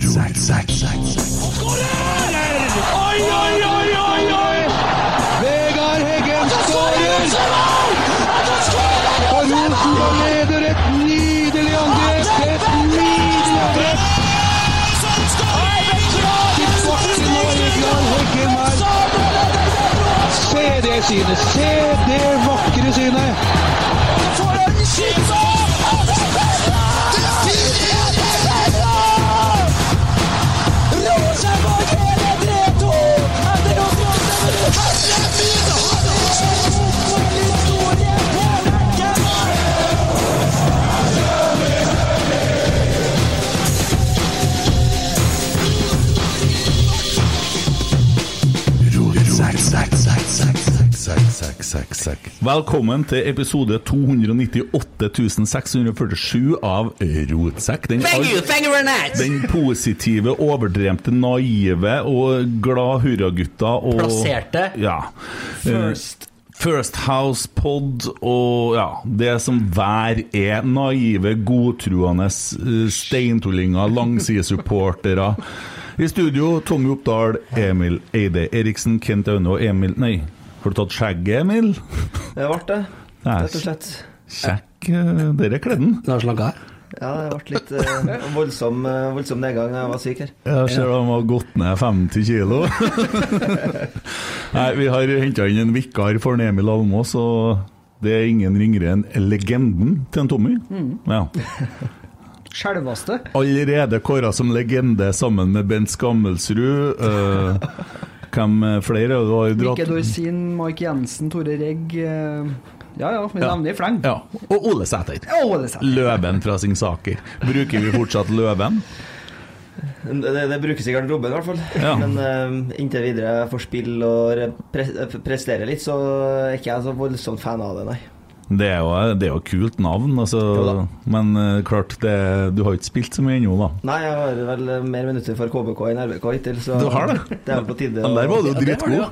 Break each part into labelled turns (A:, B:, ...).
A: Zack, zack, zack, zack.
B: Oi, oi, oi, oi, oi!
A: Vegard Heggen skårer! Og Rosenborg leder et nydelig angrep! Et nydelig angrep! Tilbake nå, Vegard Heggen her. Se det synet! Se det vakre synet!
C: Zack, zack, zack, zack, zack, zack, zack, zack, zack.
D: Velkommen til episode 298.647 av Rotsekk. Den, all- den positive, overdremte, naive og glad hurragutta og
E: Plasserte.
D: Ja.
E: First.
D: Eh, First House Pod og ja, det som hver er. Naive, godtruende eh, steintullinger, langsidesupportere. I studio Tommy Oppdal, Emil Eide Eriksen, Kent Aune og Emil Nei, har du tatt skjegget, Emil?
F: Det ble det,
D: Det er
F: rett og slett.
D: Sjekk eh, dere kledden.
E: Lars Lagar.
F: Ja, det ble litt eh, voldsom, eh, voldsom nedgang da jeg var syk her.
D: Jeg ser de har gått ned 50 kilo. Nei, vi har henta inn en vikar for Emil Almås, og det er ingen ringere enn legenden til en Tommy.
F: Mm.
D: Ja.
E: Sjølveste.
D: Allerede kåra som legende sammen med Bent Skammelsrud. eh, hvem flere? Du har
E: Mikke
D: dratt
E: Dorsin, Mike Jensen, Tore Regg. eh, Ja ja, vi
D: Ja.
E: nevner i fleng.
D: ja. Og Ole Sæter.
E: Å, det er sant.
D: Løven fra Singsaker. Bruker vi fortsatt løven?
F: Det, det, det brukes i garderoben i hvert fall.
D: Ja.
F: Men eh, inntil videre jeg får spille og re- pre eh, prestere litt, så er ikke jeg så voldsomt fan av det, nei.
D: Det er jo, det er jo et kult navn,
F: Jo
D: altså.
F: da.
D: men eh, klart, det, du har ikke spilt så mye ennå, da.
F: Nei, jeg har vel eh, mer minutter for KBK enn RBK hittil, så
D: Du har det?
F: er vel på tide.
D: Men
F: å-
D: der var du
F: Ja, det var det,
D: dritgod.
F: ja.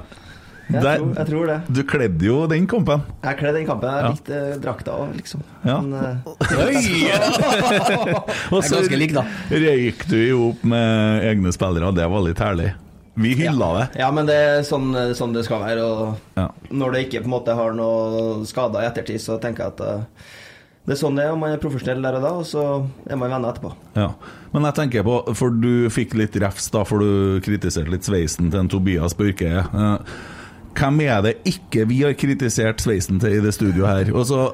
F: Jeg tror, jeg tror det.
D: Du kledde jo den kampen.
F: Jeg kledde den kampen. Jeg
D: Ja.
F: likte eh, drakta òg, liksom.
D: Ja.
F: Men, eh,
D: Og
E: Jeg er ganske lik, da.
D: røyk du jo opp med egne spillere, og det var litt herlig. Vi hylla det.
F: ja, men det er sånn, sånn det skal være. Og
D: Ja.
F: Når det ikke på en måte har noe skader i ettertid, så tenker jeg at eh, det er sånn det er. og Man er profesjonell der og da, og så er man venner etterpå.
D: Ja. Men jeg tenker på, for du fikk litt refs da, for du kritiserte litt sveisen til en Tobias Børke. Eh, Hvem er det ikke vi har Altså, kritisert sveisen til i det studioet her? Og så,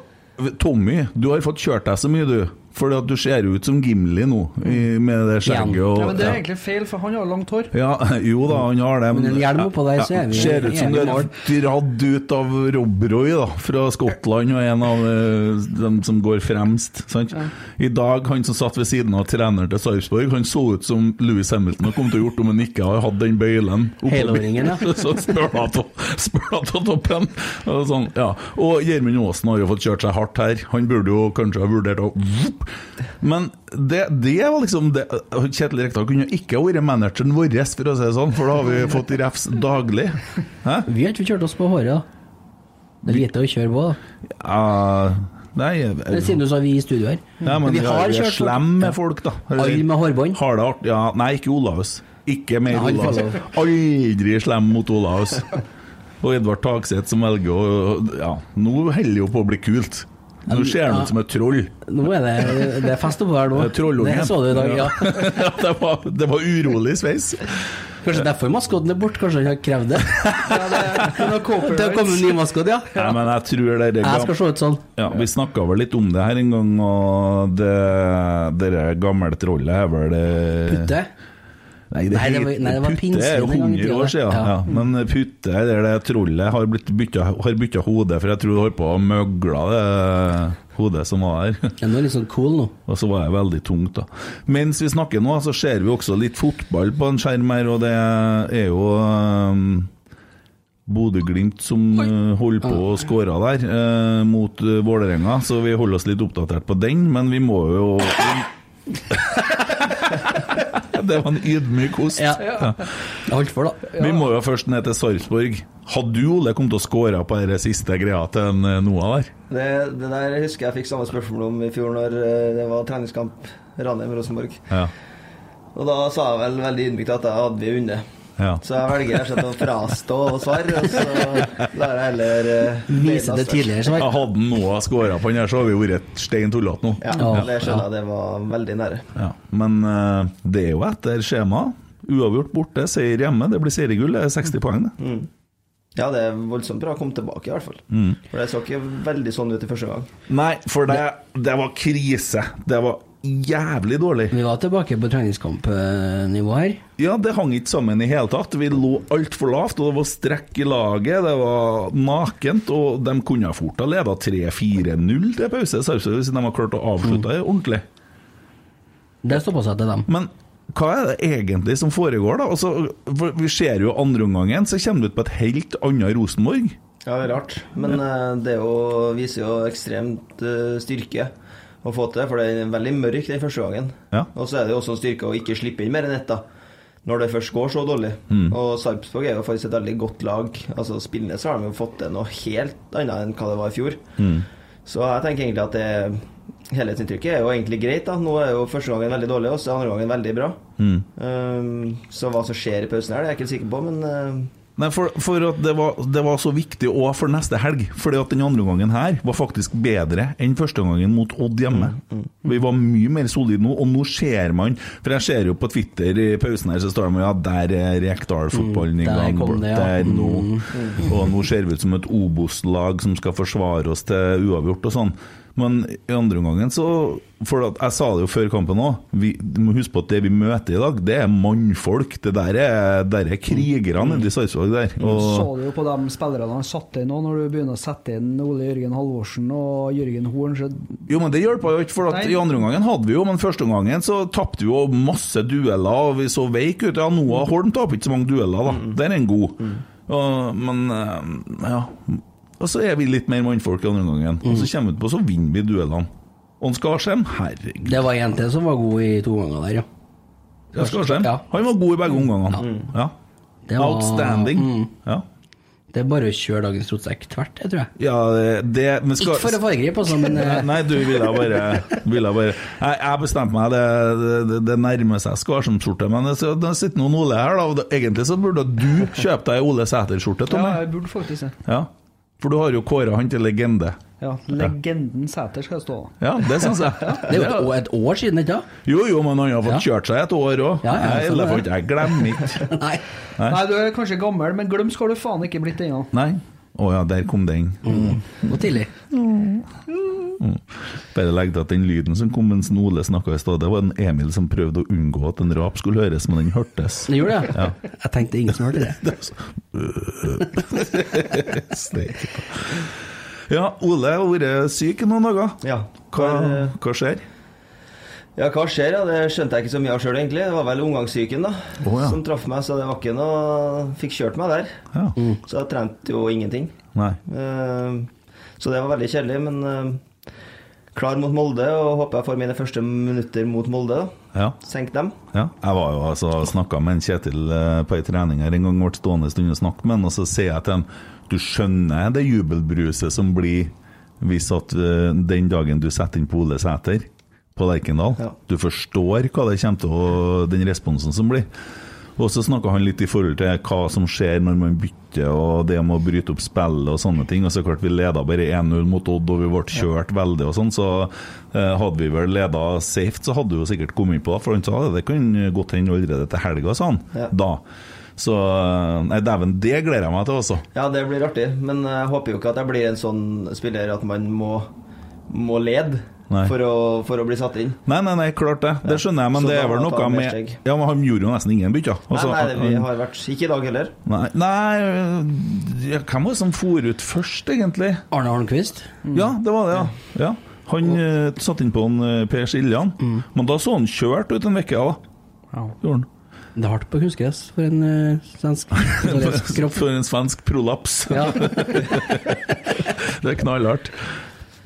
D: Tommy, du har fått kjørt deg så mye, du. Fordi at du ser jo ut som Gimli nå, i, med det skjegget og
E: Ja, men det er
D: ja.
E: egentlig feil, for han har langt hår.
D: Ja, jo da, han har det.
G: Men en hjelm oppå der, så er vi
D: Ser ut som du
G: enige
D: er
G: i mål.
D: dratt ut av Rob Roy, da, fra Skottland, og en av eh, dem som går fremst. Sant? I dag, han som satt ved siden av treneren til Sarpsborg, han så ut som Louis Hamilton og kom til å gjort om han ikke hadde hatt den bøylen. oppå
G: Helåringen, ja.
D: bilen. så spør han til- spør han til toppen. Og, sånn, ja. og Gjermund Aasen har jo fått kjørt seg hardt her. Han burde jo kanskje ha vurdert å Men det, det var liksom det. Kjetil Rekdal kunne ikke ha vært manageren vår, for å si det sånn, for da har vi fått refs daglig. Hæ?
G: Vi har ikke kjørt oss på håret, da. Det er lite å kjøre på, da.
D: Ja, nei jeg-
G: Det er Siden du sa vi i studio her.
D: ja, men
G: vi har
D: vi er
G: kjørt
D: slemme folk, da.
G: Alle med hårbånd.
D: Har det art- Ja, nei, ikke Olaus. Ikke mer
G: Nei, han får
D: Olaus. Aldri slem mot Olaus. Og Edvard Takseth som velger å Ja, nå holder jo på å bli kult. Nå ser han ut som et troll.
G: Nå er det, det er fest oppå her nå.
D: Et Trollunge.
G: Det så du i dag, ja.
D: Ja, det, var, det var urolig sveis.
G: Kanskje derfor maskoten er borte, kanskje han har krevd det.
E: Ja, det er, han har
G: Det har kommet en ny maskot, ja.
D: Nei, men jeg tror det er det
G: Jeg
D: gam-
G: skal se ut sånn.
D: ja, Vi snakka vel litt om det her en gang, og det, det der gamle trollet er vel eh, det-
G: Putte.
D: Nei, det,
G: Nei, det var-
D: het-
G: nei, det var
D: Putte er jo
G: pinnsvin en gang i
D: 100
G: tiden.
D: år siden. Ja.
G: Ja.
D: Men eh, Putte, det er det trollet, har blitt bytta, har bytta hode, for jeg tror det holdt på å møgle det eh, hodet som var der.
G: Ja, nå er det litt sånn cool nå.
D: Og så var det veldig tungt, da. Mens vi snakker nå, så ser vi også litt fotball på en skjerm her, og det er jo ehm, Bodø-Glimt som eh, holder på å skåre der eh, mot eh, Vålerenga, så vi holder oss litt oppdatert på den, men vi må jo Det var en ydmyk host.
G: Ja. Jeg holdt for, da.
D: Vi må jo først ned til Sarpsborg. Hadde du, Ole, kommet til å score på den siste greia til en, eh, Noah der?
F: Det, det der husker jeg fikk samme spørsmål om i fjor når eh, det var treningskamp Ranheim-Rosenborg.
D: Ja.
F: Og da sa jeg vel veldig ydmykt at jeg hadde vi vunnet.
D: Ja.
F: Så jeg velger rett og slett å frastå å svare, og så lar jeg heller eh,
G: Vise det tidligere svar.
D: Ja, Hadde Noah skåra på den her, så hadde vi vært stein tullete nå.
F: Ja,
G: Ja.
F: det skjønner jeg. Det var veldig nære.
D: Ja. Men eh, det er jo etter skjema. Uavgjort borte, seier hjemme. Det blir seriegull. Det er 60 poeng, det.
F: Ja, det er voldsomt bra å komme tilbake, i hvert fall. For det så ikke veldig sånn ut i første gang.
D: Nei, for det, det var krise. Det var jævlig dårlig.
G: Vi var tilbake på treningskampnivå her.
D: Ja, det hang ikke sammen i hele tatt. Vi lå altfor lavt, og det var strekk i laget. Det var nakent, og de kunne ha fort ha leda 3-4-0 til pause, Sarpsborg, hvis de har klart å avslutte det ordentlig.
G: Det stoppa seg til dem.
D: Men hva er det egentlig som foregår, da? Altså, for vi ser jo andreomgangen, så kommer det ut på et helt annet Rosenborg.
F: Ja, det er rart. Men eh, det er jo, viser jo ekstremt eh, styrke å få til, for det er veldig mørkt den første gangen.
D: Ja.
F: Og så er det jo også en styrke å ikke slippe inn mer enn ett, da. Når det først går så dårlig. Og Sarpsborg er jo faktisk et veldig godt lag. Altså Spillende så har de jo fått til noe helt annet enn hva det var i fjor. Så jeg tenker egentlig at det helhetsinntrykket er jo egentlig greit. da Nå er jo første gangen veldig dårlig, og så er andre gangen veldig bra. Um, så hva som skjer i pausen her, det er jeg ikke helt sikker på, men eh,
D: Nei, for, for at det var, det var så viktig òg for neste helg. Fordi at den andre gangen her var faktisk bedre enn første gangen mot Odd hjemme.
G: Mm,
D: Vi var mye mer solide nå, og nå ser man For jeg ser jo på Twitter i pausen her, så står det med, ja, der er Rekdal-fotballen i
G: Mm, der
D: gang.
G: kom det, ja.
D: Der nå. Og nå ser vi ut som et Obos-lag som skal forsvare oss til uavgjort og sånn. Men i andre omgangen så For at jeg sa det jo før kampen òg, du må huske på at det vi møter i dag, det er mannfolk. Det der er, der er krigerne nede i Sarpsborg der.
E: Så
D: Og
E: du jo på de spillerne han satte inn nå, når du begynner å sette inn Ole Jørgen Halvorsen og Jørgen Horn, så
D: jo, men det hjelpa jo ikke, for at
E: Nei.
D: i andre omgangen hadde vi jo, men første omgangen så tapte vi jo masse dueller, og vi så veik ut. Ja, Noah
G: Mm.
D: Holm taper ikke så mange dueller, da. Der er en god. Og, men eh, ja. Og så er vi litt mer mannfolk i andre omgangen. Og
G: Mm.
D: så kommer vi på, så vinner vi duellene. Og Skarsheim, herregud.
G: Det var en til som var god i to ganger der, ja.
D: Ja, Skarsheim.
G: Ja.
D: Han var god i begge omgangene. Ja.
G: Det var-
D: Outstanding.
G: Mm.
D: Ja.
G: Det er bare å kjøre dagens rotsekk tvert, jeg tror jeg.
D: ja, det men Skar-
G: Ikke for å foregripe, altså, men eh,
D: Nei, du ville bare, ville bare. Jeg, jeg bestemte meg, det, det, det nærmer seg Skarsheim-skjorte. Men det, så, det sitter noen Ole her, da. og det- Egentlig så burde du kjøpe deg Ole Sæter-skjorte,
E: Ja,
D: Tommy.
E: jeg burde faktisk det.
D: Ja. For du har jo kåra han til legende.
E: Ja, legenden Sæter skal stå.
D: Ja, det syns jeg.
G: det er jo et år, et år siden, ikke da?
D: Jo, jo, men han har fått
G: Ja.
D: kjørt seg et år òg.
G: Ja, ja,
D: jeg,
G: sånn er
D: elefant,
G: det.
D: jeg glemmer ikke.
G: Nei.
E: Nei, du er kanskje gammel, men glømsk har du faen ikke blitt ennå.
G: Mm.
D: Nei. Å ja, der kom den.
G: Og tidlig.
D: Mm. Bare legg til at den lyden som kom mens Ole snakka i stad, det var en Emil som prøvde å unngå at en rap skulle høres, men den hørtes.
G: Det gjorde det? Jeg tenkte ingen som hørte det.
D: Steike ta. Ja, Ole har vært syk i noen dager.
F: Ja.
D: Hva,
F: Eh,
D: hva skjer?
F: Ja, hva skjer? Ja, det skjønte jeg ikke så mye av sjøl, egentlig. Det var vel omgangssyken da
D: Å, ja.
F: som traff meg, så det var ikke noe Fikk kjørt meg der.
D: Ja.
F: Så jeg trente jo ingenting.
D: Nei.
F: Eh, Så det var veldig kjedelig, men eh, klar mot Molde, og håper jeg får mine første minutter mot Molde. da
D: Ja.
F: Senk dem.
D: Ja. Jeg var jo altså snakka med en Kjetil eh, på ei trening her en gang, ble stående en stund og snakke med han, og så sier jeg til han Du skjønner det jubelbruset som blir hvis at eh, den dagen du setter inn på Ole Sæter på Lerkendal
F: Ja.
D: Du forstår hva det kommer til å Den responsen som blir. Og så snakka han litt i forhold til hva som skjer når man bytter, og det med å bryte opp spillet og sånne ting. Og så klart vi leda bare 1-0 mot Odd, og vi ble kjørt veldig og sånn, så eh, hadde vi vel leda safe, så hadde vi jo sikkert kommet på det. For han sa det, det kan godt hende allerede til helga, sa han
F: Ja.
D: da. Så eh, Nei, dæven, det gleder jeg meg til også.
F: Ja, det blir artig, men eh, jeg håper jo ikke at jeg blir en sånn spiller at man må, må lede
D: Nei.
F: for å, for å bli satt inn.
D: Nei, nei, nei, klart det. Det skjønner jeg, men
F: Så
D: det
F: da
D: er vel
F: må han ta
D: noe
F: mer
D: med
F: steg.
D: Ja, men han gjorde jo nesten ingen bytter. Altså,
F: nei, nei, det, vi
D: han-
F: har vært Ikke i dag heller.
D: Nei, nei øh, ja, Hvem var det som for ut først, egentlig?
G: Arne Arnquist?
F: Mm.
D: Ja, det var det, ja. ja. Han eh, satte inn på en eh, Per Siljan,
F: Mm.
D: men da så han kjørt ut en uke, ja. da. Gjorde han.
G: Det er hardt på Kuskes for en eh, svensk italiensk kropp.
D: For en svensk prolaps.
G: Ja.
D: Det er knallhardt.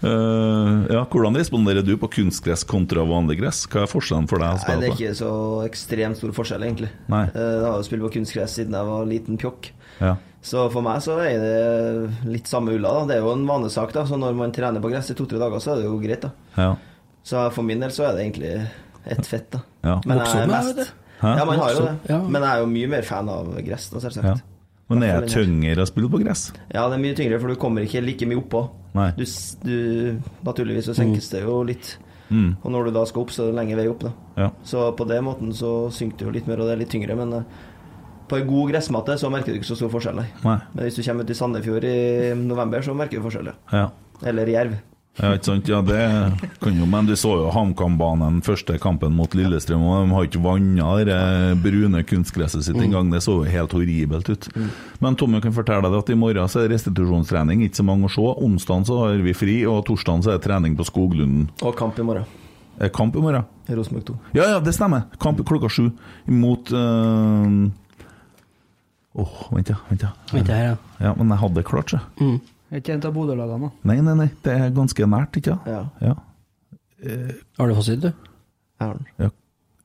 D: Eh, ja, hvordan responderer du på kunstgress kontra vanlig gress? Hva er forskjellen for deg? å
F: Nei,
D: spille
F: det er
D: på?
F: ikke så ekstremt stor forskjell, egentlig.
D: Nei.
F: Eh, Jeg har jo spilt på kunstgress siden jeg var liten pjokk.
D: Ja.
F: Så for meg så er det litt samme ulla, da. Det er jo en vanesak, da. Så når man trener på gress i to-tre dager, så er det jo greit, da.
D: Ja.
F: Så for min del så er det egentlig ett fett, da.
D: Ja.
F: Men
G: Vokser
F: jeg
G: opp
F: er
G: med det, vet
F: mest
G: du.
D: Hæ?
F: Ja, man har jo
G: Vokser
F: det.
G: opp, ja.
F: Men jeg er jo mye mer fan av gress, da,
D: ja.
F: selvsagt.
D: Men er jeg tyngre å spille på gress?
F: Ja, det er mye tyngre, for du kommer ikke like mye oppå.
D: Nei. Mm.
F: Du, s- du, naturligvis så senkes det jo litt. Og når du da skal opp, så er det lenge vei opp, da.
D: Ja.
F: Så på den måten så synker det jo litt mer, og det er litt tyngre, men eh, på en god gressmatte så merker du ikke så stor forskjell, nei.
D: Nei.
F: Men hvis du kommer ut i Sandefjord i november, så merker du forskjell, ja.
D: Ja.
F: Eller Jerv.
D: Ja, ikke sant? Ja, det kan jo, men du så jo HamKam-banen første kampen mot Lillestrøm, og de har ikke vanna det der brune kunstgresset sitt engang. Det så jo helt horribelt ut. Men Tommy kan fortelle deg at i morgen så er det restitusjonstrening, ikke så mange å se. Onsdag så har vi fri, og torsdag så er det trening på Skoglunden.
F: Og kamp i morgen.
D: Er det kamp i morgen?
F: Rosenborg 2.
D: Ja, ja, det stemmer. Kamp klokka sju mot øh, Åh, vent, ja. Vent, ja.
G: Vent her, ja.
D: Ja, men jeg hadde det klart, så.
E: Er ikke en av Bodø-lagene, da?
D: Nei, nei, nei. Det er ganske nært, ikke sant?
F: Ja,
D: Ja.
G: Har du fasit, du?
F: jeg har den.
D: ja.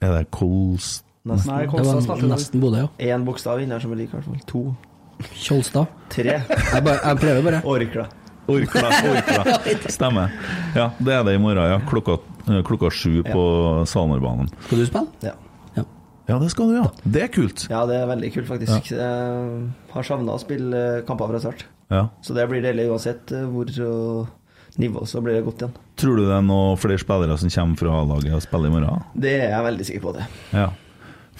D: Er det Kolst...
F: Nesten.
E: Nei,
G: Det
E: Kolstad
G: var
E: starter vel.
G: nesten Bodø, ja.
F: Én bokstav inni her som er lik, i hvert fall. To.
G: Kjolstad.
F: Tre.
G: Jeg, bare, jeg prøver bare.
F: Orkla.
D: Orkla, Orkla. Stemmer. Ja, det er det i morgen, ja. Klokka, eh, klokka sju på Salmerbanen.
G: Skal du spille?
F: Ja.
D: Ja, det skal du, ja. Det er kult.
F: ja, det er veldig kult, faktisk. Jeg har savna å spille eh, kamper fra start.
D: Ja.
F: Så det blir deilig uansett eh, hvor eh, nivå, så blir det godt igjen.
D: Tror du det er noen flere spillere som kommer fra A-laget og spiller i morgen?
F: Det er jeg veldig sikker på, det.
D: Ja.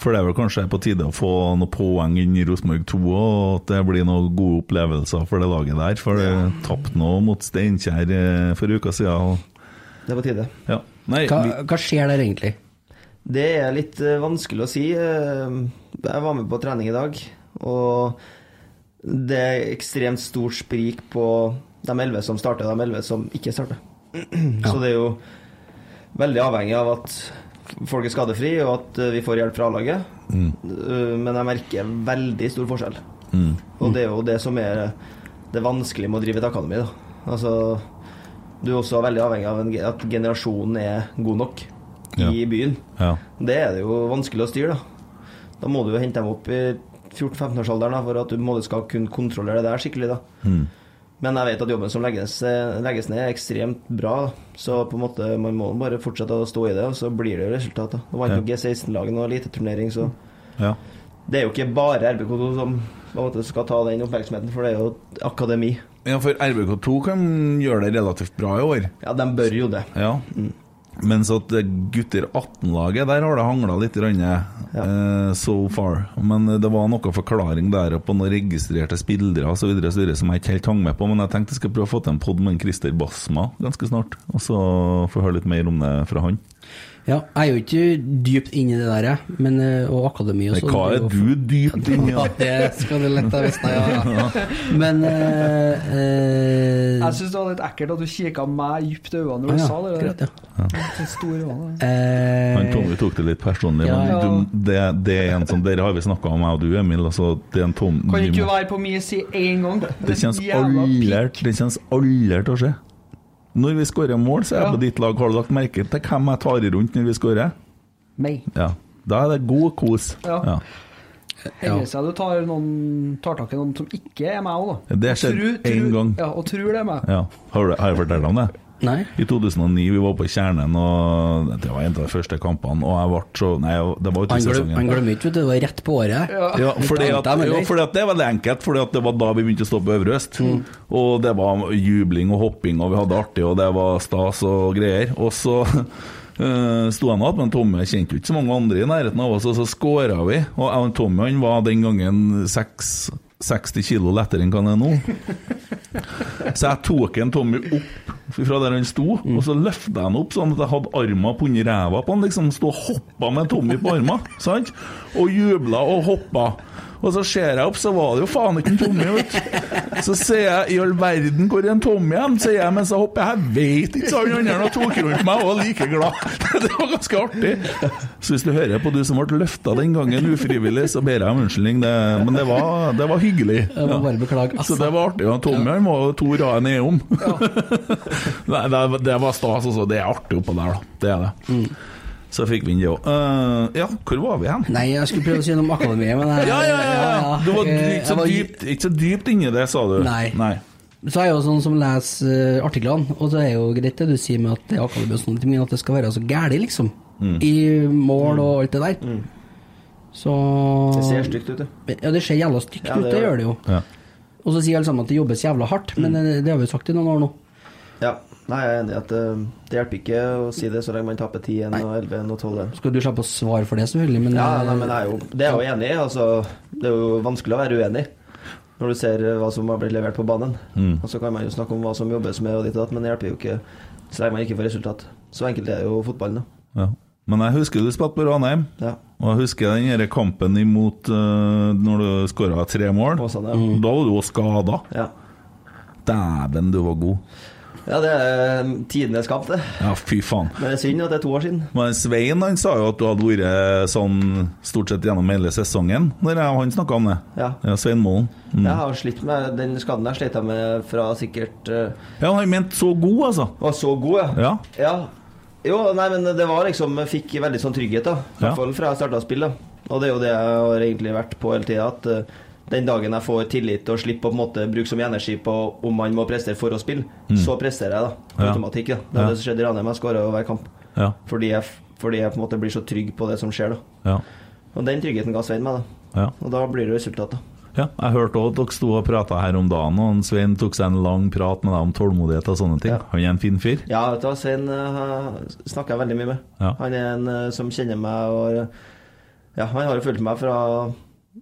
D: For det er vel kanskje på tide å få noen poeng inn i Rosenborg 2 og at det blir noen gode opplevelser for det laget der. For det tapte nå mot Steinkjer eh, for uka siden. og-
F: Det er på tide.
D: Ja. Nei,
G: Hva,
D: vi,
G: hva skjer der egentlig?
F: Det er litt eh, vanskelig å si. Eh, Jeg var med på trening i dag, og det er ekstremt stort sprik på de elleve som starter, og de elleve som ikke starter. Så det er jo veldig avhengig av at folk er skadefri, og at eh, vi får hjelp fra A-laget. Eh, Men jeg merker veldig stor forskjell. Og det er jo det som er det vanskelige med å drive et akademi, da. Altså, du er også veldig avhengig av en, ge- at generasjonen er god nok i
D: Ja.
F: byen.
D: ja.
F: Det er det jo vanskelig å styre, da. Da må du jo hente dem opp i 14-15-årsalderen da, for at du på en måte skal kunne kontrollere det der skikkelig. da. Men jeg vet at jobben som legges, eh, legges ned, er ekstremt bra. da. Så på en måte man må bare fortsette å stå i det, og så blir det jo resultat. da. Nå vant jo G16-laget og eliteturnering, så
D: ja.
F: det er jo ikke bare RBK2 som på en måte skal ta den oppmerksomheten, for det er jo et akademi.
D: ja, for RBK2 kan gjøre det relativt bra i år.
F: Ja, de bør jo det.
D: Ja. Mens at det gutter 18-laget, der har det hangla litt grann, eh, so far. Men eh, det var noe forklaring der og på noen registrerte spillere og så videre, og så videre, som jeg ikke helt hang med på. Men jeg tenkte jeg skal prøve å få til en pod med en Christer Basma ganske snart. Og så få høre litt mer om det fra han.
G: Ja, jeg er jo ikke dypt inne i det der, jeg, men, eh, og akademi og
D: Men
G: sånn.
D: hva
G: det
D: er
G: jo-
D: du dypt inni?
G: Ja,
D: da?
G: det skal du lett ha visst, ja. ja. Men eh, eh,
E: Jeg
F: Altså,
E: syns det var litt ekkelt at du kikka meg dypt i øynene
G: ah,
E: når du
G: ja,
E: sa det.
G: greit, ja.
E: Så store øyne.
G: Eh,
D: Han Tommy tok det litt personlig,
G: Ja, ja.
D: men du, det, det er en sånn Dere har vi snakka om, jeg og du, Emil. Altså, det er en Tom
E: Kan
D: vi
E: ikke du
D: må-
E: være på min side én gang?
D: Det kjennes
E: jævla pikk.
D: aldert Det kjennes aldert å skje. Når vi skårer mål, så er jeg
E: Ja.
D: på ditt lag. Har du lagt merke til hvem jeg tar i rundt når vi skårer?
E: Meg.
D: Ja. Da er det god kos.
E: Ja.
D: Ja.
E: Hender seg du tar, noen, tar tak i noen som ikke er meg òg, da.
D: Det har
E: Og
D: skjedd
E: tror-
D: én
E: tror-
D: gang.
E: Ja, og tror det er meg.
D: Ja. Har, du, har jeg fortalt om det?
G: nei.
D: I 2009 vi var på Kjernen, og det var en av de første kampene, og jeg ble så Nei, det var ute
G: Han
D: i
G: glem- han
D: sesongen.
G: glemmer ikke, vet du. Det var rett på året.
D: Ja, fordi at,
G: Tenkte jeg, men
D: jo,
G: det-
D: fordi at det er veldig enkelt, fordi at det var da vi begynte å stå på Øvre Øst. Og det var jubling og hopping, og vi hadde det artig, og det var stas og greier. Og så eh, sto han igjen, men Tommy kjente jo ikke så mange andre i nærheten av oss, og så skåra vi. Og jeg og Tommy han var den gangen seks 60 kilo lettere enn hva han er nå. Så jeg tok en Tommy opp fra der han sto, og så løfta jeg han opp sånn at jeg hadde armen på under ræva på han. Liksom sto og hoppa med Tommy på armen, sant? Og jubla og hoppa. Og så ser jeg opp, så var det jo faen ikke en Tommy, vet du. Så sier jeg i all verden hvor er en Tommy hen, sier jeg mens jeg hopper. Jeg veit ikke, sa han andre og tok rundt meg og var like glad. Det var ganske artig. Så hvis du hører på du som ble løfta den gangen ufrivillig, så ber jeg om unnskyldning, det, men det var, det var hyggelig.
G: Jeg må
D: Ja.
G: bare beklage.
D: Så
G: Altså.
D: det var artig. og Tommy han var jo to rader ned om. Nei, det, det var stas, altså. Det er artig oppå der, da. Det er det. Så fikk vi inn det òg. ja, hvor var vi hen?
G: Nei, jeg skulle prøve å si noe om akademiet, men jeg,
D: Ja, ja, ja! ja. Du var
G: Eh,
D: ikke
G: jeg
D: så dypt, ikke så dypt inni det, sa du.
G: Nei. Så er jeg jo sånn som leser eh, artiklene, og så er jo greit det du sier med at det er akademi og sånn, men at det skal være så gæli, liksom.
D: Mm.
G: I mål og alt det der. Så
F: Mm. Det ser stygt ut, det.
G: Ja, det ser jævla stygt
F: Ja, det
G: ut, det
F: gjør
G: gjør det jo.
D: Ja.
G: Og så sier alle sammen at det jobbes jævla
F: Mm.
G: hardt, men eh, det har vi jo sagt i noen år nå.
F: Ja. Nei, jeg er enig i at eh, det hjelper ikke å si det så lenge man taper 10-1 og 11-1 og 12-1.
G: Skal du slippe å svare for det, selvfølgelig, men,
F: Ja,
G: eh,
F: nei, men jeg er jo, det er jeg jo enig i. Altså, det er jo vanskelig å være uenig når du ser eh, hva som har blitt levert på banen. Og så kan man jo snakke om hva som jobbes med, og ditt og datt, men det hjelper jo ikke så lenge man ikke får resultat. Så enkelt er jo fotballen, da.
D: Ja. Men jeg husker du spilte på Ranheim.
F: Ja.
D: Og jeg husker den her kampen imot eh, når du skåra tre mål.
F: Åsane, ja.
D: Da var du jo skada.
F: Ja.
D: Dæven, du var god.
F: ja, det er eh, tidenes kamp, det.
D: Ja, fy faen.
F: Men det er synd at det er to år siden.
D: Men Svein han sa jo at du hadde vært sånn stort sett gjennom hele sesongen, når jeg og han snakka om det.
F: Ja.
D: Svein Målen. Mm.
F: Jeg har slitt med Den skaden der slet jeg med fra sikkert eh,
D: Ja, han mente så god, altså.
F: Var så god, ja.
D: Ja.
F: Ja. Jo, nei, men det var liksom Jeg fikk veldig sånn trygghet, da. I
D: Ja.
F: hvert fall fra jeg starta å spille. da. Og det er jo det jeg har egentlig vært på hele tida, at eh, den dagen jeg får tillit og slipper å på en måte bruke så mye energi på om man må prestere for å spille, så presterer jeg, da.
D: Mm. Ja.
F: Automatikk. da Det er
D: Ja.
F: det som skjedde i Ranheim. Jeg skåra hver kamp
D: Ja.
F: fordi jeg, f- fordi jeg på en måte blir så trygg på det som skjer, da.
D: Ja.
F: Og den tryggheten ga Svein meg, da.
D: ja.
F: Og da blir det resultat, da.
D: ja. Jeg hørte òg at dere sto og prata her om dagen, og han Svein tok seg en lang prat med deg om tålmodighet og sånne ting.
F: Ja.
D: Han er en fin fyr.
F: Ja, vet du hva, Svein eh, snakker jeg veldig mye med.
D: Ja.
F: Han er en eh, som kjenner meg og Ja, han har jo fulgt meg fra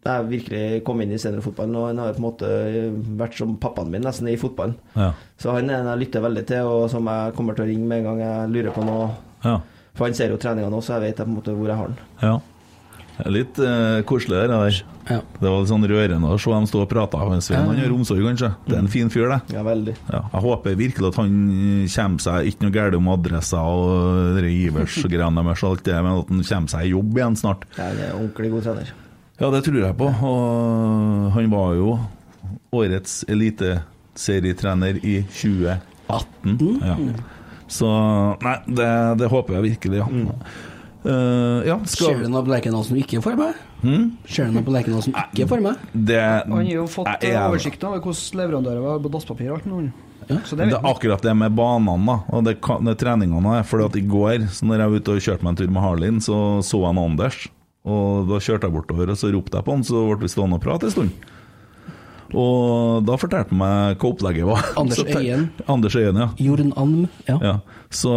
F: jeg virkelig kom inn i seniorfotballen, og han har på en måte vært som pappaen min nesten i fotballen.
D: Ja.
F: Så han er en jeg lytter veldig til, og som jeg kommer til å ringe med en gang jeg lurer på noe.
D: Ja.
F: For han ser jo treningene også, jeg vet på en måte hvor jeg har den.
D: ja. Det er Litt eh, koselig, det der.
G: ja.
D: Det var litt sånn rørende å se dem stå og prate. Men Svein han gjør omsorg, kanskje. Det er en fin fyr, det.
F: Ja, veldig.
D: Ja, jeg håper virkelig at han eh, kommer seg Ikke noe galt om adresser og det Ivers-greiene deres, og alt det, men at han kommer seg i jobb igjen snart.
F: Ja, han er en ordentlig god trener.
D: Ja, det tror jeg på. Og han var jo årets eliteserietrener i 2018. Ja. Så Nei, det, det håper jeg virkelig, ja. Eh, ja, skal
G: Ser du noe på Lerkendal som ikke er for meg?
D: Hmm?
G: Ser du noe på Lerkendal som ikke er for meg?
D: Det
E: Han har jo fått eh,
D: Jeg er-
E: oversikten over hvordan leverandører var på dasspapir og alt mulig. Så
D: Det
E: det vet
D: er
E: han.
D: akkurat det med banene da, og det, kan- det treningene. er, Fordi at I går, så når jeg var ute og kjørte meg en tur med Harlin, så så jeg en Anders. Og Da kjørte jeg bortover og så ropte jeg på han, så ble vi stående og prate en stund. Og da fortalte han meg hva opplegget var.
G: Anders
D: Så tenkte-
G: Øyen.
D: Anders Øyen, ja.
G: Jorn Alm, ja.
D: ja. Så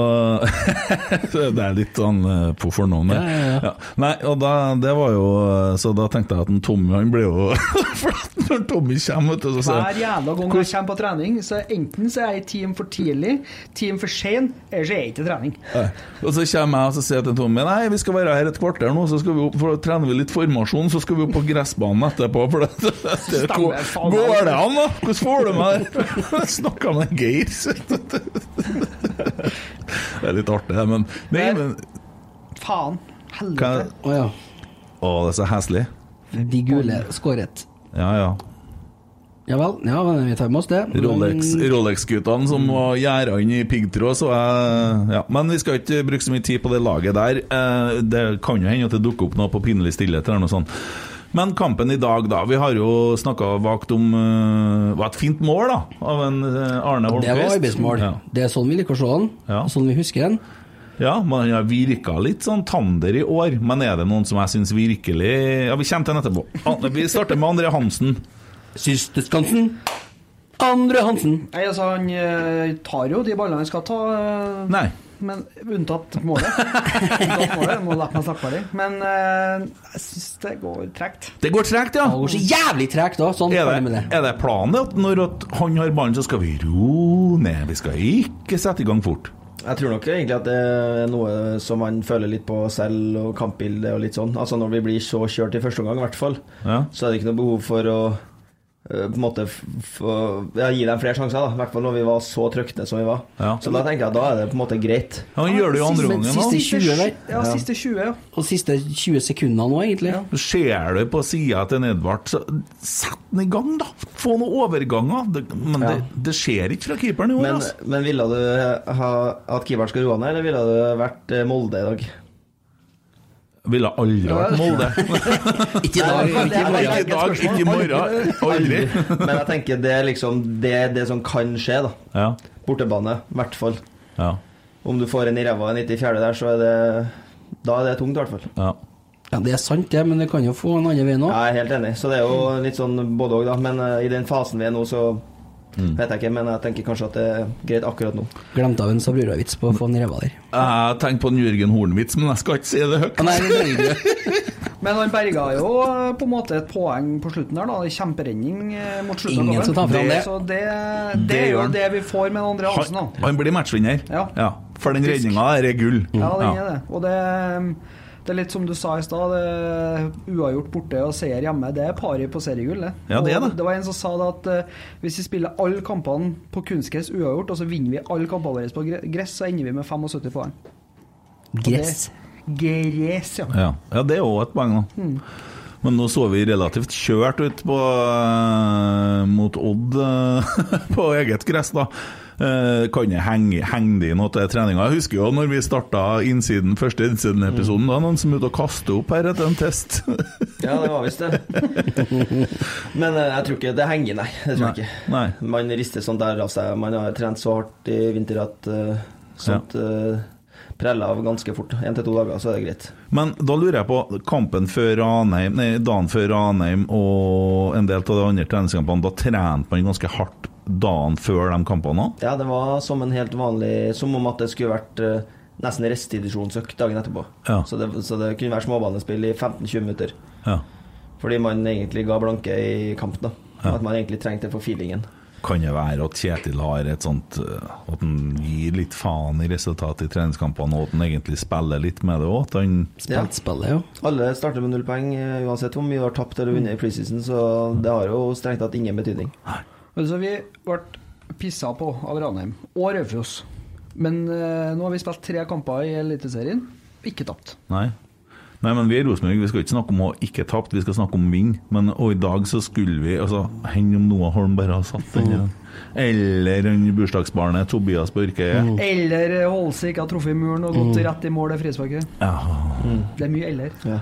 D: så det er litt sånn eh, på fornavnet.
G: Ja, ja, ja.
D: Nei, og da, det var jo Så da tenkte jeg at en Tommy han ble jo For at når Tommy kommer, vet du, så sier
E: Hver
D: han
E: jævla gang jeg kommer på trening, så enten så er jeg i team for tidlig, team for sein, eller så er jeg ikke i trening.
D: Nei. Og så kommer jeg og så sier jeg til Tommy Nei, vi skal være her et kvarter nå, så skal vi opp, for da trener vi litt formasjon, så skal vi opp på gressbanen etterpå. For det, det, det, det,
E: Stemmer, faen.
D: går det an, da? Hvordan får du meg der? Jeg Snakka med Geir. så- Det er litt artig, det, men, nei, men
E: Faen.
D: hva,
E: Helvete.
G: Å ja.
D: Å, det er så heslig.
G: De gule skåret.
D: Ja, ja.
G: Ja vel, ja, men vi tar med oss det. Men-
D: Rolex-
G: Mm.
D: Rolex-guttene som var gjerda inn i piggtråd, så jeg ja. Men vi skal ikke bruke så mye tid på det laget der. Eh, Det kan jo hende at det dukker opp noe på pinlig stillhet eller noe sånt. Men kampen i dag, da. Vi har jo snakka vagt om eh, Det var et fint mål, da, av en eh, Arne Holmquist.
G: Det var arbeidsmål.
D: Ja.
G: Det er sånn vi liker å se den,
D: Ja.
G: og sånn vi husker den.
D: Ja, men han har virka litt sånn tander i år. Men er det noen som jeg syns virkelig Ja, vi kommer til den etterpå. An- Vi starter med André Hansen.
G: Systeskansen. Andre Hansen.
E: Nei, altså, han eh, tar jo de ballene han skal ta, eh,
D: Nei.
E: men unntatt målet. unntatt målet, må la meg snakke ferdig. Men eh, jeg syns det går tregt.
D: Det går tregt, ja.
G: Det går så jævlig tregt da. Sånn,
D: Er
G: ferdig med
D: det,
G: det.
D: er det planen at når at han har ballen, så skal vi ro ned? Vi skal ikke sette i gang fort.
F: Jeg tror nok egentlig at det er noe som man føler litt på selv, og kampbildet og litt sånn. Altså Når vi blir så kjørt i første omgang, i hvert fall,
D: Ja.
F: så er det ikke noe behov for å eh, på en måte f få- ja, gi dem flere sjanser, da. I hvert fall når vi var så trøkne som vi var.
D: Ja.
F: Så da tenker jeg at da er det på en måte greit.
D: Han gjør det jo andre
G: men
D: gangen
G: siste-
D: òg.
G: Siste 20, eller?
E: Ja, siste 20. ja.
G: Og siste 20 sekundene nå, egentlig.
D: Ser du på sida til Edvard, så sett den i gang, da! Få noen overganger. Det, men
F: Ja.
D: det, det skjer ikke fra keeperen i år,
F: Men,
D: altså.
F: men ville du ha at keeperen skal roe ned, eller ville du vært eh, Molde i dag?
D: Ville aldri vært Molde.
G: Ikke i dag.
E: Nei,
G: Ikke i
D: Ikke
G: morgen.
D: i dag, ikke i morgen. Aldri.
F: Men jeg tenker det er liksom det, er det som kan skje, da.
D: Ja.
F: Bortebane, i hvert fall.
D: Ja.
F: Om du får en i ræva i 94. der, så er det Da er det tungt, i hvert fall.
D: ja.
G: Ja, det er sant, det, men det kan jo få en annen vei nå.
F: Jeg er helt enig. Så det er jo litt sånn både òg, da. Men eh, i den fasen vi er nå, så
D: Mm.
F: vet jeg ikke. Men jeg tenker kanskje at det er greit akkurat nå.
G: Glemte av en Sabrura-vits på å få en ræva der.
D: Jeg tenkte på en Jørgen Hornwitz, men jeg skal ikke si det høyt.
G: Ah, nei, det trenger du ikke.
E: Men han berga jo eh, på en måte et poeng på slutten der, da. En Kjemperedning eh, mot slutten
G: Ingen
E: av
G: som tar fram det.
E: Så det,
D: Det
E: det, er
D: gjør
E: jo
D: han.
E: det vi får med André Hansen,
D: Han,
E: da.
D: han blir matchvinner.
E: Ja.
D: For den redninga der er gull.
E: Ja, det er det. Og det, mm, det er litt som du sa i stad. det- Uavgjort borte og seier hjemme, det er pari på seriegull, det.
D: Ja, det er
E: Og
D: det.
E: det var en som sa det at eh, hvis vi spiller alle kampene på kunstgress uavgjort, og så vinner vi alle kampene våre på gre- gress, så ender vi med 75 poeng.
G: Gress.
E: Gress, ja.
D: Ja, ja det er òg et poeng, da. Men nå så vi relativt kjørt ut på, eh, mot Odd eh, på eget gress, da. Eh, kan jeg henge, henge det inn noe til treninga? Jeg husker jo når vi starta innsiden, første innsiden-episoden, da noen som er ute og kaster opp her etter en test.
F: Ja, det var visst det. Men eh, jeg tror ikke det henger, nei. Det tror jeg ikke.
D: Nei.
F: Man rister sånt der av seg. Man har trent så hardt i vinter at eh, sånt eh, preller av ganske fort. Én til to dager, så er det greit.
D: Men da lurer jeg på kampen før Ranheim, nei, dagen før Ranheim og en del av de andre treningskampene, da trente man ganske hardt dagen før de kampene òg?
F: Ja, det var som en helt vanlig Som om at det skulle vært eh, nesten restitusjonsøkt dagen etterpå.
D: Ja.
F: Så, det, så det kunne være småbanespill i 15-20 minutter.
D: Ja.
F: Fordi man egentlig ga blanke i kampen. da At man egentlig trengte det for feelingen.
D: Kan det være at Kjetil har et sånt eh, At han gir litt faen i resultatet i treningskampene, og at han egentlig spiller litt med det òg? At han
F: Ja.
G: Spilt spillet, jo.
F: Alle starter med null poeng eh, uansett hvor mye du har tapt eller vunnet i preseason, så det har jo strengt tatt ingen betydning.
E: Men Så Altså, vi ble pissa på av Ranheim og Raufoss. Men eh, nå har vi spilt tre kamper i Eliteserien, ikke tapt.
D: Nei. Nei, men vi er Rosenborg. Vi skal ikke snakke om å ikke tapt, vi skal snakke om å vinne. Men og i dag så skulle vi altså, Enn om Noah Holm bare har satt den igjen? Eller han bursdagsbarnet Tobias Børke.
E: Eller eh, Holse ikke har truffet muren og
D: Mm.
E: gått rett i mål det frisparket.
D: Ja. eh,
E: Det er mye eller.
D: ja eh,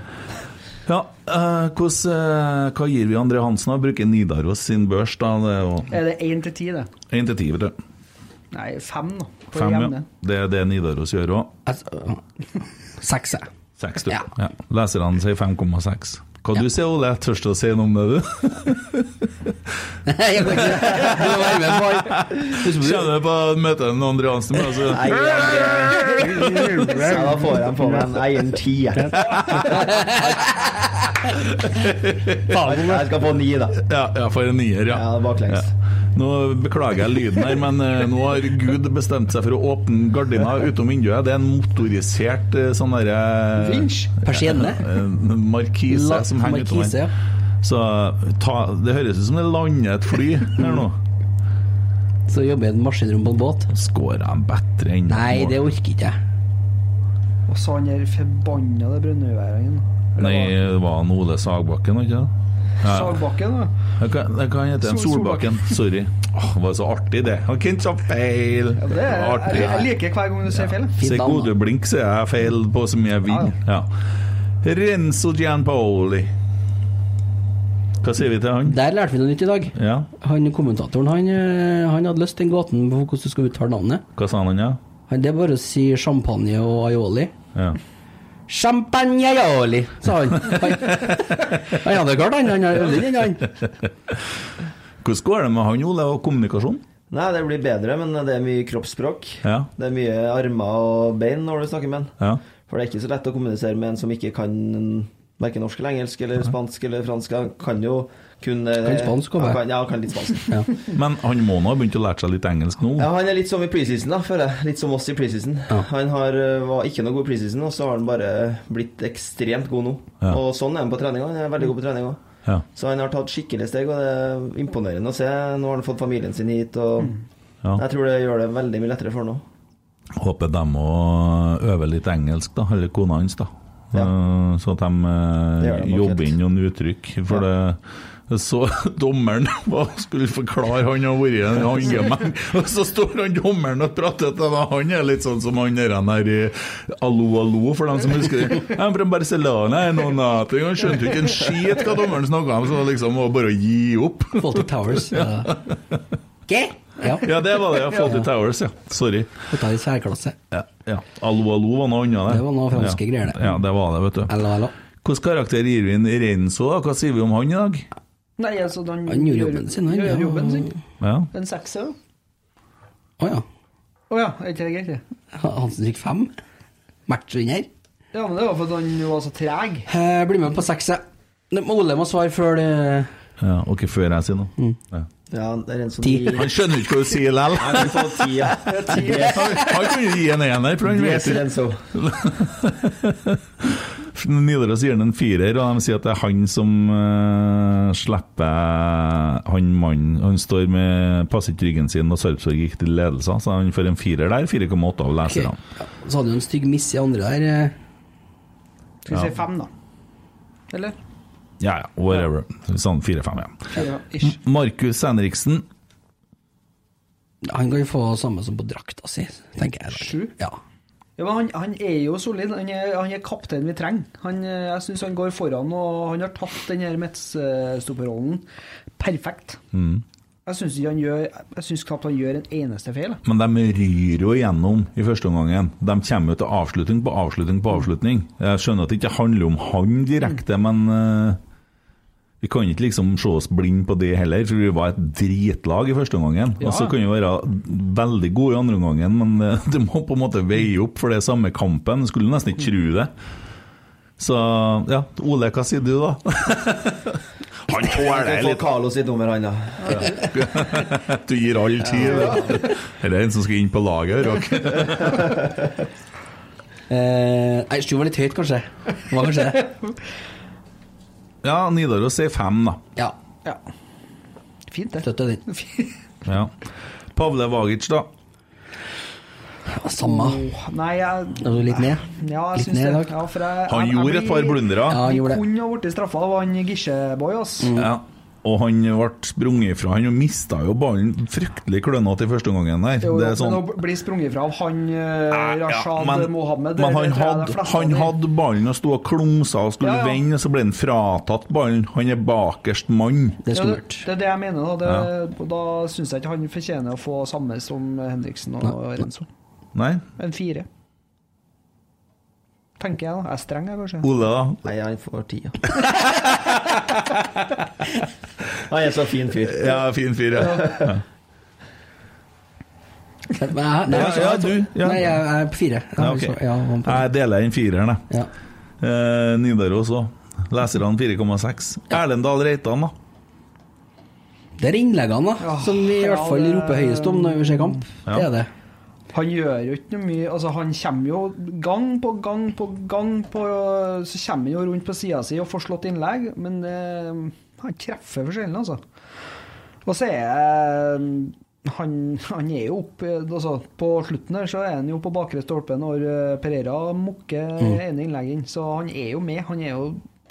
D: hvordan, eh, hva gir vi André Hansen? da? Bruker Nidaros sin børs, da? Det er jo
E: Er det én til ti, det?
D: 1 til 10, vet du.
E: Nei, fem, da. på
D: Fem, ja.
E: jevne.
D: Det er det Nidaros gjør òg.
G: Altså, Seks, jeg.
D: Seks, du.
G: Ja.
D: Ja. Leserne sier 5,6. Hva du sier Ole? Tørst å si noe om det, du?
G: Jeg kan ikke Du må være med, far. Husker
D: Kjenner du på å møte en Andre Hansen? men Altså.
F: Nei, jeg- Så da får jeg på meg en egen tier. Jeg skal få ni, da.
D: Ja, ja, for en nier, ja.
F: Ja, baklengs.
D: Nå beklager jeg lyden her, men eh, nå har Gud bestemt seg for å åpne gardina utom vinduet. Det er en motorisert eh, sånn derre eh,
E: Vinsj?
G: du Persienne?
D: En markise
G: La-
D: som henger utom
G: markise, ja.
D: her. Så ta, det høres ut som det lander et fly her nå.
G: Så jobber jeg i et maskinrom på en båt.
D: Skårer jeg bedre enn
G: Nei, det orker ikke jeg.
E: Og så han der forbanna brønnøyværingen.
D: Nei, det var han Ole Sagbakken, var det ikke det?
E: Sagbakken, da.
D: Jeg kan- jeg kan hete en
E: Sol-
D: Solbakken. Sorry. Åh, det var så artig, det. Han kan ta feil.
E: Ja, det er,
D: Artig.
E: jeg, jeg liker hver gang du ser fjellet.
G: Fint
D: Se
G: navn,
D: gode blink, så jeg feil på så mye jeg vil. Ja. Renzo Gianpaoli. Hva sier vi til han?
G: Der lærte vi noe nytt i dag.
D: Ja,
G: Han kommentatoren han, eh, han hadde løst den gåten på hvordan du skal uttale navnet.
D: hva sa han, ja?
G: Han, det er bare å si champagne og aioli.
D: ja.
G: Champagne aioli, sa han. Han, han hadde klart han, han hadde øvd inn, han.
D: Hvordan går det med han, Ole, og kommunikasjon?
F: Nei, det blir bedre, men det er mye kroppsspråk.
D: Ja.
F: Det er mye armer og bein når du snakker med han.
D: Ja.
F: For det er ikke så lett å kommunisere med en som ikke kan verken norsk eller engelsk eller spansk eller fransk. Han kan jo kun eh,
G: Kan spansk også,
F: han
G: bare.
F: kan, Ja, han kan litt spansk.
G: Ja.
D: Men han må nå ha begynt å lære seg litt engelsk nå?
F: Ja, han er litt som i preseason, da, føler jeg. Litt som oss i preseason. Han har, eh, var ikke noe god i preseason, og så har han bare blitt ekstremt god nå.
D: Ja.
F: Og sånn er han på trening også. Han er veldig god på trening òg.
D: Ja.
F: Så han har tatt skikkelig steg, og det er imponerende å se. Nå har han fått familien sin hit, og
D: Ja.
F: jeg tror det gjør det veldig mye lettere for ham nå.
D: Håper de òg øver litt engelsk, da, eller kona hans, da.
F: Ja.
D: Eh, Så at de eh,
F: Det gjør de nok
D: jobber
F: helt.
D: inn noen uttrykk. For det så dommeren var, skulle forklare han har vært i en handgemeng, og så står han dommeren og prater til dem. Han er litt sånn som han der han er i Allo, allo, for dem som husker det. Jeg er fra Barcelona, jeg er noen nating. Han skjønte jo ikke en skit hva dommeren snakka om, så det liksom var bare å gi opp.
G: Fawlty Towers. Ja. Okay. Ja.
D: Ja, det var det. Fawlty Towers, ja. Sorry.
G: Få ta i særklasse.
D: Ja, ja. Allo, allo var noe annet, det.
G: Det var noe franske
D: ja.
G: greier, det.
D: Ja, det var det, vet du.
G: Eller, eller.
D: Hvilken karakter gir vi inn i Renzo, da? Hva sier vi om han i dag?
E: Nei, altså, han,
G: Han gjorde jobben sin, han,
E: Gjør
G: ja.
E: jobben sin.
D: Ja.
E: En sekser, da.
G: Å ja.
E: Å ja, er ikke det greit? det?
G: Hansen fikk fem. Matchvinner.
E: Ja, men det var fordi han var så treg.
G: Eh, Bli med på seks, jeg. Det må- Ole må svare før det
D: ja. Ok, før jeg sier noe. Ja.
F: Ja, det er en som
G: Ti.
F: gir-
D: Han skjønner jo ikke hva du sier lell.
F: Nei, han får ti, ja.
D: Han han kan jo gi en ener, for han vet
F: Yes,
D: jo
F: Renzo.
D: Nidaros gir han en firer, og de sier at det er han som eh, slipper han mannen. Han står med passet ryggen sin, og Sarpsborg gikk til ledelse, så han får en firer der. 4,8 av
G: Ok.
D: leserne.
G: Ja, Så hadde du en stygg miss i andre der. eh.
E: Skal vi si fem, da? Eller?
D: Ja ja, whatever. Sånn 4-5, ja.
E: Fire, ish.
D: Markus Henriksen.
G: Han kan jo få samme som på drakta si, tenker jeg.
E: Sju?
G: Ja.
E: Ja, men han, han er jo solid. Han er, han er kapteinen vi trenger. Han, eh, jeg syns han går foran, og han har tatt den her midtstopperrollen perfekt.
G: Mm.
E: Jeg syns ikke han gjør Jeg synes knapt han gjør en eneste feil.
D: Men de ryr jo igjennom i første omgangen. De kommer jo til avslutning på avslutning på avslutning. Jeg skjønner at det ikke handler om han direkte, men eh, vi kan ikke liksom se oss blind på det heller, for vi var et dritlag i første omgangen.
E: Ja.
D: Og så kan vi være veldig gode i andre omgangen, men eh, det må på en måte veie opp for det er samme kampen. Skulle nesten ikke tro det. Så ja, Ole, hva sier du da? han tåler
F: Han
D: litt.
F: får Carlo sitt nummer, han, da.
D: Du gir all tid. vet du. Eller en som skal inn på laget. Rock.
G: Eh, nei, sju var litt høyt, kanskje. Det var kanskje det.
D: Ja, Nidaros sier fem, da.
G: Ja.
E: Ja. Fint, det.
G: Støtter den.
D: Ja. Pavle Vagic, da.
G: Samme.
E: Åh, Nei, jeg
G: Da var du litt ned?
E: Ja, jeg
G: Litt
E: syns
G: ned i
E: det.
G: dag?
E: Ja, for jeg,
D: Han
E: jeg-
D: gjorde
E: jeg
D: et par
E: blir-
D: blundere.
G: Ja, han gjorde det. Mm.
E: Kunne ha blitt straffa. Det var han Gisjeboy, ass.
D: Ja. Og han ble sprunget ifra. Han mista jo ballen fryktelig klønete i første omgangen der.
E: Jo,
D: Det
E: jo,
D: er sånn
E: Men å bli sprunget ifra av han eh,
D: Ja, ja,
E: Rashad
D: men- Men
E: Mohammed det
D: han
E: tror jeg de
D: hadde,
E: fleste
D: han
E: hadde.
D: hadde ballen og sto og klumsa og skulle
E: Ja, ja.
D: vende, og så ble han fratatt ballen. Han er bakerst mann.
G: Det er
E: Ja, det,
G: skummelt.
E: det er det jeg mener. Da, det, og da syns jeg ikke han fortjener å få samme som Henriksen og Renzo.
D: Nei?
E: En fire. tenker jeg. da. Jeg er streng, jeg, kanskje.
D: Ole, da?
F: Nei, han får tida. han er så fin fyr.
D: Ja, fin fyr, ja.
G: Men jeg- Nei,
D: Ja,
G: altså,
D: ja,
G: jeg
D: du,
G: tror-
D: ja.
G: Nei, jeg jeg er på fire. Jeg,
D: Ja, ok.
G: altså, ja, han på-
D: Jeg deler den fireren, jeg.
G: ja.
D: Eh, Nidaros òg. Leserne 4,6. Erlend Dahl Reitan, da.
G: Det er innleggene da, som vi i hvert
E: ja,
G: fall
E: det-
G: roper høyest om når vi ser kamp.
D: Ja.
G: Det er det.
E: Han gjør jo ikke noe mye Altså, han kommer jo gang på gang på gang på Så kommer han jo rundt på sida si og får slått innlegg, men eh, han treffer for sjelden, altså. Og så er eh, han, han er jo oppe altså, På slutten her så er han jo på bakre stolpe når eh, Pereira mukker
G: Mm.
E: ene innlegget inn, så han er jo med. Han er jo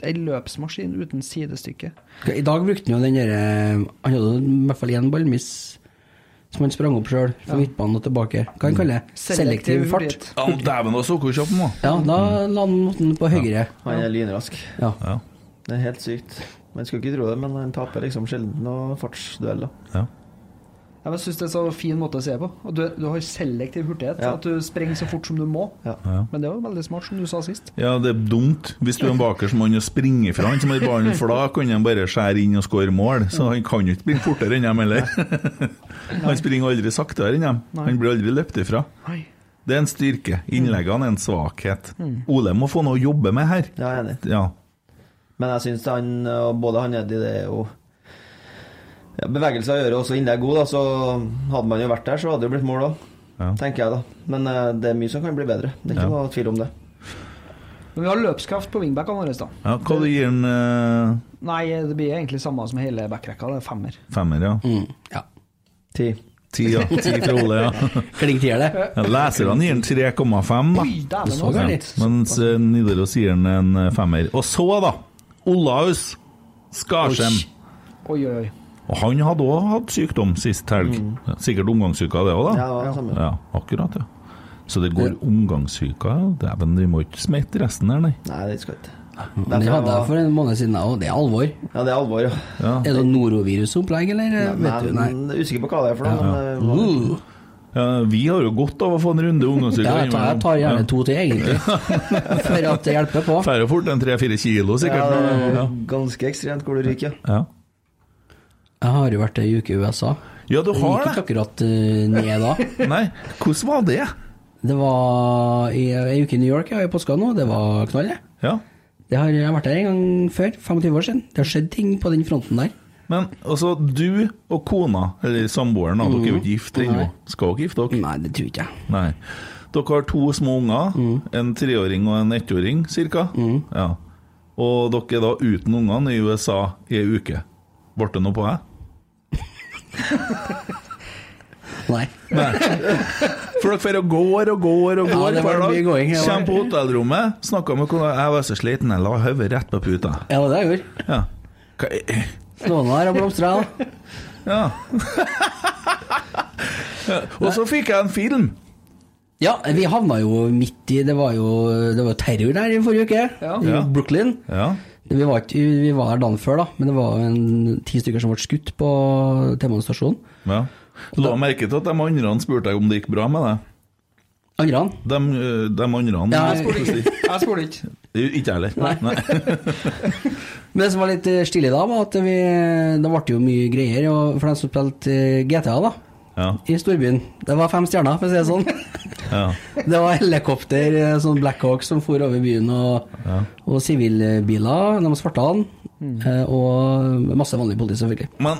E: ei løpsmaskin uten sidestykke.
G: I dag brukte han jo den derre Han hadde jo i hvert fall én ballmiss som han sprang opp sjøl, fra midtbanen og tilbake. Hva han kaller det? Selektiv fart.
D: Ja, Dæven, så sukkerkjapp han var.
G: Ja, da la han måten på høyre.
F: Han er lynrask.
G: Ja.
D: Ja.
F: Det er helt sykt. Man skulle ikke tro det, men han taper liksom sjelden noen fartsdueller.
D: Ja.
E: Ja, men Jeg syns det er så fin måte å se på. At du, du har selektiv hurtighet.
F: Ja.
E: At du springer så fort som du må.
F: Ja.
E: Men det er jo veldig smart, som du sa sist.
D: Ja, det er dumt. Hvis du er en bakers mann og springer fra han, så må du ballen, for da kan han bare skjære inn og skåre mål. Så han kan jo ikke springe fortere enn dem heller. Han springer aldri saktere enn dem. Han blir aldri løpt ifra.
E: Nei.
D: Det er en styrke. Innleggene er en svakhet. Ole må få noe å jobbe med her.
F: Ja, jeg er enig.
D: Ja.
F: Men jeg syns han, og både han og Eddie, det er jo ja, Bevegelser gjør jo også innlegg god, da, så hadde man jo vært der, så hadde det jo blitt mål òg.
D: Ja.
F: Tenker jeg, da. Men eh, det er mye som kan bli bedre. Det er ikke noe tvil om det.
E: Men vi har løpskraft på wingbackene våre, da.
D: ja hva du gir han eh,
E: Nei, det blir egentlig samme som hele backrekka. Det er femmer.
D: femmer, ja?
G: Mm, ja.
F: Ti.
D: Ti, ja. Ti fra Ole, ja.
G: Klink tier, det.
D: Ja, Leserne gir han 3,5, da.
E: Oi, dæven,
G: så
E: altså.
G: gærent.
D: Ja, mens eh, Nidaros gir han en eh, femmer. Og så, da. Olaus Skarsheim.
E: Oi, oi, oi.
D: Og han hadde òg hatt sykdom sist helg.
G: Mm.
D: Sikkert omgangssyka, det òg, da.
F: Ja, det var det samme.
D: Ja, akkurat, ja. Så det går omgangssyka. ja. Dæven, vi må ikke smette resten her, nei.
F: Nei, det skal ikke.
G: Men Det hadde jeg for en måned siden, og det er alvor.
F: Ja, det er alvor, ja.
G: Er det sånn norovirusopplegg, eller? Vet du, nei.
F: Men jeg er usikker på hva det er for noe. men, eh,
G: Uh,
D: Ja, vi har jo godt av å få en runde omgangssyke.
G: ja, jeg tar, jeg tar gjerne to til, egentlig. For at det hjelper på.
D: Færre fort enn tre-fire kilo,
F: Ja,
D: sikkert.
F: det er
D: Ja,
F: ganske ekstremt hvor du ryker, ja.
D: ja.
G: Jeg har jo vært ei uke i USA.
D: ja du
G: Det gikk
D: har
G: ikke
D: det!
G: akkurat eh, ned da.
D: Nei, hvordan var det?
G: Det var i- ei uke i New York, jeg var i påska nå. Det var knall, det.
D: Ja,
G: Det har, jeg har vært der en gang før, 25 år siden. Det har skjedd ting på den fronten der.
D: men altså, du og kona, eller samboeren, da, dere er jo ikke gift ennå.
G: Mm. Nei.
D: Skal dere gifte dere?
G: Nei, det tror ikke jeg.
D: Nei. Dere har to små unger,
G: Mm.
D: en treåring og en ettåring cirka. Ja. Og dere er da uten ungene i USA i ei uke. Ble det noe på deg?
G: Nei.
D: For dere drar og går og går og
G: Ja,
D: går
G: det var
D: hver dag.
G: mye gåing, ja.
D: Kommer på hotellrommet, snakker med kona 'Jeg var så sliten, jeg la hodet rett på puta'.
G: Ja, det har jeg gjort.
D: Ja. Hva-
G: Slående her og blomstra. da.
D: ja. og så fikk jeg en film.
G: Ja, vi havna jo midt i Det var jo det var terror der i forrige uke, i
D: Ja.
G: Brooklyn.
D: Ja.
G: Vi var, ikke, vi var der dagen før, da, men det var en, ti stykker som ble skutt på T-banestasjonen.
D: ja. La merke til at de andre spurte deg om det gikk bra med deg.
G: Angrer han?
D: De, øh, de andre
G: Ja, jeg
E: Spurte ikke. Jeg spurte ikke.
D: Ikke jeg heller. Nei.
G: Men det som var litt eh, stilig da, var at vi, det ble jo mye greier og for dem som spilte eh, GTA da,
D: Ja,
G: i storbyen. Det var fem stjerner, for å si det sånn.
D: ja.
G: Det var helikopter, eh, sånn Blackhawk som for over byen, og, og sivilbiler, de svarte han, eh, og masse vanlig politi selvfølgelig.
D: Men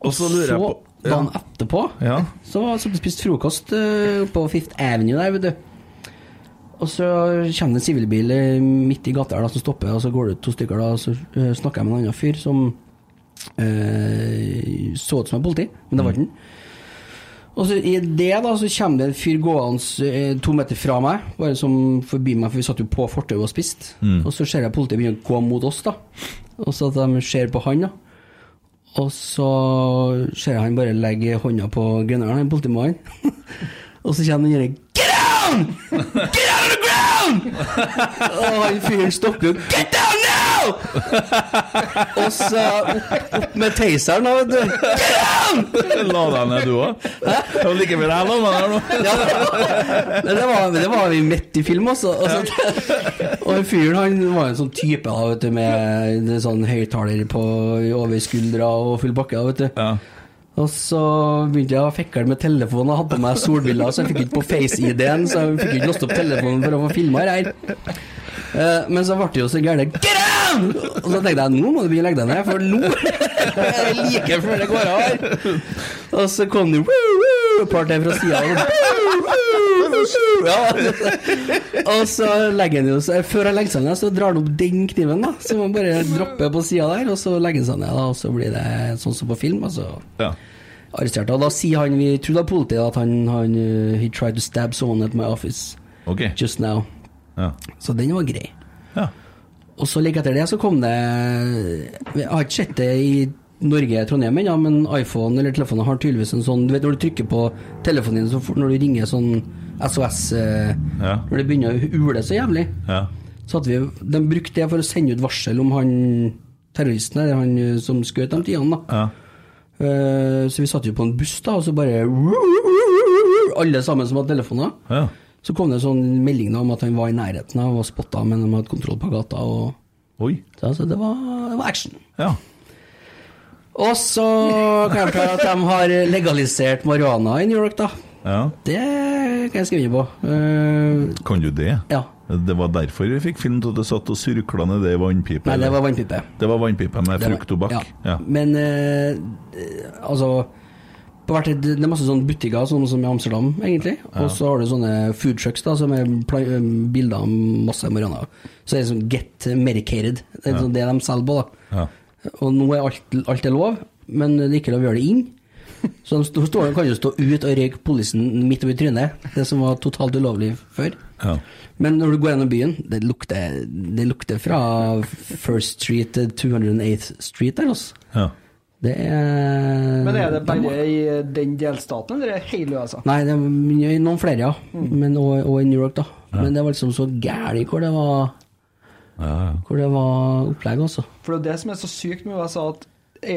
D: Og så lurer jeg på
G: Så dagen etterpå
D: Ja.
G: Så var jeg spist frokost eh, på Fifth Avenue der, vet du. Og så kommer det en sivilbil eh, midt i gata her da, som stopper, og så går det ut to stykker, da, og så eh, snakker jeg med en annen fyr som eh, så ut som en politi, men
D: Mm.
G: det var ikke han. Og så i det da, så kommer det en fyr gående eh, to meter fra meg, bare som forbi meg, for vi satt jo på fortauet og spiste.
D: Mm.
G: Og så ser jeg politiet begynne å gå mot oss, da. Og så at de ser på han, da. Og så ser jeg han bare legge hånda på greneren, han politimannen. og så kommer den derre Get down! Get out of the ground! og han fyren stopper jo Get down now! Og så opp, opp med taseren, da, vet du.
D: La deg ned, du òg. Det var like før jeg la meg der nå.
G: Ja. Men Det, var, det var vi midt i film, også. Og, så, og fyren han var en sånn type da, vet du, med en sånn høyttaler på over skuldra og full bakke. da, vet du.
D: Ja.
G: Og så begynte jeg å fikle med telefonen og hadde på meg solbriller, så jeg fikk ikke på face-ID-en, så jeg fikk ikke låst opp telefonen for å få filma her. Eh, Men så ble det jo så gærent. Get out! Og så tenkte jeg nå må du begynne å legge deg ned, for nå er det like før det går av her. Og så kom det woo, woo, et par til fra sida. Ja. Og så legger han jo seg Før han legger seg ned, så drar han opp den kniven, da. Så man bare dropper på sida der, og så legger han seg ned, da. Og så blir det sånn som på film, altså
D: Ja.
G: arrestert. Og da sier han, vi tror det er politiet, at han, han uh, He tried to stab someone at my office
D: Ok.
G: just now.
D: Ja.
G: Så den var grei.
D: ja.
G: Og så like etter det så kom det Jeg har ikke sett det i Norge, Trondheim ennå, men iPhone eller telefonen har tydeligvis en sånn Du vet når du trykker på telefonen din, så fort når du ringer sånn SOS eh,
D: Ja.
G: Når det begynner å ule så jævlig,
D: ja.
G: så hadde vi De brukte det for å sende ut varsel om han terroristen eller han eh, som skjøt de tidene, da.
D: ja.
G: Eh, Så vi satt jo på en buss, da, og så bare Alle sammen som hadde telefoner.
D: ja.
G: Så kom det en sånn melding da om at han var i nærheten av og spotta, men de hadde kontroll på gata. Og
D: Oi.
G: så altså, det, var, det var action.
D: Ja.
G: Og så kan jeg fortelle at de har legalisert marihuana i New York, da.
D: ja.
G: Det kan jeg skrive under på. Eh,
D: Kan du det?
G: ja.
D: Det var derfor vi fikk film til at du satt og surkla ned det i vannpipa?
G: Nei, det
D: eller?
G: var vannpipe.
D: det var vannpipa med
G: Det var-
D: frukttobakk? Ja.
G: Men eh, altså på hvert, Det er masse sånne butikker, sånn som i Amsterdam, egentlig. Og så har du sånne food trucks da, som er pla- eh, bilder av masse marihuana. Så det er sånn get medicated. Det er sånn det de selger på. da.
D: Ja.
G: Og nå er alt, alt er lov, men det er ikke lov å gjøre det inn. Så de sto- står, kan jo stå ut og røyke politien midt over trynet, det som var totalt ulovlig før.
D: Ja.
G: Men når du går gjennom byen, det lukter, det lukter fra First Street til 208th Street der, altså.
D: ja.
G: Det er
E: Men er det bare i eh, den delstaten, eller er det hele USA?
G: Nei, det er mye- noen flere, ja.
E: Mm.
G: Men, og, og i New York, da. Men det var liksom så gæli hvor det var Hvor det var opplegg, altså.
E: For det er det som er så sykt med USA, at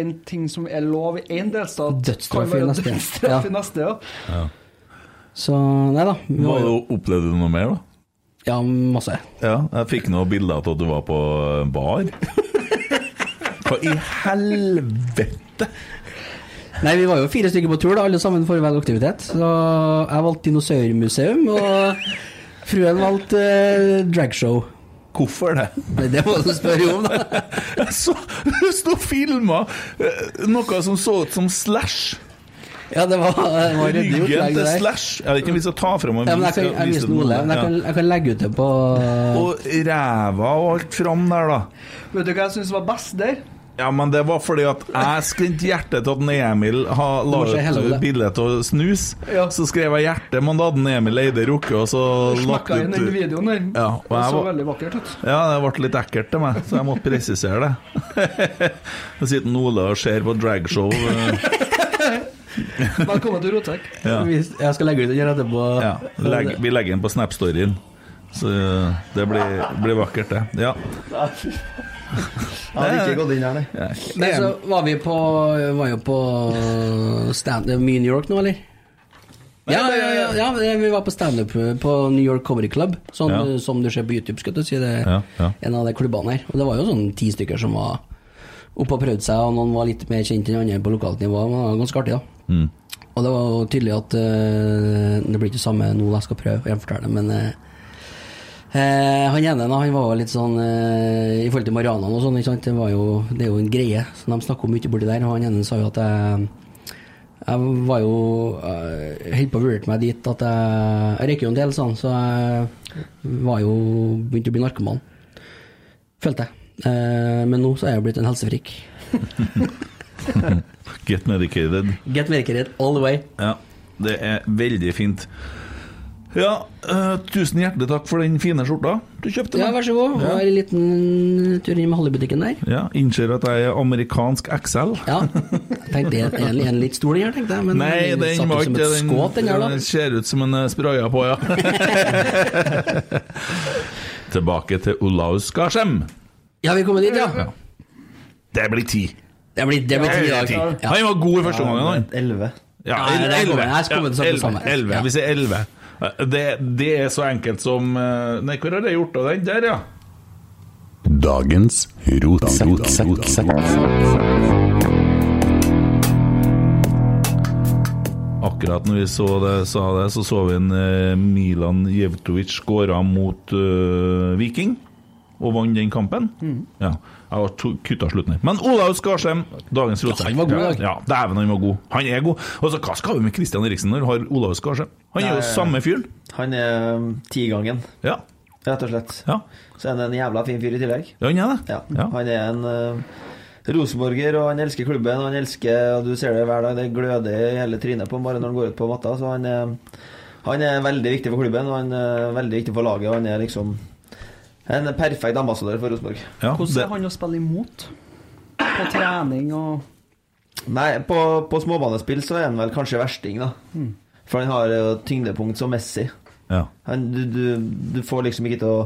E: en ting som er lov i én delstat,
G: Dødsstraff i
E: kan være
G: neste.
E: dødsstraff
G: Ja.
E: i neste. Ja.
G: Så nei da. vi
D: Var
G: var
D: det,
G: jo-
D: opplevde du noe mer, da?
G: Ja, masse.
D: Ja, jeg fikk noen bilder av at du var på eh, bar. Hva i helvete?
G: Nei, vi var jo fire stykker på tur, da, alle sammen for vel aktivitet. Så jeg valgte dinosaurmuseum, og fruen valgte eh, dragshow.
D: Hvorfor det?
G: Nei, det må du spørre om, da.
D: Jeg så, jeg sto og filma noe som så ut som Slash.
G: Ja, det var, det var ryddig
D: Ryggen
G: opplegg det
D: til
G: der.
D: Slash. Jeg vet ikke om vi skal ta frem og
G: Ja, men jeg kan, jeg,
D: vise
G: viser den Ole, men jeg, kan,
D: Ja.
G: jeg kan legge ut det på eh,
D: Og ræva og alt fram der, da.
E: Vet du hva jeg syns var best der?
D: Ja, men det var fordi at jeg skrente hjertet til at en Emil ha- la
G: må se hele
D: ut
G: det.
D: bilde av snus.
E: Ja.
D: Så skrev jeg 'hjerte', men da hadde en Emil Eide rukket, og så lagt
E: Snakka inn den
D: ut
E: videoen der.
D: Ja, og
E: det
D: jeg
E: så
D: var-
E: veldig vakkert ut.
D: Ja, det ble litt ekkelt til meg, så jeg måtte presisere det. Nå sitter Ole og ser på dragshow. eh,
E: Velkommen til Rotek.
D: Ja.
G: Hvis- Jeg skal legge ut den her etterpå.
D: Ja, legg, vi legger den på Snap-storyen. Så eh, det blir, blir vakkert, det. Ja.
F: Jeg hadde ikke gått inn her, nei.
G: Men så var vi på Var jo på eh, standup mye i New York nå, eller? Ja, ja, ja, ja, vi var på standup eh, på New York Comedy Club, sånn,
D: Ja.
G: som du ser på YouTube. Skal du si det
D: Ja, ja.
G: En av de klubbene her. Og det var jo sånn ti stykker som var oppe og prøvde seg, og noen var litt mer kjent enn andre på lokalt nivå. Men det var ganske artig, da.
D: Mm.
G: Og det var jo tydelig at eh, det blir ikke samme nå, jeg skal prøve å gjenfortelle, men eh, Eh, han ene da, han var jo litt sånn eh, I forhold til Marianan og sånn, ikke sant? Det, var jo, det er jo en greie som de snakker om mye borti der. Og han ene sa jo at eh, jeg, jeg var jo eh, Holdt på å vurdere meg dit at jeg Jeg røyker jo en del, sånn, så jeg var jo begynte å bli narkoman. Følte jeg. Eh, men nå så er jeg blitt en helsefrik.
D: Get medicated.
G: Get medicated all the way.
D: Ja, det er veldig fint. Ja, eh, tusen hjertelig takk for den fine skjorta du kjøpte.
G: Ja,
D: meg.
G: vær så god.
D: Ja.
G: Var en liten tur inn med Holly-butikken der.
D: Ja, Innser at jeg er amerikansk XL.
G: Ja. Jeg tenkte det er en, en litt stor den her, tenkte jeg. Men
D: Nei, den
G: satt
D: var
G: jo som
D: ikke
G: et
D: den,
G: skåt, den her, da.
D: den ser ut som en eh, spraya på, ja. Tilbake til Olaus Garsem.
G: Ja, vi er kommet dit, ja.
D: Det blir ti.
G: Det blir, det blir ti i dag.
D: Ti.
G: Ja.
D: Han var god i første omgang. han.
F: 11.
D: Ja,
G: Nei, der
D: elleve.
G: kommer jeg. Jeg kommer til å snakke
D: Ja,
G: sammen.
D: elleve. Elleve.
G: Ja.
D: Vi sier elleve. Det, Eh, det er så enkelt som eh, Nei, hvor har jeg gjort av den? Der, ja. Dagens Akkurat når vi så det, sa det, så så vi en eh, Milan Jevtovic skåra mot eh, Viking. Og vant den kampen.
G: Mhm.
D: Ja. Jeg har to- kutta slutten her. Men Olav Skarsheim, dagens rotsekk.
G: han var god i dag.
D: Ja, dæven, han var god. Han er god. Altså, hva skal vi med Christian Eriksen når vi har Olav Skarsheim? Han er jo samme fyren.
F: Han er um, tigangen,
D: Ja.
F: rett og slett.
D: ja.
F: Så er han en jævla fin fyr i tillegg.
D: Ja, han er det.
F: Ja. Han er en uh, rosenborger, og han elsker klubben. og Han elsker, og du ser det hver dag, det gløder i hele trynet på ham bare når han går ut på matta. Så han er, han er veldig viktig for klubben, og han er veldig viktig for laget. Og han er liksom en perfekt ambassadør for Rosenborg.
D: Ja,
E: Hvordan er
D: det-
E: han å spille imot? På trening og
F: Nei, på, på småbanespill så er han vel kanskje versting, da.
D: Mm.
F: For han har jo tyngdepunkt som Messi.
D: ja.
F: Han, du, du, du får liksom ikke til å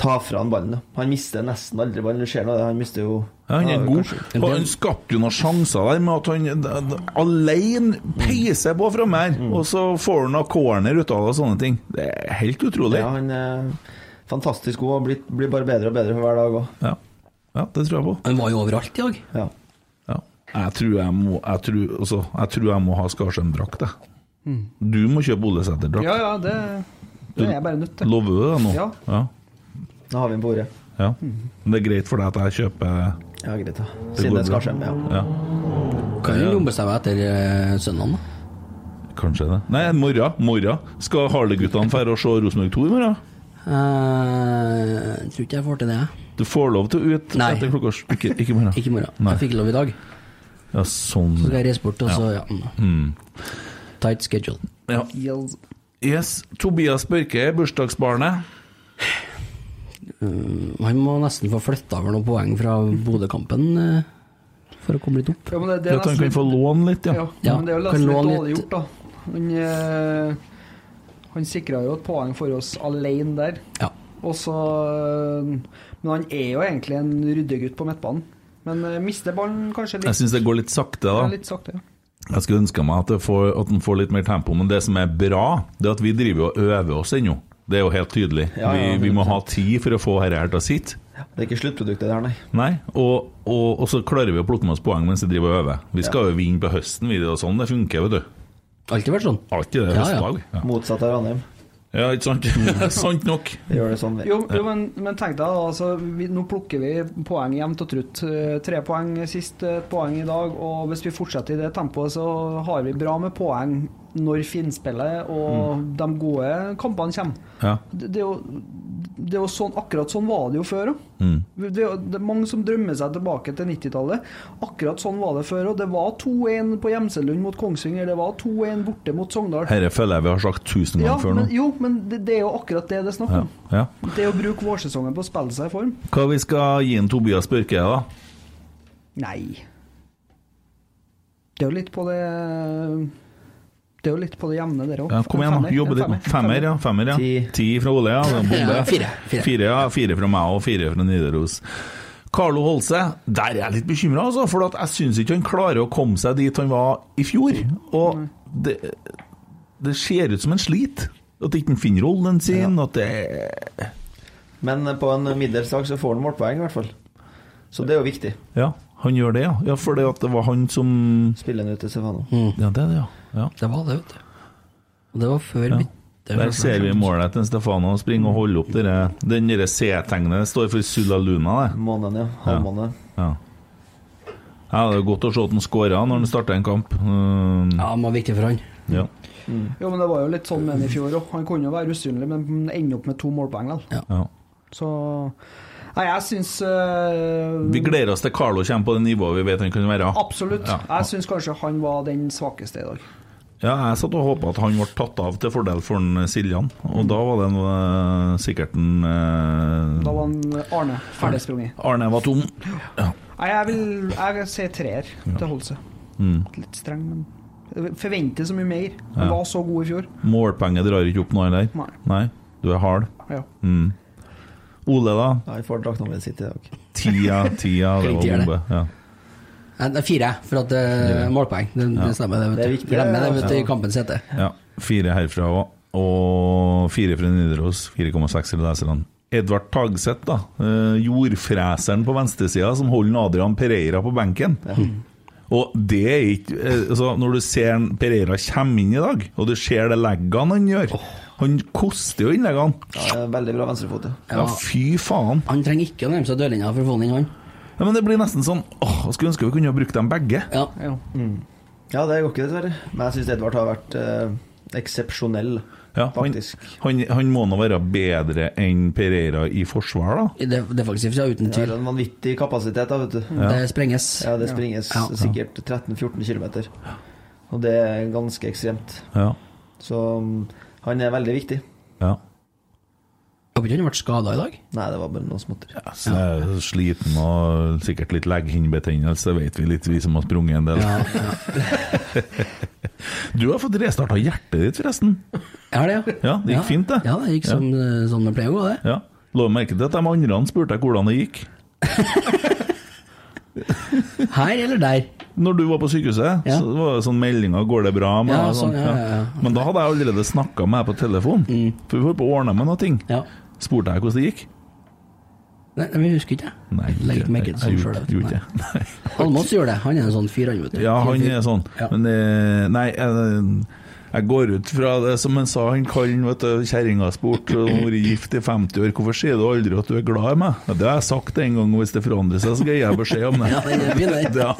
F: ta fra han ballen. da. Han mister nesten aldri ballen. Du ser nå det, han mister jo
D: Ja, han er
F: har
D: god.
F: kanskje-
D: Og han skapte jo noen sjanser der med at han d- d- alene peiser på framme her,
F: Mm.
D: og så får han noen corner ut av det og sånne ting. Det er helt utrolig.
F: Ja,
D: Ja,
F: han er fantastisk god og blir, blir bare bedre og bedre for hver dag òg.
D: ja. det tror jeg på.
G: Han var jo overalt i dag.
F: Ja.
D: Ja. Jeg, tror jeg, må, jeg, tror, altså, jeg tror jeg må ha Skarsheim-drakt, jeg.
F: Mm.
D: Du må kjøpe Olesæter-drakt.
E: Ja, ja, det, det er jeg bare nødt til.
D: Lover du det nå?
E: Ja.
D: ja.
F: Da har vi ham på ordet.
D: ja. Men Det er greit for deg at jeg kjøper
F: Ja, greit, da.
D: Det
F: Mm. Siden
D: går
F: det er
D: bra.
F: Skarsheim. Ja.
D: Ja,
G: Kan jo ombestemme etter uh, søndagen, da.
D: kanskje det. Nei, morgen. morgen. Skal Harle-guttene dra og se Rosenborg 2 i morgen?
G: Eh, jeg tror ikke jeg får til det, jeg.
D: Du får lov til å ut
G: Nei.
D: etter klokka sj- Ikke, ikke i morgen.
G: Ikke i morgen.
D: Nei.
G: Jeg fikk lov i dag.
D: Ja, sånn.
G: Så skal jeg reise bort, og så ja.
D: Mm.
G: Tight schedule.
D: Ja.
E: Gjelds-
D: Yes, Tobias Børke er bursdagsbarnet.
G: Han må nesten få flytta over noen poeng fra Bodø-kampen eh, for å komme litt opp.
E: Ja, men det, det
D: Det
E: er
D: at han kan
E: nesten
D: få låne litt, ja.
E: Ja,
G: Ja,
E: men det er jo
G: kan
E: nesten litt
G: låne
E: dårlig
G: litt-
E: gjort, da. Han, eh, han sikra jo et poeng for oss alene der.
G: Ja.
E: Og så eh, Men han er jo egentlig en ryddegutt på midtbanen. Men eh, mister ballen kanskje
D: Jeg
E: litt,
D: syns det går litt sakte,
E: ja,
D: da.
E: litt sakte. ja.
D: Jeg skulle ønska meg at, det får, at den får litt mer tempo, men det som er bra, det er at vi driver og øver oss ennå. Det er jo helt tydelig.
F: Ja,
D: Vi,
F: ja,
D: vi må ha tid for å få dette her til å sitte.
F: Det er ikke sluttproduktet der, nei.
D: Nei, og, og, og så klarer vi å plukke med oss poeng mens vi driver og øver. Vi skal jo vinne på høsten, vi. Det er sånn det funker, vet du.
G: Alltid vært sånn.
D: Alltid det er
G: Ja, ja.
D: høstlag. Ja,
F: Motsatt av Ranheim.
D: ja ikke sant? sant nok.
F: Vi gjør det sånn. vi.
E: Jo, jo men, men tenk deg, da, altså, vi, nå plukker vi poeng jevnt og trutt. Eh, Tre poeng sist, eh, et poeng i dag. Og hvis vi fortsetter i det tempoet, så har vi bra med poeng når
D: Mm.
E: finspillet og de gode kampene kommer.
D: Ja.
E: Det, det, er jo, det er jo sånn, akkurat sånn var det jo før òg.
D: Mm.
E: Det, er jo- det er mange som drømmer seg tilbake til 90-tallet. Akkurat sånn var det før òg. Det var 2-1 på Gjemselund mot Kongsvinger, det var 2-1 borte mot Sogndal.
D: Dette føler jeg vi har sagt tusen ganger
E: Ja,
D: før nå.
E: men, jo, men det, det er jo akkurat det det er snakk
D: Ja.
E: om.
D: Ja.
E: Det å bruke vårsesongen på å spille seg i form.
D: Hva vi skal gi en Tobias Børke, da?
E: Nei. Det er jo litt på det Det er jo litt på det jevne, dere òg.
D: Ja, kom igjen, da. Jobbe litt. nå. Femmer, ja. Femmer, ja.
F: Ti.
D: Ti fra Ole, ja. Det er en Bombe.
G: Ja, fire, fire.
D: ja. Fire fra meg og fire fra Nidaros. Carlo Holse, der er jeg litt bekymra, altså. For at jeg syns ikke han klarer å komme seg dit han var i fjor. Og
E: Mm.
D: det, det ser ut som en slit. At ikke han finner rollen sin, at det
F: Men eh, på en middels dag så får han målpoeng, i hvert fall. Så det er jo viktig.
D: Ja, han gjør det, ja. ja for det at det var han som
F: Spille han ut til Stefano.
D: Ja, det er det, ja. ja.
G: Det var det, vet du. Og det var før altså.
D: Ja.
G: bytte.
D: Der ser vi målet til Stefano. Springe og holde opp dere, den derre C-tegnet. Det står for Sulla Luna, det.
F: Måneden, ja. Halvmåned.
D: Ja. ja, det er godt å se at han skåra når han starter en kamp. Um,
G: Ja, han var viktig for han.
D: ja.
E: Jo, men det var jo litt sånn med han i fjor òg. Han kunne jo være usynlig, men ender opp med to målpoeng likevel.
D: Ja.
E: Så Nei, jeg syns eh,
D: Vi gleder oss til Carlo kommer på det nivået vi vet han kan være.
E: Absolutt.
D: Ja.
E: Jeg syns kanskje han var den svakeste i dag.
D: Ja, jeg satt og håpa at han ble tatt av til fordel for en Siljan, og da var det en, eh, sikkert en eh,
E: Da var han Arne ferdigsprunget.
D: Arne var tom. Ja.
E: Nei, jeg vil jeg si treer til Holse.
D: Mm.
E: Litt streng, men Forventer så mye mer. Han var så god i fjor.
D: Målpenger drar ikke opp nå heller.
E: Nei.
D: Nei. Du er hard.
E: Ja.
D: Ole, da?
F: Ja, han får drakta mi sitt i dag.
D: Tia, tia, det
G: Klink
D: var
G: tier, det.
D: bombe. Ja.
G: Nei, det er fire, for at det er målpoeng. Det, det stemmer, det. vet du.
F: Det er viktig,
G: Glemmer det, vet du,
F: ja.
G: i kampens hete.
D: Ja, fire herfra òg. Og fire fra Nidaros, 4,6 fra leserne. Edvard Tagseth, da. eh, Jordfreseren på venstresida som holder Adrian Pereira på benken. Og det er ikke eh, altså, Når du ser en Pereira kommer inn i dag, og du ser det leggene han gjør Han koster jo innleggene.
F: Ja, veldig bra venstrefot. ja.
D: Ja, fy faen.
G: Han trenger ikke å nærme seg dørlinja for å få den inn, han.
D: Ja, men det blir nesten sånn åh, jeg Skulle ønske vi kunne ha brukt dem begge.
G: Ja.
F: Ja, det går ikke, dessverre. Men jeg syns Edvard har vært eh, eksepsjonell,
D: Ja, han,
F: faktisk.
D: han, han må nå være bedre enn Pereira i forsvar, da.
G: Det, det er faktisk ja, uten
F: Det er
G: tvil.
F: en vanvittig kapasitet, da,
D: Mm.
F: vet du.
G: Det sprenges.
F: Ja, det springes
G: Ja.
F: sikkert 13-14 km. Og det er ganske ekstremt.
D: Ja.
F: Så mm, han er veldig viktig.
D: ja.
G: Håper ikke han ble skada i dag.
F: Nei, det var bare noen småtter.
D: Ja, Så jeg er sliten og sikkert litt legghinnebetennelse, vet vi litt, vi som har sprunget en del. du har fått restarta hjertet ditt, forresten.
G: Jeg har det, ja.
D: Ja, det gikk fint, det.
G: Ja, det gikk som, sånn det pleier å gå, det.
D: Ja. La meg merke til at de andre spurte deg hvordan det gikk.
G: Her eller der?
D: Når du var på sykehuset,
G: Ja.
D: så var det sånn meldinger 'Går det bra?' med
G: Ja,
D: deg?»
G: sånn, ja, ja, Mm. ja.
D: Men da hadde jeg allerede snakka med deg på telefon, for vi holdt på å ordne med noe. ting.
G: Ja.
D: Spurte jeg hvordan det gikk?
G: Nei, men jeg husker ikke.
D: Nei,
G: Legg ikke merke til sånn selv, vet du.
D: gjorde ikke det.
G: Almås gjør det. Han er en sånn fyr, han, vet du.
D: Ja, han er sånn.
G: Ja.
D: Men eh, nei, jeg, jeg går ut fra det som han sa, han kallen, vet du, kjerringa spurte om hun vært gift i 50 år, hvorfor sier du aldri at du er glad i meg? Ja, det har jeg sagt en gang, og hvis det forandrer seg, så skal jeg gi deg beskjed om det.
G: Ja, den er fin, den.
D: Ja.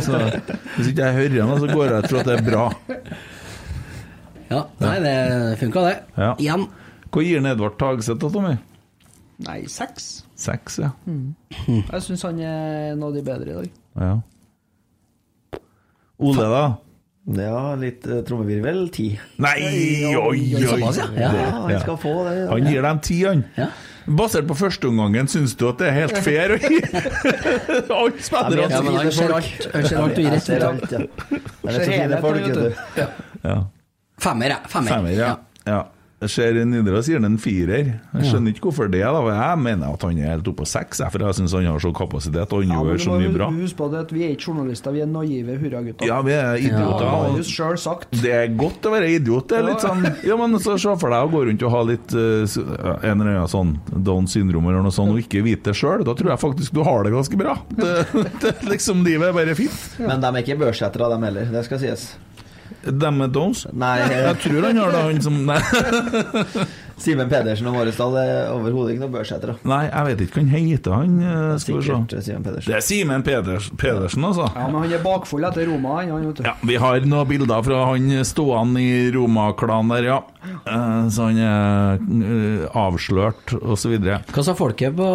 D: Så, hvis ikke jeg hører noe, så går jeg ut fra at det er bra.
G: Ja, nei, det funka, det.
D: sånn- Ja.
G: Igjen.
D: Hva gir han Edvard Tagseth da, Tommy?
E: Nei, seks.
D: Seks, ja.
E: Jeg syns han er en av de bedre i dag.
D: ja. Ole, da?
F: Ja, litt eh, trommevirvel. Ti.
D: Nei, oi, oi!
G: Såpass, ja. ja.
F: Ja, han skal få det. ja.
D: Han gir dem ti, han.
G: Ja.
D: Basert på førsteomgangen, syns du at det er helt fair å gi altså. alle
F: Jeg
G: Ja,
D: spillerne?
F: mener-
G: men han ser alt. Han ser alt og gir
F: Jeg
G: rett.
F: ser
G: vet du.
F: alt, ja. Jeg
E: Ser
F: vet så fine
E: helheten,
F: folk,
E: vet
F: vet
E: du.
F: du.
D: Ja.
G: Femmer, ja. Femmer.
D: Femmer, ja. ja. Jeg ser Nidaros gir den en firer. Jeg skjønner ikke hvorfor det. da for Jeg mener at han er helt oppe på seks, jeg, for jeg syns han har så kapasitet og han
E: Ja, men
D: gjør
E: du
D: så
E: må
D: mye
E: jo
D: bra.
E: huske på det at vi er ikke journalister, vi er naive hurragutter.
D: Ja, vi er idioter.
E: Det har
D: og
E: du selv sagt.
D: Det er godt å være idiot. Det er litt sånn Ja, men så se for deg å gå rundt og ha litt eh, s- en eller annen sånn Down syndrom eller noe sånt, og ikke vite det sjøl. Da tror jeg faktisk du har det ganske bra. Det, det, liksom Livet er bare fint.
F: Men de er ikke børsetere, dem heller. Det skal sies.
D: Dem med Downs?
F: Nei, eh,
D: Jeg tror han har det, han som Nei,
F: Simen Pedersen og Måresdal er overhodet ikke noe børsetere.
D: nei jeg vet ikke hva han heter, han. eh, Skal vi
F: Sikkert
D: se.
F: eh, Simen Pedersen.
D: Det er Simen Peders, Pedersen, altså.
E: Ja, men han er bakfull etter Roma, han, han, vet du.
D: Ja, Vi har noen bilder fra han stående i Roma-klanen der, ja. Eh, Så han er eh, avslørt, osv.
G: Hva sa folket på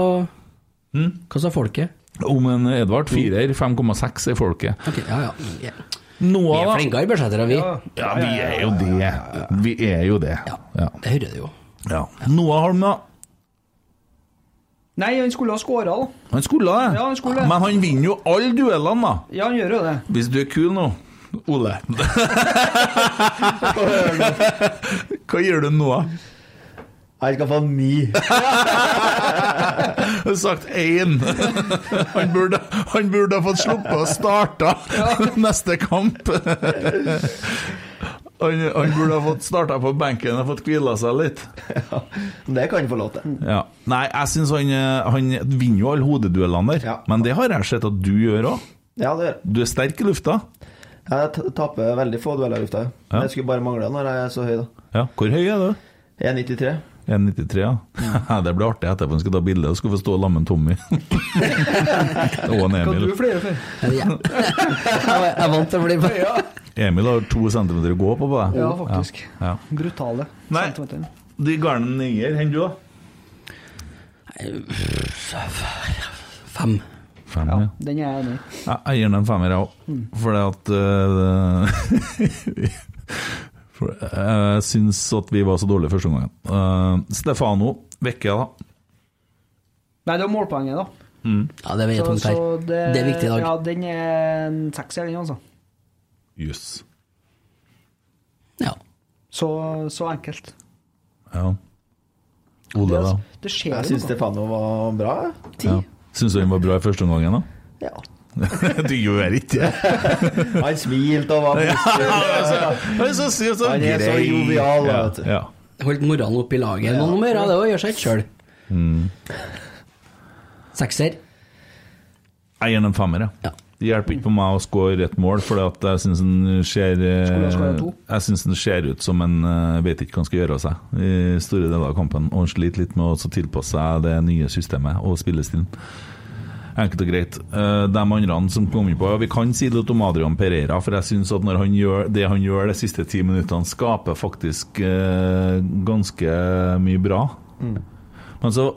D: Hm?
G: Hva sa folket?
D: Om en Edvard firer, 5,6 er folket.
G: Ok, ja, ja. ja. Vi er
D: Noah, da?
G: flinkere i børsetter enn vi.
D: Ja, vi er jo det. Vi er jo det.
G: Ja.
D: Ja.
G: Det hører du jo.
D: ja. Noah Holm, da.
E: Nei, han skulle ha skåra, da.
D: Han skulle det.
E: Ja, han skulle.
D: Men han vinner jo alle duellene, da.
E: Ja, han gjør jo det.
D: Hvis du er kul nå, Ole Hva gjør du nå?
F: Jeg skal få ni.
D: Jeg har sagt én. Han burde, han burde ha fått sluppet å starte neste kamp. Han, han burde ha fått starta på benken og fått hvila seg litt.
F: Det kan han få lov til.
D: Ja. Nei, jeg syns han, eh, han vinner jo alle hodeduellene der,
F: Ja.
D: men det har jeg sett at du gjør òg.
F: Ja, det gjør jeg.
D: Du er sterk i lufta.
F: Jeg t- taper veldig få dueller i lufta. ja. Men Det skulle bare mangle når jeg er så høy, da. E
D: Ja, Hvor høy er du?
F: 1,93.
D: 1,93, ja. det blir artig etterpå. Han skal ta bilde og skal få stå sammen med Tommy. og en
E: Hva
D: Emil.
E: du flere for?
G: Ja. Jeg var- jeg vant til å bli med.
E: Ja,
D: Emil har to centimeter å gå på på deg.
E: ja faktisk.
D: Oh, Ja.
E: Brutale.
D: Nei.
E: centimeter.
D: De garnen nier, hender du, da?
G: Fem.
D: Fem,
E: Ja, Mm.
D: ja.
E: den er jeg enig i.
D: Jeg jeg gir den en femmer, jeg òg. Fordi at eh, for, eh, Jeg syns at vi var så dårlige første gangen. Eh, Stefano vekker jeg, da.
E: Nei, det var målpoenget, da.
G: Ja, det veier tungt her. Det er viktig i dag.
E: Ja, den er en sekser, den, altså.
D: Jøss.
G: Ja.
E: Så, så enkelt.
D: Ja. Ole, da.
E: Det skjer jo
F: Jeg syns
E: noe.
F: Stefano var bra. jeg. Ti.
D: Ja. Syns du den var bra i første omgang?
F: Ja.
D: du gjør ikke det!
F: Han smilte og var positiv.
D: Han er så, så, så
F: Han er så
D: grei.
F: jovial,
D: Ja,
F: vet du.
D: ja.
G: Holdt moralen oppe i laget. Noen må gjøre det og gjøre seg ikke sjøl.
D: Mm.
G: Sekser.
D: Jeg gir den en femmer, jeg.
G: Ja.
D: Det hjelper ikke på meg å score et mål, for jeg syns den ser
E: Skulle ha scoret
D: eh,
E: to.
D: Jeg synes den ser ut som en eh, vet ikke hva han skal gjøre av seg i store deler av kampen. Og han sliter litt med å også tilpasse seg det nye systemet og spillestilen. Enkelt og greit. Eh, De andre som kom inn på Vi kan si litt om Adrian Pereira, for jeg syns at når han gjør, det han gjør de siste ti minuttene, skaper faktisk eh, ganske mye bra.
E: Mm.
D: Men så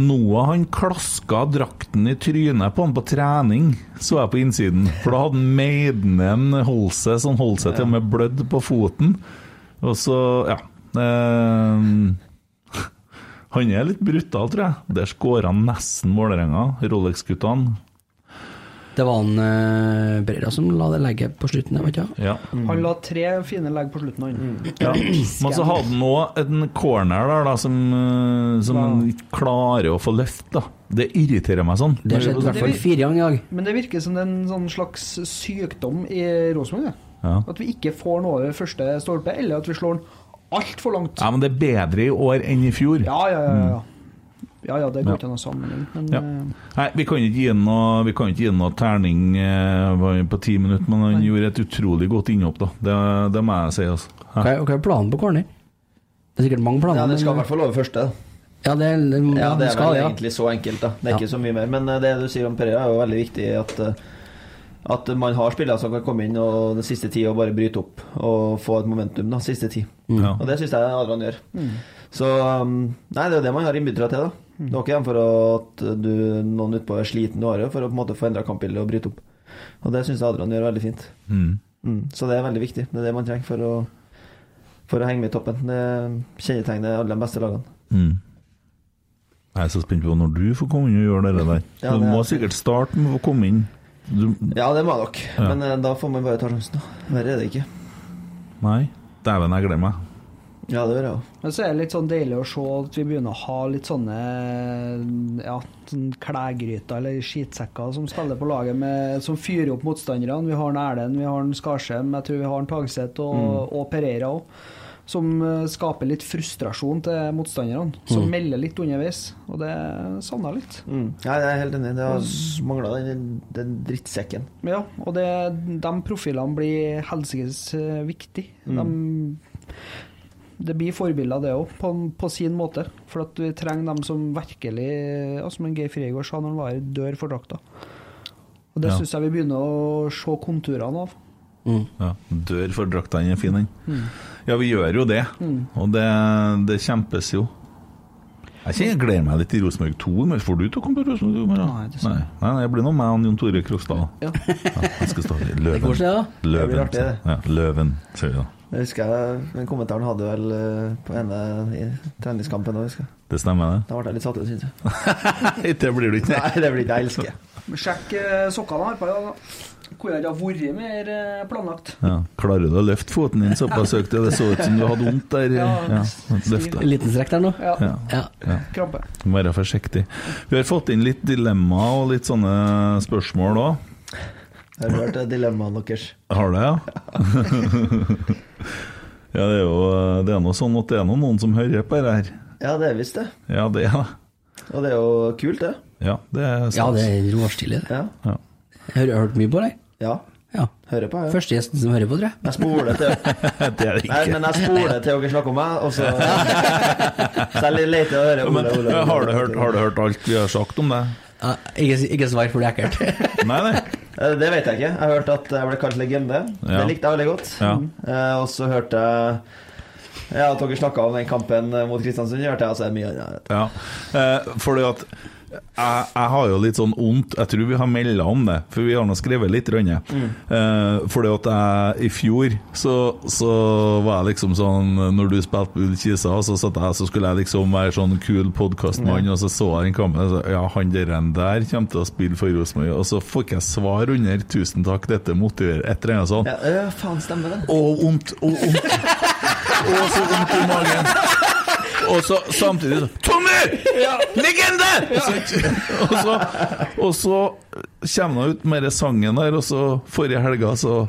D: Noah han klaska drakten i trynet på han på trening, så jeg på innsiden. For da hadde han Maidenen holdt seg som holdt seg sånn til og med blødd på foten. Og så, ja eh, Han er litt brutal, tror jeg. Der skåra han nesten Vålerenga, Rolex-guttene.
G: Det var han eh, Pereira som la det legget på slutten, jeg vet ikke.
D: Ja.
E: Han la tre fine legg på slutten, han.
D: Ja. Men så hadde han òg en corner der da, som, eh, som han ikke klarer å få løft. Da. Det irriterer meg sånn.
G: Det har skjedd i hvert fall fire ganger i dag.
E: Men det virker som det er en sånn slags sykdom i Rosenborg. det.
D: Ja.
E: At vi ikke får den over første stolpe, eller at vi slår den altfor langt.
D: Ja, men det er bedre i år enn i fjor.
E: Ja, ja, ja. ja. Ja, ja, det
D: Mm. Ja.
E: går ikke an å sammenligne, men
D: Ja.
E: eh,
D: Nei, vi kan ikke gi ham noe, vi kan ikke gi han noe terning eh, var på ti minutter, men han gjorde et utrolig godt innhopp, da. Det, det må jeg si, altså.
G: Hva
D: Ja.
G: er, hva er planen på corner? Det er sikkert mange planer.
F: Ja, det skal i
G: men-
F: hvert fall over første. da.
G: Ja, det, er- det,
F: Ja, det er
G: skal,
F: vel
G: ja.
F: egentlig så enkelt, da. Det er
G: Ja.
F: ikke så mye mer. Men eh, det du sier om Pereira, er jo veldig viktig at eh, at man har spillere som kan komme inn og den siste ti og bare bryte opp og få et momentum. da, siste ti.
G: Mm.
D: Ja.
F: Og det syns jeg Adrian gjør. Så um, Nei, det er jo det man har innbyttere til, da.
G: Mm.
F: Det er ikke dem for at du, noen utpå er sliten du har jo, for å på en måte få endra kampbildet og bryte opp. Og det syns jeg Adrian gjør veldig fint.
D: Mm.
F: Mm. Så det er veldig viktig. Det er det man trenger for å, for å henge med i toppen. Det kjennetegner alle de beste lagene.
D: Mm. Jeg er så spent på når du får komme inn og gjøre det der.
F: Ja,
D: du
F: det er-
D: må sikkert starte med å komme inn. Du,
F: Ja, det må jeg nok.
D: Ja.
F: Men eh, da får man bare ta sjansen, da. Verre er det ikke.
D: nei, dæven, jeg gleder meg.
F: Ja, det gjør jeg òg.
E: Men så er det litt sånn deilig å se at vi begynner å ha litt sånne ja, sånn klærgryter eller skitsekker som spiller på laget, med, som fyrer opp motstanderne. Vi har en Erlend, vi har en Skarsheim, jeg tror vi har en Tagseth og, og Pereira òg. Som eh, skaper litt frustrasjon til motstanderne, som melder litt underveis. Og det savner jeg litt.
F: Mm. Ja, jeg er helt enig. Det har mangla den, den drittsekken.
E: Men Ja, og det, de profilene blir helsikes eh, viktig. De, det blir forbilder, det òg, på, på sin måte. For at vi trenger dem som virkelig eh, ja, Som en Geir Frigård sa når han var her, dør for drakta. Og det
D: Ja.
E: syns jeg vi begynner å se konturene av.
D: Ja. Dør for drakta, den er fin, den. Ja, vi gjør jo det, og det, det kjempes jo. Jeg kjenner jeg gleder meg litt til Rosenborg 2, men får du til å komme på Rosenborg 2? Mara?
E: Nei, det er
D: nei,
E: sant.
D: nei, nei, jeg blir nå meg og Jon Tore Krokstad. da.
E: Ja.
D: Ja, jeg skal stå i
G: Det
D: Løven.
G: går seg, da.
F: Det
D: Løven,
F: blir artig, det.
D: Ja, løven sier vi da.
F: Jeg husker jeg, den kommentaren hadde jeg vel eh, på ene i treningskampen òg, husker jeg.
D: Det stemmer,
F: Da ble jeg litt satt ut, syns jeg.
D: det? det blir du ikke.
F: Nei, det blir ikke jeg elsker.
E: Men Sjekk eh, sokkene han har på i dag, da. Hvor det har vært mer eh, planlagt.
D: Ja, klarer du å løfte foten din såpass høyt? Ja, Det så ut som du hadde vondt der. Ja, løft
G: En
D: da.
G: liten strekk der nå.
E: Ja,
D: Ja,
G: Ja.
E: Krampe.
D: må være forsiktig. Vi har fått inn litt dilemma og litt sånne spørsmål òg.
F: Jeg har hørt eh, dilemmaene deres.
D: Har det, ja? ja, det er jo det er noe sånn at det er noe noen som hører på det her.
F: Ja, det er visst det.
D: Ja, det er det.
F: Og det er jo kult, det.
D: Ja, det er
G: ja,
D: sant.
G: det er råstilig. det.
F: Ja.
D: Ja.
G: Jeg har hørt mye på deg.
F: ja.
G: Ja.
F: Hører på, ja.
G: Første gjesten som hører på, tror jeg.
F: Jeg spoler til
D: Det er det
F: Nei,
D: ikke.
F: men jeg spoler til dere snakker om meg, og så Så jeg leter og hører
D: Men,
F: Ole, Ole. Ole.
D: har, du hørt, har du hørt alt vi har sagt om det?
G: Ja, ikke, ikke svar, for det er ekkelt.
D: Nei, nei.
F: Eh, Det vet jeg ikke. Jeg har hørt at jeg ble kalt legende.
D: Ja.
F: Det likte jeg veldig godt.
D: Ja.
F: Eh, og så hørte jeg ja, at dere snakka om den kampen mot Kristiansund. Hørte jeg altså mye annet.
D: Ja, eh, fordi at jeg, jeg har jo litt sånn ondt Jeg tror vi har melda om det, for vi har nå skrevet litt. Rønne. Eh, fordi at jeg i fjor så, så var jeg liksom sånn Når du spilte på Ull Kisa, så, satt jeg, så skulle jeg liksom være sånn kul podkastmann, og så så jeg den kampen og så, Ja, han der, en der kommer til å spille for Rosenborg. Og så fikk jeg svar under 'Tusen takk, dette motiverer', et eller annet sånt.
F: Ja, øh, faen, stemmer det?
D: Og vondt, og vondt. Og så vondt i magen. og så samtidig så Tommy! Legende! Og så, og så kommer han ut med den sangen der, og så forrige helga så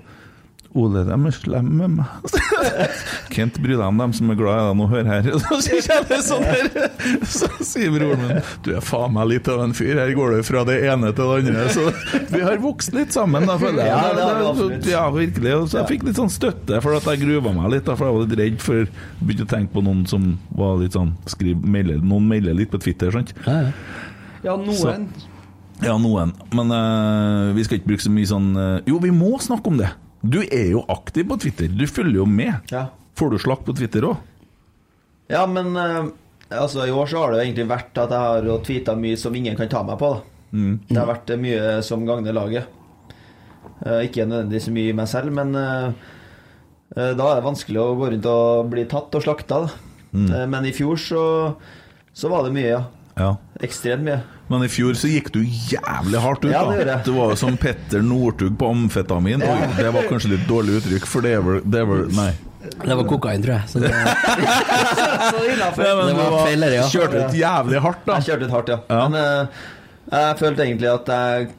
D: Ole, de er slemme med meg. Kent, bry deg om dem som er glad i deg nå, hør her. Så kjenner jeg sånn her. Så sier broren min du er faen meg litt av en fyr, her går du fra det ene til det andre. Så vi har vokst litt sammen, da, føler jeg.
F: Ja, det har vi absolutt.
D: Ja, virkelig. Og så jeg fikk litt sånn støtte, for at jeg gruva meg litt, da, for jeg var litt redd for Begynte å tenke på noen som var litt sånn skriv, melder, Noen melder litt på Twitter, sant.
E: Ja, noen
D: Ja, noen. Men eh, vi skal ikke bruke så mye sånn eh, Jo, vi må snakke om det! Du er jo aktiv på Twitter. Du følger jo med.
F: Ja.
D: Får du slakk på Twitter òg?
F: Ja, men eh, altså, i år så har det jo egentlig vært at jeg har jo tweeta mye som ingen kan ta meg på. Da.
D: Mm.
F: Det har vært eh, mye som gagner laget. Eh, ikke nødvendigvis så mye i meg selv, men eh, eh, da er det vanskelig å gå rundt og bli tatt og slakta. Da.
D: Mm.
F: Eh, men i fjor så, så var det mye, ja.
D: Ja.
F: Ekstremt mye.
D: Men i fjor så gikk du jævlig hardt ut,
F: Ja, det gjorde
D: da.
F: jeg.
D: Du var jo som Petter Northug på amfetamin. Og det var kanskje litt dårlig uttrykk, for det er vel, det er vel Nei.
G: Det var kokain, tror jeg. Så det,
D: Ja, men
G: Det var
D: du var-
G: feller, ja.
D: Kjørte ut jævlig hardt, da.
F: Jeg kjørte litt hardt, ja.
D: Ja.
F: Men eh, jeg følte egentlig at jeg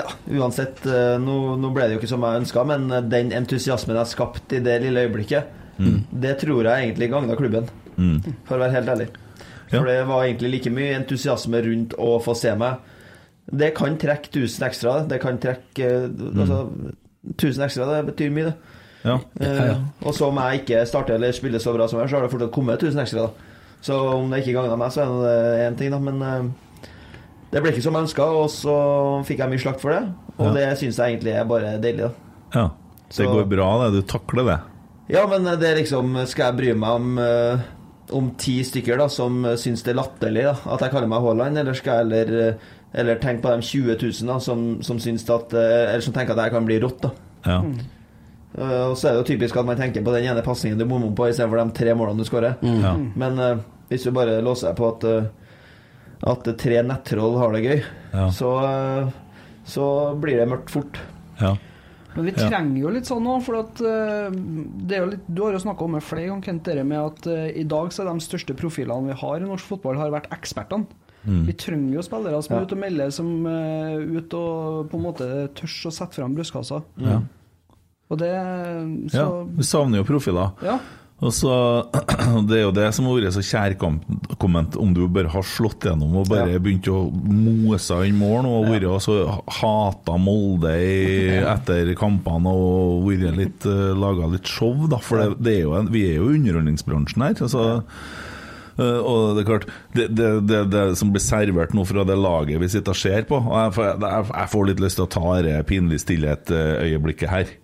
F: ja, Uansett, eh, nå, nå ble det jo ikke som jeg ønska, men eh, den entusiasmen jeg skapte i det lille øyeblikket,
D: Mm.
F: det tror jeg egentlig gagna klubben, for å være helt ærlig.
D: Ja.
F: For det var egentlig like mye entusiasme rundt å få se meg. Det kan trekke 1000 ekstra. Det kan trekke eh, altså, 1000 ekstra, det betyr mye, det.
D: Ja.
F: Eh, Og så om jeg ikke starter eller spiller så bra som jeg, så har det fortsatt kommet 1000 ekstra. da Så om det ikke gagna meg, så er det én ting, da. Men eh, det ble ikke som jeg ønska, og så fikk jeg mye slakt for det. Og
D: Ja.
F: det syns jeg egentlig er bare deilig, da.
D: ja. Det
F: Så-
D: går bra, det. Du takler det.
F: Ja, men det er liksom Skal jeg bry meg om eh, Om ti stykker da som syns det er latterlig da, at jeg kaller meg Haaland, eller skal jeg eller, eh, eller tenke på de 20 000 da, som, som, syns at, eh, eller som tenker at jeg kan bli rått, da.
D: Ja.
F: Mm. Eh, Og så er det jo typisk at man tenker på den ene pasningen du bommer på, istedenfor de tre målene du skårer.
D: ja.
F: Men eh, hvis du bare låser deg på at, eh, at tre nettroll har det gøy,
D: Ja.
F: så, eh, så blir det mørkt fort.
D: ja.
E: Men vi
D: Ja.
E: trenger jo litt sånn nå, for at eh, det er jo litt, du har jo snakka om det flere ganger, Kent, dere med at eh, i dag så er de største profilene vi har i norsk fotball, har vært ekspertene.
D: Mm.
E: Vi trenger jo spillere som er ute og melder, som er ute og på en måte tør å sette fram brystkassa.
D: Ja.
E: Og det Så
D: ja. Vi savner jo profiler.
E: Ja.
D: Og så, Det er jo det som har vært så kjærkomment, om du bare har slått gjennom og bare begynt å mose inn mål og vært og så hata Molde i, etter kampene og vært litt eh, laga litt show, da. For det, det er jo en, vi er jo i underholdningsbransjen her. altså... Eh, og det er klart, det, det, det, det som blir servert nå fra det laget vi sitter og ser på og Jeg, får- jeg, jeg får litt lyst til å ta det pinlig stillhet-øyeblikket her.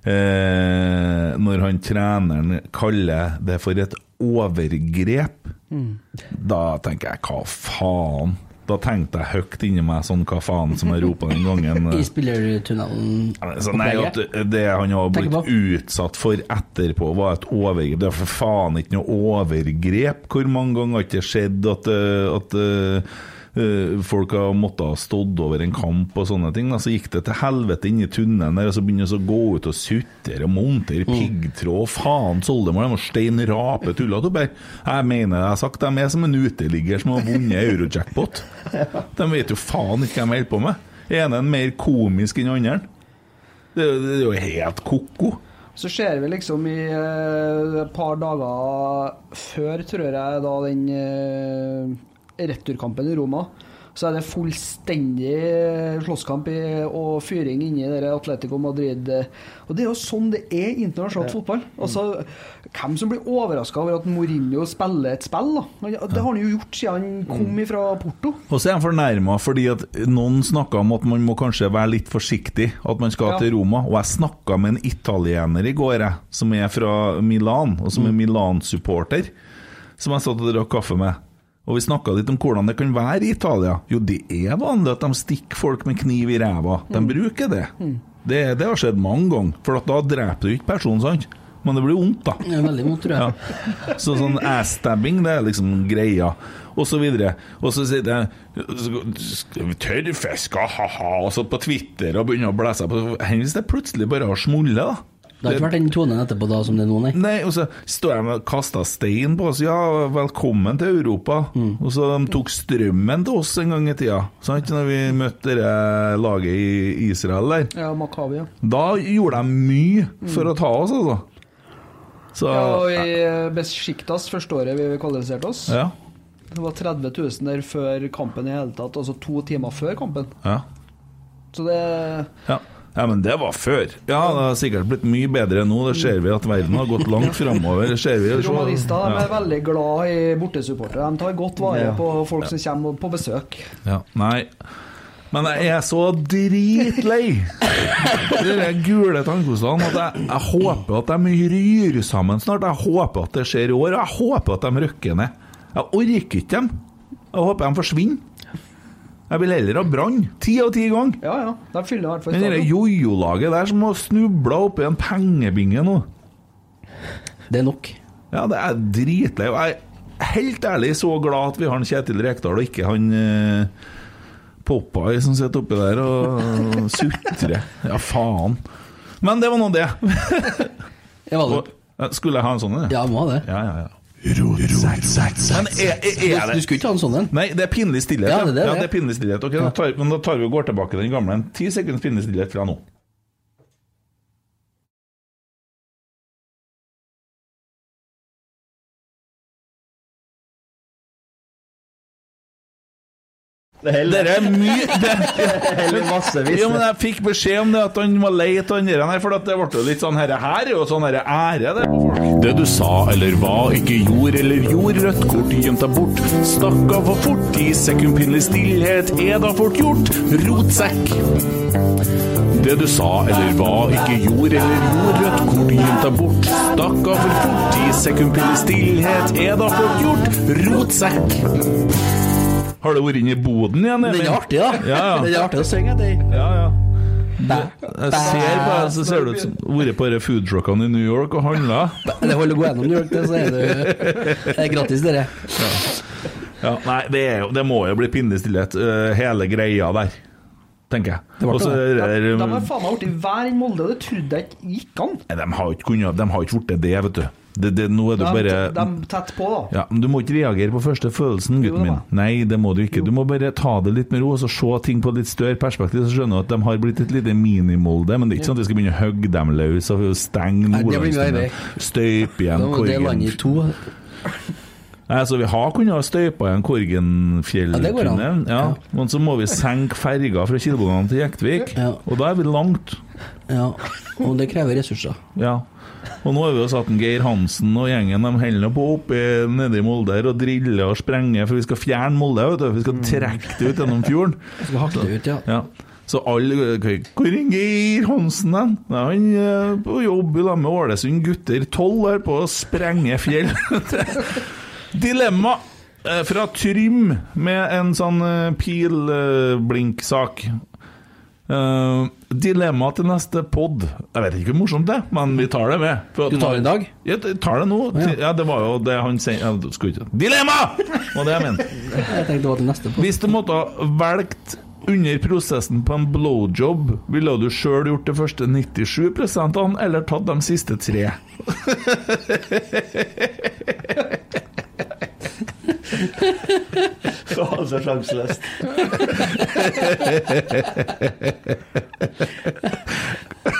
D: Eh, når han treneren kaller det for et overgrep, da tenker jeg hva faen? Da tenkte jeg høyt inni meg sånn hva faen som jeg ropa den gangen. eh.
G: I spillertunnelen.
D: Altså, nei, at det han har
G: Tenker
D: blitt
G: på.
D: utsatt for etterpå, var et overgrep. Det er for faen ikke noe overgrep. Hvor mange ganger har ikke det skjedd at, eh, at eh, eh, folk har måttet ha stått over en kamp og sånne ting? Da. Så gikk det til helvete inn i tunnelen der, og så begynner vi å gå ut og sutre og montere
G: Mm.
D: piggtråd. Faen, Soldemar, de var stein rape tullete oppi her. Jeg mener det jeg har sagt, de er som en uteligger som har vunnet euro-jackpot. De vet jo faen ikke hva de holder på med. Ene er mer komisk enn andre. Det, er jo- det er jo helt koko.
E: Så ser vi liksom i eh, et par dager før, tror jeg, da den eh, returkampen i Roma, så er det fullstendig eh, slåsskamp i, og fyring inni det der Atletico Madrid. eh. Og det er jo sånn det er i internasjonal fotball. Altså, hvem som blir overraska over at Mourinho spiller et spill, da? Men ja, Mm. Det har han jo gjort siden han kom ifra Porto.
D: Og så er han fornærma fordi at noen snakka om at man må kanskje være litt forsiktig, at man skal
E: Ja.
D: til Roma. Og jeg snakka med en italiener i går, jeg, som er fra Milan, og som er Milan-supporter, som jeg satt og drakk kaffe med. Og vi snakka litt om hvordan det kan være i Italia. Jo, det er vanlig at de stikker folk med kniv i ræva. De bruker det. det. Det har skjedd mange ganger, for at da dreper du ikke personen, sant? Men det blir vondt, da.
G: Det er veldig vondt, tror jeg.
D: Ja. Så sånn ass-stabbing, det er liksom greia. Og så videre. Og så sier jeg Tørrfiska, ha-ha. Og så på Twitter og begynner å blæse på Enn hvis det plutselig bare har smulle, da?
G: Det har ikke vært den tonen etterpå da som det er nå, nei.
D: Nei, og så står de og kaster stein på oss. Ja, velkommen til Europa. Og så de tok strømmen til oss en gang i tida, sant? Når vi møtte det laget i Israel der.
E: Ja, Makabi, ja.
D: Da gjorde de mye for å ta oss, altså. Så
E: ja og vi beskiktas første året vi kvalifiserte oss.
D: Ja.
E: Det var 30 000 der før kampen i hele tatt, altså to timer før kampen.
D: Ja.
E: Så det
D: ja. Ja, men det var før. Ja, det har sikkert blitt mye bedre nå. Det ser vi at verden har gått langt framover.
E: Journalister de
D: Ja.
E: er veldig glad i bortesupportere. De tar godt vare
F: Ja.
E: på folk som kommer på besøk.
D: Ja, nei Men jeg er så dritlei De der gule tannkostene At jeg, jeg håper at de ryr sammen snart Jeg håper at det skjer i år og Jeg håper at de røkker ned Jeg orker ikke dem Jeg håper de forsvinner Jeg vil heller ha brann Ti av ti ganger
E: Ja, ja. De fyller i hvert fall
D: men det der
E: stadion.
D: jojo-laget der som har snublet opp i en pengebinge nå
G: Det er nok.
D: Ja, det er dritlei. Og Jeg er helt ærlig så glad at vi har en Kjetil Rekdal og ikke han eh, Popeye som sitter oppi der og sutrer. Ja, faen. Men det var nå det.
G: Det var det.
D: Og, eh, Skulle jeg ha en sånn en?
G: Ja, må ha det.
D: Ja, ja, ja.
C: Rotsekk, sekk, sekk,
D: Men er, er, er
G: Du
D: det
G: skulle ikke ha en sånn en.
D: Nei, det er pinlig stillhet.
G: Ja, det er det,
D: ja,
G: det.
D: det er pinlig stillhet. Ok, da tar, men da tar vi og går tilbake til den gamle. en. Ti sekunds pinlig stillhet fra nå.
F: Det
D: Dere
F: holder.
D: er mye det,
F: Det holder massevis.
D: Jo, men jeg fikk beskjed om det at han var lei av den der her, for at det ble jo litt sånn herre her er jo sånn herre ære, det.
H: Det du sa eller hva, ikke gjorde eller gjorde, rødt kort gjemt deg bort. Stakk av for fort, ti sekund pinlig stillhet er da fort gjort. Rotsekk. Det du sa eller hva, ikke gjorde eller gjorde, rødt kort gjemt deg bort. Stakk av for fort, ti sekund pinlig stillhet er da fort gjort. Rotsekk.
D: Har du vært inne i boden igjen? Emil?
G: Den er artig, da.
D: Ja, ja.
G: Den er artig å synge etter.
D: Ja, ja.
G: Bæ.
D: Jeg ser på deg, så ser du ut som du har vært på de foodtruckene i New York og handla.
G: Det holder å gå gjennom New York, det, så er det Det er gratis, dere.
D: Ja, nei, det, er jo, det må jo bli pinlig stillhet, øh, hele greia der, tenker jeg.
G: ble
D: Og så
G: det.
D: er det
E: De
D: der,
E: har faen meg blitt hver i Molde, og det trodde jeg ikke gikk an.
D: Nei, De har jo ikke kunnet De har ikke gjort det, det, vet du. Det, det, nå er
E: De,
D: det bare
E: de tett på, da.
D: ja, men Du må ikke reagere på første følelsen,
E: Jo,
D: gutten min.
E: da.
D: Nei, det må du ikke. Du må bare ta det litt med ro og så se ting på et litt større perspektiv. Så skjønner du at de har blitt et lite minimolde. Men det er ikke sånn at vi skal begynne å hogge dem løs og stenge
G: Nei, det blir mye
D: Nordlandstunnet.
G: arbeid.
D: Støype
G: Da
D: igjen
G: må det
D: korgen.
G: landet i to.
D: Nei, så Vi har kunnet ha støypa igjen
G: Ja, det går an.
D: Korgenfjelltunnelen, ja,
G: Ja.
D: men så må vi senke ferga fra Kilbogan til Jektvik.
G: Ja.
D: Og da er vi langt.
G: Ja. Og det krever ressurser.
D: Ja. Og nå har vi jo satt en Geir Hansen og gjengen de holder nå på oppe nede i Molde her og driller og sprenger, for vi skal fjerne Molde. vet du, Vi skal trekke det ut gjennom fjorden.
G: Skal hakke det ut, ja.
D: Ja. Så alle Hvor er Geir Hansen hen? Nei, Han er på jobb i lag med Ålesund gutter 12 her på å sprenge fjell. Dilemma eh, fra Trym med en sånn pilblinksak. Eh, dilemma til neste pod. Jeg vet ikke hvor morsomt det er, men vi tar det med. For at
G: Du tar det i dag?
D: Ja, jeg tar det nå.
G: ja.
D: Ja, det var jo det han sendte ja, du skulle ikke- Dilemma! var det jeg mente.
G: Jeg tenkte det var til neste.
D: Hvis du måtte ha velgt under prosessen på en blowjob, ville du sjøl gjort de første 97 -ene, eller tatt de siste tre?
F: Faen, så sjanseløst.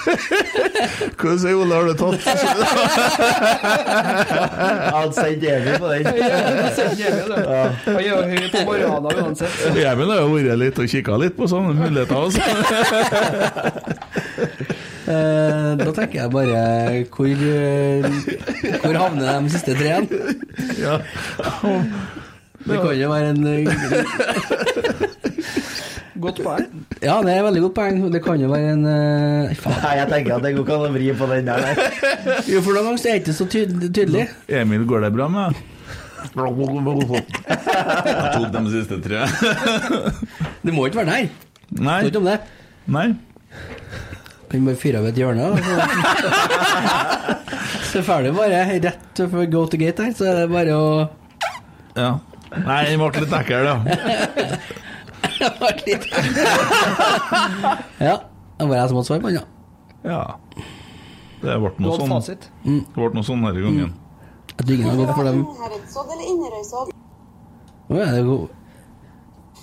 D: Hva sier Ole, har du tatt?
F: altså, Jeg hadde sendt Emil på den.
E: Han er jo høy på morgenen uansett.
D: Emil har jo vært litt og kikka litt på sånne muligheter. Også.
G: Eh, da tenker jeg bare hvor, eh, hvor havner de siste tre igjen? Det kan jo være en eh,
E: Godt poeng.
G: Ja, det er et veldig godt poeng. Det kan jo være en eh, Faen.
F: Nei, jeg tenker at det går ikke an å vri på den der, nei.
G: Jo, for noen ganger så er det ikke så tyd tydelig.
D: Emil, går det bra med deg? Jeg tok de siste tre.
G: Det må ikke være der. Det er
D: Nei.
G: ikke om det.
D: Nei.
G: Kan bare fyre av et hjørne. og så- Så er det bare rett for go to gate her, så er det bare å
D: Ja. Nei, den ble litt ekkel, da.
G: Ja. Det var jeg som hadde svar på den, ja.
D: Ja. Det ble
E: Du
D: noe
E: hadde
D: sånn
E: fasit.
D: Det ble noe sånn denne gangen.
G: Jeg tror ingen har gått for dem.
B: Innherredsodd eller Inderøysodd?
G: Å, ja, det er jo-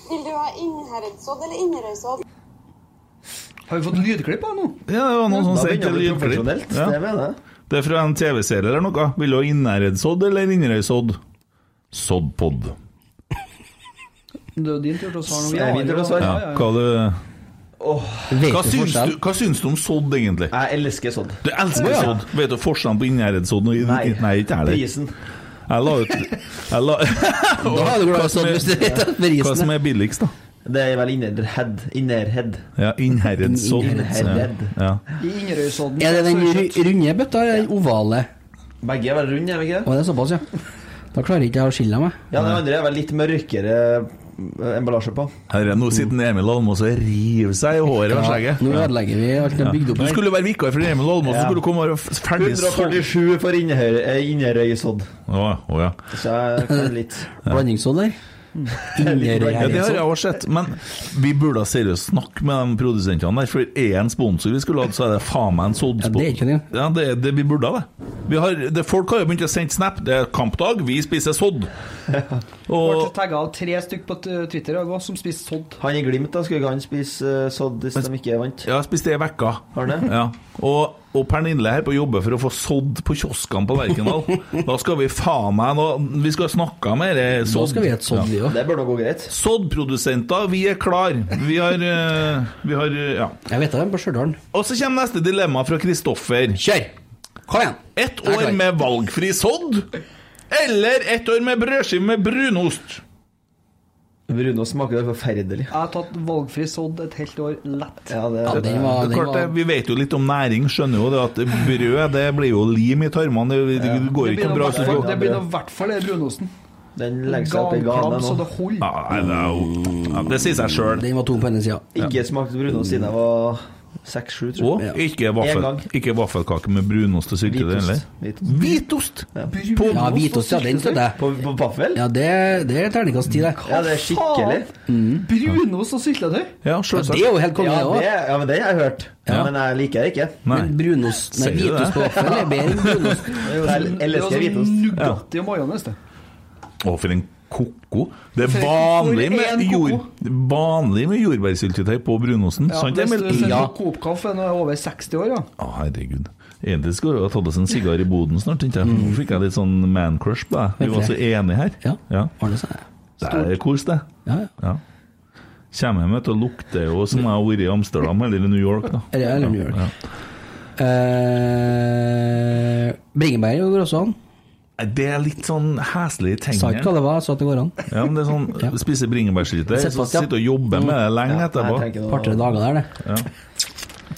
B: Vil du ha Innherredsodd eller Inderøysodd?
E: Har vi fått lydklipp av nå?
D: Ja, det var noen som
F: Da
D: sendte
F: begynner det å bli
D: lydklipp.
F: profesjonelt.
D: Sånn Ja.
F: Det mener jeg.
D: Det er fra en TV-serie eller noe. Vil du ha Innherredsodd eller Inderøysodd? Soddpod.
E: Det er jo din tur til å svare nå.
F: Det er min tur til å svare.
D: Ja, hva, det,
G: Vet
D: hva,
G: du
D: syns
G: forskjell?
D: du, hva syns du om sodd, egentlig?
F: Jeg elsker sodd.
D: Du elsker sodd. Vet du forskjellen på Innherredsodd og
F: Nei.
D: Nei, ikke er det.
F: Prisen.
D: Jeg la ut jeg la,
G: Da hadde du
D: Hva
G: glemt
D: som
G: sånn
D: er-
G: hvis du vet at med
D: Hva som
G: risene
D: er billigst, da?
F: Det er vel innerhead. Innerhead.
D: Ja, Innherredsodd.
F: Innherred.
D: Ja.
E: I Inderøysodden
G: Er det den ru- runde bøtta eller den ovale?
F: Begge er vel runde, er vi ikke
G: Å,
F: det?
G: det er såpass, ja. Da klarer ikke jeg å skille meg.
F: Ja, den andre er vel litt mørkere eh, emballasje på.
D: Her er nå sitter Emil Almås og river seg i håret og skjegget.
G: Nå ødelegger vi alt den er bygd opp
D: Du
G: her.
D: skulle være vikar for Emil Almås, så
F: Ja.
D: skulle du komme her og f- ferdig sådd.
F: 147 for inner- eh, Inderøysodd.
D: Å, å, ja.
F: Så jeg kan litt
G: Blandingssodd der.
D: Ja, det har jeg
G: Inderøysodd.
D: også sett, men vi burde da seriøst snakke med de produsentene der, for er en sponsor vi skulle hatt, så er det faen meg en
G: Ja,
D: soddsponsor.
G: det er ikke det.
D: Ja, det, det vi burde ha det. Vi har, det. Folk har jo begynt å sende snap, det er kampdag, vi spiser sodd.
E: Ble
D: Og
E: tagget av tre stykk på t- Twitter og hva som spiste sodd.
F: Han i Glimt, da, skulle ikke han spise eh, sodd hvis de ikke vant?
D: ja, spiste det i vekka.
F: Har han det?
D: Ja. Og, og Pernille her på jobbe for å få sodd på kioskene på Lerkendal. Da skal vi faen meg nå Vi skal snakke om dette
G: Da
D: sodd.
G: skal vi ha et sådd, vi òg.
F: Det bør da gå greit.
D: Soddprodusenter, vi er klar. Vi har, eh, vi har eh, Ja.
G: Jeg vet det, på Stjørdal.
D: Og så kommer neste dilemma fra Kristoffer.
G: Kjør! Kom igjen!
D: Ett
G: Jeg er
D: år
G: klar.
D: med valgfri sodd eller ett år med brødskive med brunost?
F: Bruno smaker det forferdelig.
E: Jeg har tatt valgfri sodd et helt år lett.
F: Ja, det,
G: Ja, den
D: Det
G: var,
D: er
G: den
D: klart, det,
G: var
D: Vi vet jo litt om næring, skjønner jo det at brød det blir jo lim i tarmene. Det, det går
E: Det
D: ikke bra. Så
E: blir
D: folk-
E: nå i hvert fall det brunosten.
F: den legger seg opp i
E: Ganklam
F: ganen
E: så det
F: nå.
E: holder.
D: ja, nei, det, er jo- ja, det sier seg sjøl.
G: den var tung på hennes sida.
F: Ikke smakt brunost siden jeg var seks-sju, tror
D: Og
F: jeg.
D: ikke,
F: En
D: vaffel,
F: gang.
D: ikke vaffelkake med brunost og syltetøy heller.
F: Hvitost. Hvitost.
D: Hvitost! På,
G: Ja, hvitost, ja, den støtter jeg.
F: På, på vaffel?
G: Ja, det, det er terningkast ti, det.
F: Ja, det er skikkelig.
E: Brunost og syltetøy?
D: ja,
G: Ja, det
D: selvsagt.
G: er jo helt konge,
F: Ja,
G: det
F: det,
G: òg.
F: ja, men det har jeg hørt.
D: Ja.
F: Men jeg liker det ikke.
D: Nei.
G: Men brunost Nei,
D: Sier du det?
G: hvitost på vaffel er bedre enn brunost.
F: Jeg jeg elsker hvitost.
E: altså Nugatti og majones, det.
D: Å, for en koko. Det er
E: For en-
D: vanlig
E: for en
D: med,
E: koko.
D: jord, vanlig med jordbærsyltetøy på brunosten.
E: Ja,
D: sant,
E: hvis
D: Emil?
E: du ser
G: Ja.
E: på Coop-kaffe når jeg er over 60 år, ja.
D: Å, herregud. Egentlig skulle vi ha tatt oss en sigar i boden snart, tenkte jeg. Nå fikk jeg litt sånn man-crush på deg. Vi var så enige her.
G: Ja.
D: ja.
G: Arne sa det.
D: Det er kos, det.
G: Ja, ja.
D: Ja. Kommer hjem vet du, og lukter jo som jeg har vært i Amsterdam eller i New York, da.
G: Eller, eller New York.
D: Ja.
G: Eh, Bringebær går også an.
D: Det er litt sånn heslig i
G: Sa ikke hva
D: tengene.
G: det var, så at det går an.
D: Ja, men det er sånn Spise bringebærsyltetøy,
G: Sett
D: så
G: fast, ja.
D: sitte og jobbe med det lenge
F: Nei,
D: etterpå.
F: jeg tenker
G: Par-tre
F: nå-
G: dager der, det.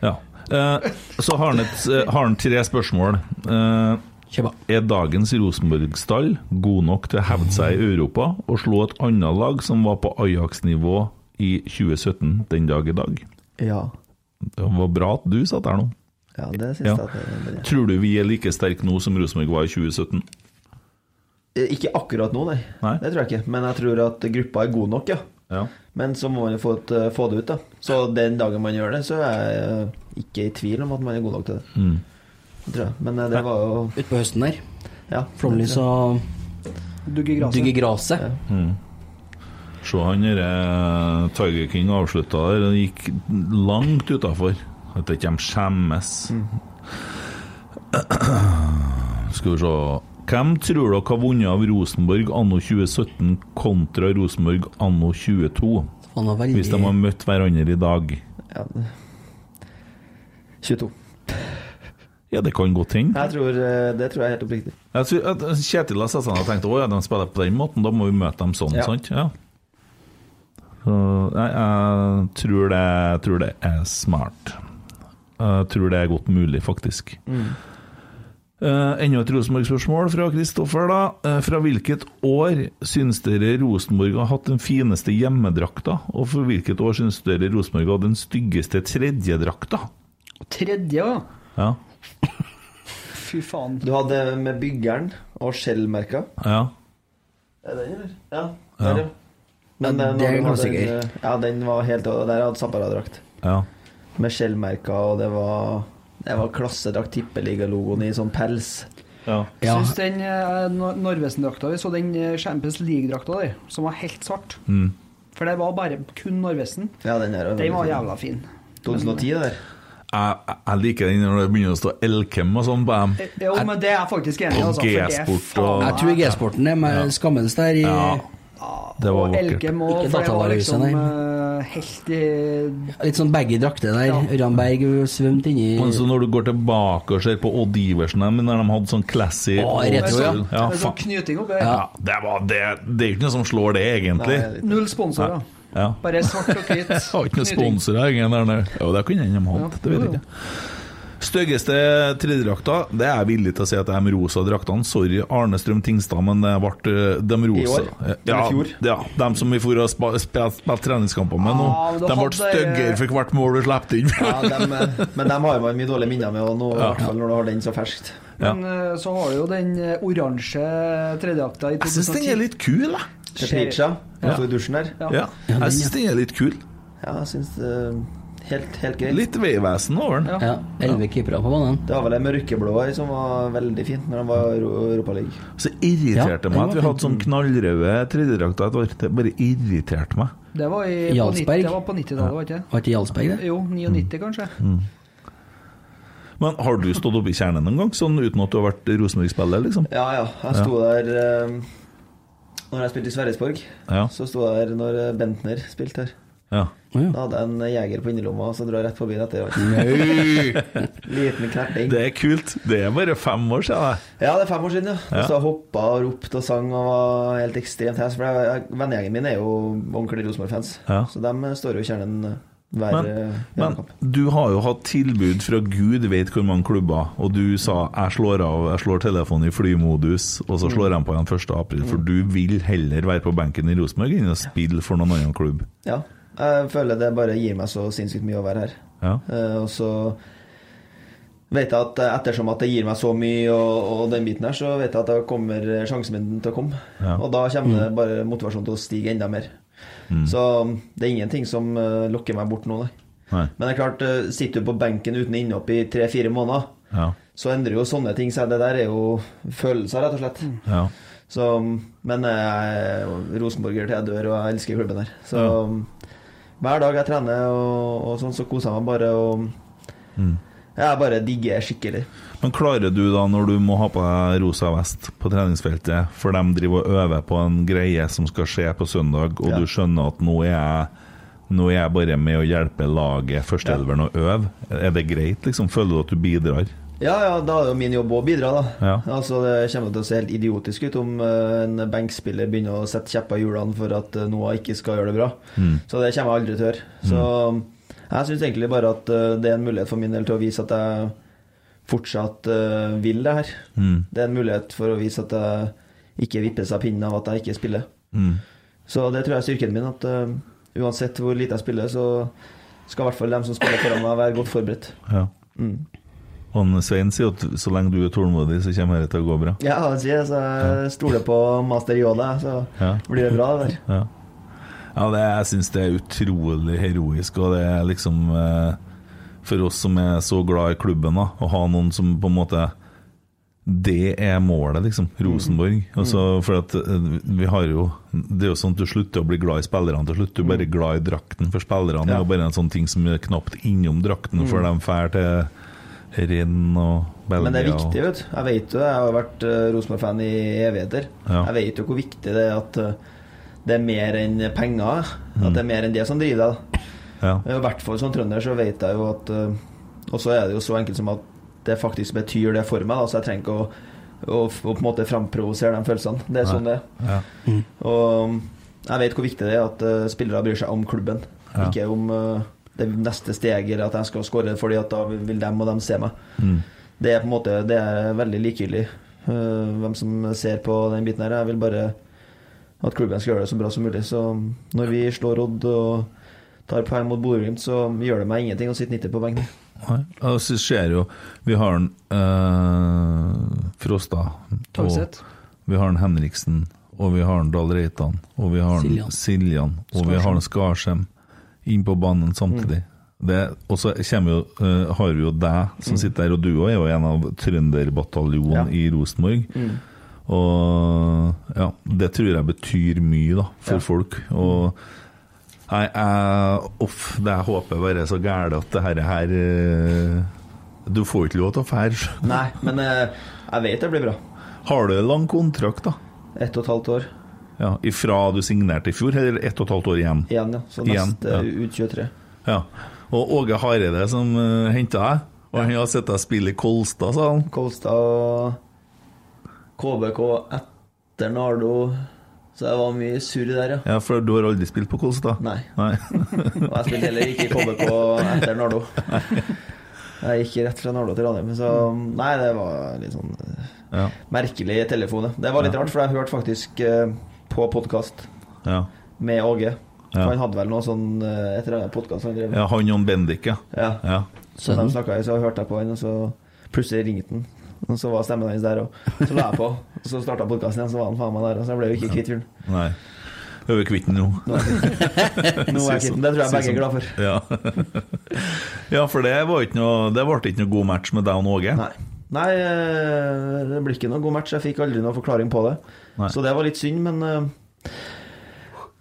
D: Ja. Eh, så har han, et, eh, har han tre spørsmål. Eh,
G: Kjøpa.
D: Er dagens Rosenborg-stall god nok til å hevde seg i Europa og slå et annet lag som var på Ajax-nivå i 2017 den dag i dag?
F: Ja.
D: Det var bra at du satt her nå.
F: ja, det syns
D: Ja.
F: jeg at det er.
D: Tror du vi er like sterke nå som Rosenborg var i 2017?
F: Eh, Ikke akkurat nå, nei.
D: Nei.
F: Det tror jeg ikke. Men jeg tror at gruppa er god nok, ja.
D: Ja.
F: Men så må man jo få, et, eh, få det ut, da. Så den dagen man gjør det, så er jeg ikke i tvil om at man er god nok til det.
D: Mm.
F: Det Tror jeg. Men eh, det var jo
G: Utpå høsten der.
F: Ja.
G: Flomlys og
E: Dugger
G: dygge
E: gresset.
G: graset.
D: Se han derre Tiger King avslutta der, han gikk langt utafor. At ikke de skjemmes. Skal vi se Hvem tror dere har vunnet av Rosenborg anno 2017 kontra Rosenborg anno 22?
G: Han var veldig
D: Hvis de har møtt hverandre i dag?
F: ja. 22.
D: Ja, det kan godt hende.
F: Jeg tror, eh, det tror jeg er helt oppriktig.
D: Jeg tror at Kjetil har sett seg ned og tenkt at ja, de spiller på den måten, da må vi møte dem sånn,
F: Ja.
D: sant? Ja. Så, nei, jeg tror det, tror det er smart. Jeg tror det er godt mulig, faktisk. Eh, enda et Rosenborg-spørsmål fra Kristoffer, da. Eh, fra hvilket år syns dere Rosenborg har hatt den fineste hjemmedrakta? Og for hvilket år syns dere Rosenborg har den styggeste tredjedrakta?
E: Tredje, ja.
D: Ja.
E: Fy faen.
F: Du hadde med byggeren og skjellmerka.
D: ja.
F: Er det den, eller? Ja. Der, ja. Men
G: Ja,
F: eh,
G: det er
F: når du
G: en
F: hadde
G: klassiker.
F: den, eh, Ja, den var helt og Der hadde Zappara-drakt.
D: Ja.
F: med skjellmerker, og det var, det var klassedrakt tippeligalogoen i sånn pels.
D: Ja.
E: Jeg
G: Ja.
E: syns den eh, Nor- Norvesen-drakta vi så, den eh, Champions League-drakta der, som var helt svart
D: Mm.
E: For det var bare kun Norvesen.
F: Ja, den her.
E: Den var jævla fin.
F: 2010, det der.
D: Jeg, jeg- jeg liker den når det begynner å stå Elkem og sånn på dem.
E: Eh, Jo, men det er jeg faktisk enig i.
D: Og
E: Altså, for det er
D: G-sport
E: faen
D: og-
G: Jeg tror G-sporten er med skammens der i
D: Ja, det var
E: og
D: vakkert.
E: Elkem og
G: Ikke
E: for det var
G: datalaget,
E: liksom
G: nei.
E: eh, helt i
G: Litt sånn baggy drakter der.
E: Ja.
G: Ørjan Berg svømte inni
D: Men så når du går tilbake og ser på Odd Iversen dem, når de hadde sånn classy
G: Å,
D: old
G: retro, ja.
D: school.
E: med
D: faen.
E: sånn knyting opp.
D: ja, det, var det, det er jo ikke noe som slår det, egentlig.
F: Nei, litt-
E: Null sponsorer.
D: ja.
E: Bare svart og hvit.
D: Jeg har ikke noen
E: knyting.
D: sponsorer, ingen der nede. Jo, det kunne de
E: Ja,
D: hatt, det vet
E: jo,
D: jeg
E: jo.
D: ikke. Styggeste tredjedrakta, det er jeg villig til å si at det er de rosa draktene. Sorry, Arne Strøm Tingstad, men det ble eh, de rosa.
F: I år?
D: Ja,
F: Eller i fjor?
D: ja, de som vi for å spa- spille spille treningskamper med nå.
E: Ah, men da
D: De ble
E: hadde-
D: styggere for hvert mål du slapp inn.
F: Ja, dem, eh, men dem har jo man mye dårlige minner med, og nå, i hvert fall når du har den så ferskt.
D: Ja.
E: Men eh, så har du jo den eh, oransje tredjeakta i
D: Jeg syns den
E: 2010.
D: er litt kul, jeg.
F: Teplica,
D: Ja.
F: ja. i dusjen der.
E: Ja.
D: Ja, jeg syns den er litt kul.
F: Ja, jeg syns eh, helt, helt greit.
D: Litt veivesen over den.
G: Ja, Elleve keepere på banen.
F: Det var vel en mørkeblå her som var veldig fint når den var i Euro- Europaligaen.
D: Så irriterte
G: Ja,
D: meg at
G: den
D: vi
G: var
D: hadde sånn knallrøde tredjedrakter. Det var- Det bare irriterte meg.
E: Det var, i, på
G: Jarlsberg.
E: nitt- det var på 90-tallet, var ikke det?
G: Var ikke Jarlsberg det?
E: Jo, 99 kanskje.
D: Men har du stått oppe i kjernen noen gang, sånn uten at du har vært Rosenborg-spiller, liksom?
F: Ja, ja. Jeg sto der eh, Når jeg spilte i Sverresborg,
D: Ja.
F: så sto jeg der når eh, Bentner spilte her.
D: Ja.
F: Da hadde jeg en jeger på innerlomma, så dro jeg rett forbi den etter hvert. Liten knerting.
D: Det er kult. Det er bare fem år siden. det.
F: Ja, det er fem år siden, ja. Og så hoppa og ropte og sang og var helt ekstremt hes. For jeg- jeg- vennegjengen min er jo ordentlige Rosenborg-fans,
D: Ja.
F: så de står jo i kjernen eh, hver
D: Men,
F: eh,
D: men
F: hjemmekamp.
D: du har jo hatt tilbud fra gud vet hvor mange klubber, og du sa 'jeg slår av, jeg slår telefonen i flymodus', og så slår jeg på igjen 1. april, for du vil heller være på benken i Rosenborg enn å spille for noen annen klubb.
F: Ja. Jeg føler det bare gir meg så sinnssykt mye å være her.
D: Ja.
F: Eh, og så vet jeg at eh, ettersom at det gir meg så mye og, og den biten her, så vet jeg at da kommer eh, sjansen min til å komme.
D: Ja. Mm.
F: Og da kommer det bare motivasjonen til å stige enda mer. Så um, det er ingenting som eh, lokker meg bort nå, nei.
D: Nei.
F: Men det er klart, eh, sitter du på benken uten innhopp i tre-fire måneder,
D: Ja.
F: så endrer jo sånne ting seg. Det der er jo følelser, rett og slett.
D: Ja.
F: Så, men jeg er jo rosenborger til jeg dør, og jeg elsker klubben her. Så hver dag jeg trener, og, og sånn, så koser jeg meg bare. Og jeg bare digger skikkelig.
D: Men klarer du da, når du må ha på deg rosa vest på treningsfeltet, for de driver og øver på en greie som skal skje på søndag, og
F: Ja.
D: du skjønner at nå er jeg nå er jeg bare med å hjelpe laget, førsteelveren, å øve. Er det greit, liksom? Føler du at du bidrar?
F: Ja, ja, da er jo min jobb å bidra, da.
D: Ja.
F: Altså, det kommer til å se helt idiotisk ut om eh, en benkspiller begynner å sette kjepper i hjulene for at eh, Noah ikke skal gjøre det bra. Så det kommer jeg aldri til å gjøre. Så jeg syns egentlig bare at eh, det er en mulighet for min del til å vise at jeg fortsatt eh, vil det her.
D: Mm.
F: Det er en mulighet for å vise at jeg ikke vippes av pinnen av at jeg ikke spiller.
D: mm,
F: Så det tror jeg er styrken min, at eh, uansett hvor lite jeg spiller, så skal i hvert fall dem som spiller foran meg, være godt forberedt.
D: Ja. Og Svein sier at så lenge du er tålmodig, så kommer dette til å gå bra.
F: Ja, han sier det, så altså, jeg stoler på master Yoda, så
D: Ja.
F: blir det bra. det der.
D: Ja, ja det, jeg syns det er utrolig heroisk, og det er liksom eh, For oss som er så glad i klubben, da, å ha noen som på en måte Det er målet, liksom. Rosenborg.
F: Mm.
D: Altså, for at eh, vi har jo Det er jo sånn at du slutter å bli glad i spillerne til slutt. Du er
F: Mm.
D: bare glad i drakten for spillerne. Det er jo bare en sånn ting som er knapt innom drakten før de drar til renn og Belgia.
F: Mm. Men det er viktig,
D: og,
F: vet du. Jeg vet jo det. Jeg har jo vært eh, Rosenborg-fan i evigheter.
D: Ja.
F: Jeg vet jo hvor viktig det er at eh, det er mer enn penger. At
D: Mm.
F: det er mer enn det som driver deg.
D: ja.
F: da. Eh, I hvert fall som trønder så vet jeg jo at eh, Og så er det jo så enkelt som at det faktisk betyr det for meg, da, så jeg trenger ikke å, å, f- å på en måte framprovosere de følelsene. Det er sånn det er.
D: Ja.
F: Og mm, jeg vet hvor viktig det er at eh, spillere bryr seg om klubben,
D: Ja.
F: ikke om eh, det neste steget eller at jeg skal skåre fordi at da vil dem og dem se meg.
D: Mm.
F: Det er på en måte Det er veldig likegyldig eh, hvem som ser på den biten her. Jeg vil bare at klubben skal gjøre det så bra som mulig. Så når vi slår Odd og tar poeng mot Bodø-Glimt, så gjør det meg ingenting å sitte 90 på benken.
D: Nei, og så ser jo Vi har en eh, Frosta og
E: Tagseth.
D: Vi har en Henriksen Og vi har en Dahl Reitan Og vi har en
G: Siljan.
D: Siljan Og vi har en Skarsheim Inn på banen samtidig Det, og så kommer jo, eh, har vi jo deg som sitter der, og du òg er jo en av trønderbataljonen
F: Ja.
D: i Rosenborg. Og ja, det tror jeg betyr mye da, for folk. Og nei, jeg, uff, det jeg håper bare er så gære at det her, her eh, Du får ikke lov til å fære.
F: Nei, men eh, jeg vet det blir bra.
D: Har du en lang kontrakt, da?
F: Ett og et halvt år
D: Ja, ifra du signerte i fjor, eller ett og et halvt år igjen?
F: igjen, ja. Så
D: Igjen,
F: neste
D: ja.
F: ut 23.
D: Ja. Og Åge Hareide som uh, henta deg, og han har sett deg spille i Kolstad, sa han.
F: Kolstad og KBK etter Nardo. Så det var mye surr der, ja.
D: Ja, for du har aldri spilt på Kolstad?
F: Nei.
D: Nei.
F: Og jeg spilte heller ikke i KBK etter Nardo. Jeg gikk rett fra Nardo til Ranheim. Så nei, det var litt sånn eh,
D: Mm. Ja.
F: merkelig telefon. ja. Det var litt rart, for jeg hørte faktisk eh, på podkast
D: Ja.
F: med Åge. For
D: Ja.
F: Han hadde vel noe sånn eh, et eller annet podkast han drev med.
D: ja han og Bendik, ja.
F: Ja.
D: ja. Mm-hmm.
F: Så de snakka, så hørte jeg på han, og så plutselig ringte han. Og så var stemmen hans der òg. Så la jeg på, og så starta podkasten igjen, så var han faen meg der. Og så jeg ble jo ikke kvitt fyren.
D: Nei. Vi er jo kvitt den nå.
F: Nå er jeg kvitt den. Det tror jeg begge er glad for.
D: Ja. ja, for det var ikke noe Det ble ikke noe god match med deg og Åge.
F: Nei. Nei, eh, det blir ikke noen god match. Jeg fikk aldri noen forklaring på det.
D: Nei.
F: Så det var litt synd, men eh,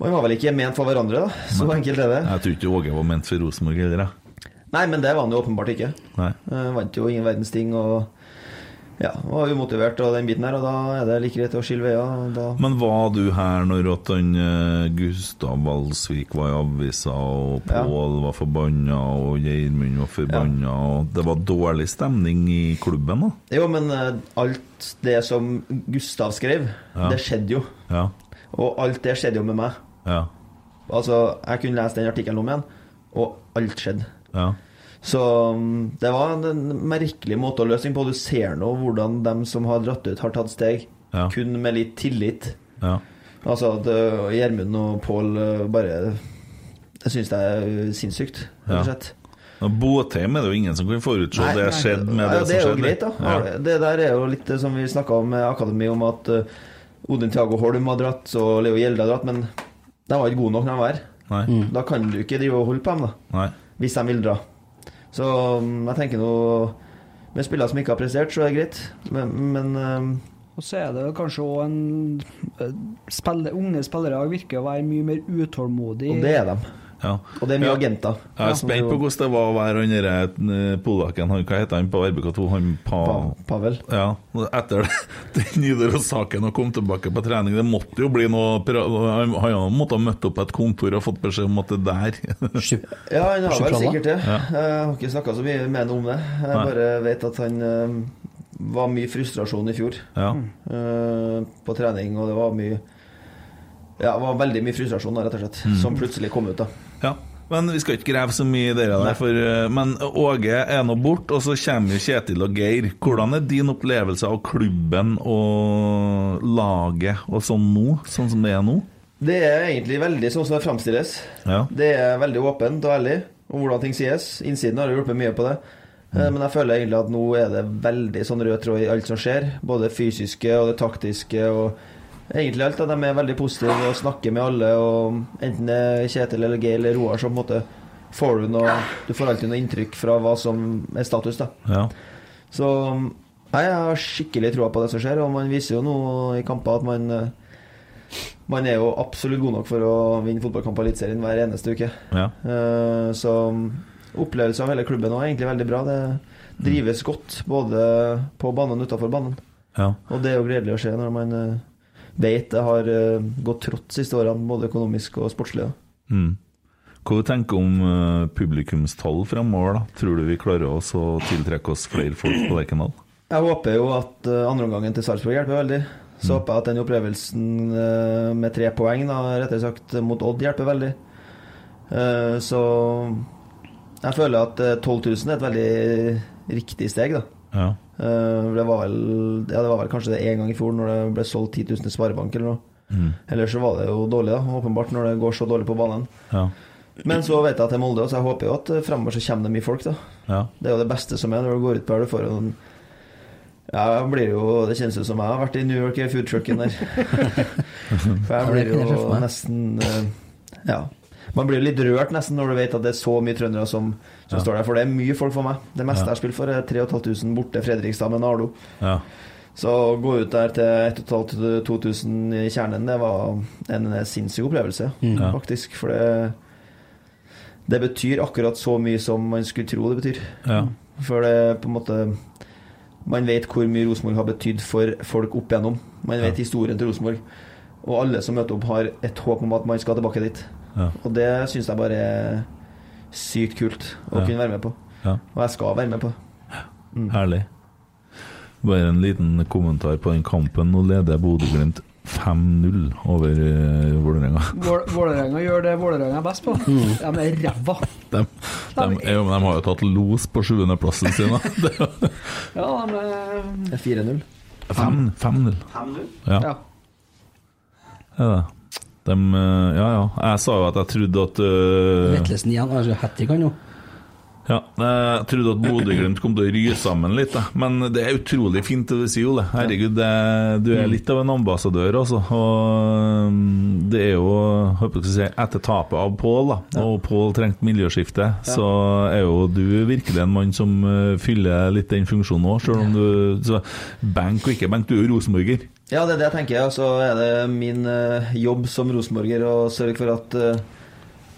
F: man var vel ikke ment for hverandre, da. Så enkelt er det.
D: Jeg tror ikke Åge var ment for Rosenborg heller, jeg.
F: Nei, men det var han jo åpenbart ikke.
D: Nei.
F: Eh, Vant jo ingen verdens ting og ja, var umotivert og den biten her, og da er det like greit å skille veier. og Da
D: Men var du her når at han eh, Gustav Valsvik var i avisa, og
F: Ja.
D: Pål var forbanna, og Geirmund var forbanna, og det var dårlig stemning i klubben, da?
F: Jo, men eh, alt det som Gustav skrev,
D: Ja.
F: det skjedde jo.
D: Ja.
F: Og alt det skjedde jo med meg.
D: Ja.
F: Altså, jeg kunne lese den artikkelen om igjen, og alt skjedde.
D: ja.
F: Så mm, det var en- en merkelig måte å løse ting på. Du ser nå hvordan dem som har dratt ut, har tatt steg.
D: Ja.
F: Kun med litt tillit.
D: ja.
F: Altså at eh, Gjermund og Pål eh, bare Jeg syns det er eh, sinnssykt, rett
D: Ja.
F: og slett.
D: Ja, Botheim er det jo ingen som kan forutse
F: Nei,
D: det har
F: nei.
D: skjedd med
F: Ja,
D: det,
F: det er
D: som
F: jo
D: skjedde.
F: greit, da.
D: Ja.
F: Det der er jo litt eh, som vi snakka om med Akademi, om at eh, Odin Thiago Holm har dratt, og Leo Gjelde har dratt, men de var ikke gode nok når de var her.
D: Nei,
F: Da kan du ikke drive og holde på dem, da,
D: nei.
F: hvis de vil dra. Så mm, jeg tenker nå Med spillere som ikke har prestert, så er det greit, men, men eh,
E: Og så er det vel kanskje òg en eh, spille, Unge spillere virker å være mye mer utålmodige.
F: Og det er dem.
D: Ja.
F: Og det er mye
D: Ja.
F: agenter.
D: Jeg er spent på hvordan det var å være han derre eh, polakken han- Hva heter han på RBK2? Han pa...
F: Pa- Pavel.
D: Ja, Etter det- den Nidaros-saken og kom tilbake på trening, det måtte jo bli noe pra- Han han måtte ha møtt opp på et kontor og fått beskjed om at det der
F: Ja, han har vel
G: Sjokolader.
F: sikkert det. Jeg har ikke snakka så mye med han om det. Jeg
D: Nei.
F: bare vet at han eh, var mye frustrasjon i fjor.
D: Ja.
F: eh, på trening, og det var mye Ja, det var veldig mye frustrasjon, da, rett og
D: Mm.
F: slett, som plutselig kom ut. da
D: ja. Men vi skal ikke grave så mye i det der, for, eh, men Åge er nå borte, og så kommer jo Kjetil og Geir. Hvordan er din opplevelse av klubben og laget og sånn nå, sånn som det er nå?
F: Det er egentlig veldig sånn som det fremstilles.
D: Ja.
F: Det er veldig åpent og ærlig om hvordan ting sies. Innsiden har jo hjulpet mye på det. Eh, Men jeg føler egentlig at nå er det veldig sånn rød tråd i alt som skjer. Både det fysiske og det taktiske og egentlig alt. At de er veldig positive og snakker med alle. Og enten det er Kjetil eller Geir eller Roar, så på en måte får du noe Du får alltid noe inntrykk fra hva som er status, da.
D: Ja.
F: Så um, nei, jeg har skikkelig troa på det som skjer, og man viser jo nå i kamper at man eh, Man er jo absolutt god nok for å vinne fotballkamp i Eliteserien hver eneste uke.
D: ja.
F: Eh, Så opplevelsen av hele klubben nå er egentlig veldig bra. Det drives godt både på banen og utafor banen.
D: ja.
F: Og det er jo gledelig å se når man eh, vet det har eh, gått trått de siste årene, både økonomisk og sportslig. da.
D: Mm. Hva du tenker du om eh, publikumstall fremover? da? Tror du vi klarer oss å tiltrekke oss flere folk på Lerkendal?
F: Jeg håper jo at eh, andreomgangen til Sarpsborg hjelper veldig. Så håper jeg at den opplevelsen eh, med tre poeng da, rettere sagt mot Odd hjelper veldig. Eh, Så jeg føler at eh, 12 000 er et veldig riktig steg, da.
D: Ja.
F: Eh, Det var vel, ja, det var vel kanskje det én gang i fjor når det ble solgt 10 000 i Sparebank eller noe. Ellers så var det jo dårlig, da, åpenbart, når det går så dårlig på banen.
D: Ja.
F: Men så vet jeg at det er Molde, og så jeg håper jo at eh, fremover så kommer det mye folk, da.
D: ja.
F: Det er jo det beste som er når du går ut på her. Du får jo en ja, jeg blir jo, Det kjennes ut som jeg har vært i New York i foodtrucken der. For jeg
G: Ja, det
F: blir
G: kan jeg se
F: jo
G: for meg.
F: nesten eh, Ja. Man blir jo litt rørt nesten når du vet at det er så mye trøndere som, som står der. For det er mye folk for meg. Det meste jeg spiller for, er 3500 borte Fredrikstad med Nardo.
D: Ja.
F: Så å gå ut der til 1500-2000 i kjernen, det var en sinnssyk opplevelse,
G: Mm.
F: faktisk. For det, det betyr akkurat så mye som man skulle tro det betyr.
D: Ja.
F: For det på en måte Man vet hvor mye Rosenborg har betydd for folk opp igjennom. Man vet historien til Rosenborg. Og alle som møter opp, har et håp om at man skal tilbake dit.
D: Ja.
F: Og det syns jeg bare er sykt kult å
D: Ja.
F: kunne være med på.
D: Ja.
F: Og jeg skal være med på.
D: Herlig. Bare en liten kommentar på den kampen. Nå leder Bodø-Glimt 5-0 over eh, Vålerenga.
E: Vål- Vålerenga gjør det Vålerenga er best på. De er ræva.
D: De, de, ja, men de har jo tatt los på sjuendeplassen sin. da. Det er
E: Ja, de er
F: Det er 4-0.
D: fem- 5-0. Ja.
E: Ja.
D: Ja, da. De, eh, ja, ja. Jeg sa jo at jeg trodde at eh,
G: Vettlesen igjen. Altså, hat trick, han jo.
D: ja, Eh, Jeg trodde at Bodø-Glimt kom til å ryke sammen litt, da. men det er utrolig fint det du sier, Ole. Herregud, det, du er litt av en ambassadør, altså. Og mm, det er jo håper jeg skal si, etter tapet av Pål, da, og Pål trengte miljøskifte, så er jo du virkelig en mann som eh, fyller litt den funksjonen òg, sjøl om du så, Benk og ikke benk, du er jo rosenborger.
F: Ja, det er det jeg tenker. Og så er det min eh, jobb som rosenborger å sørge for at eh,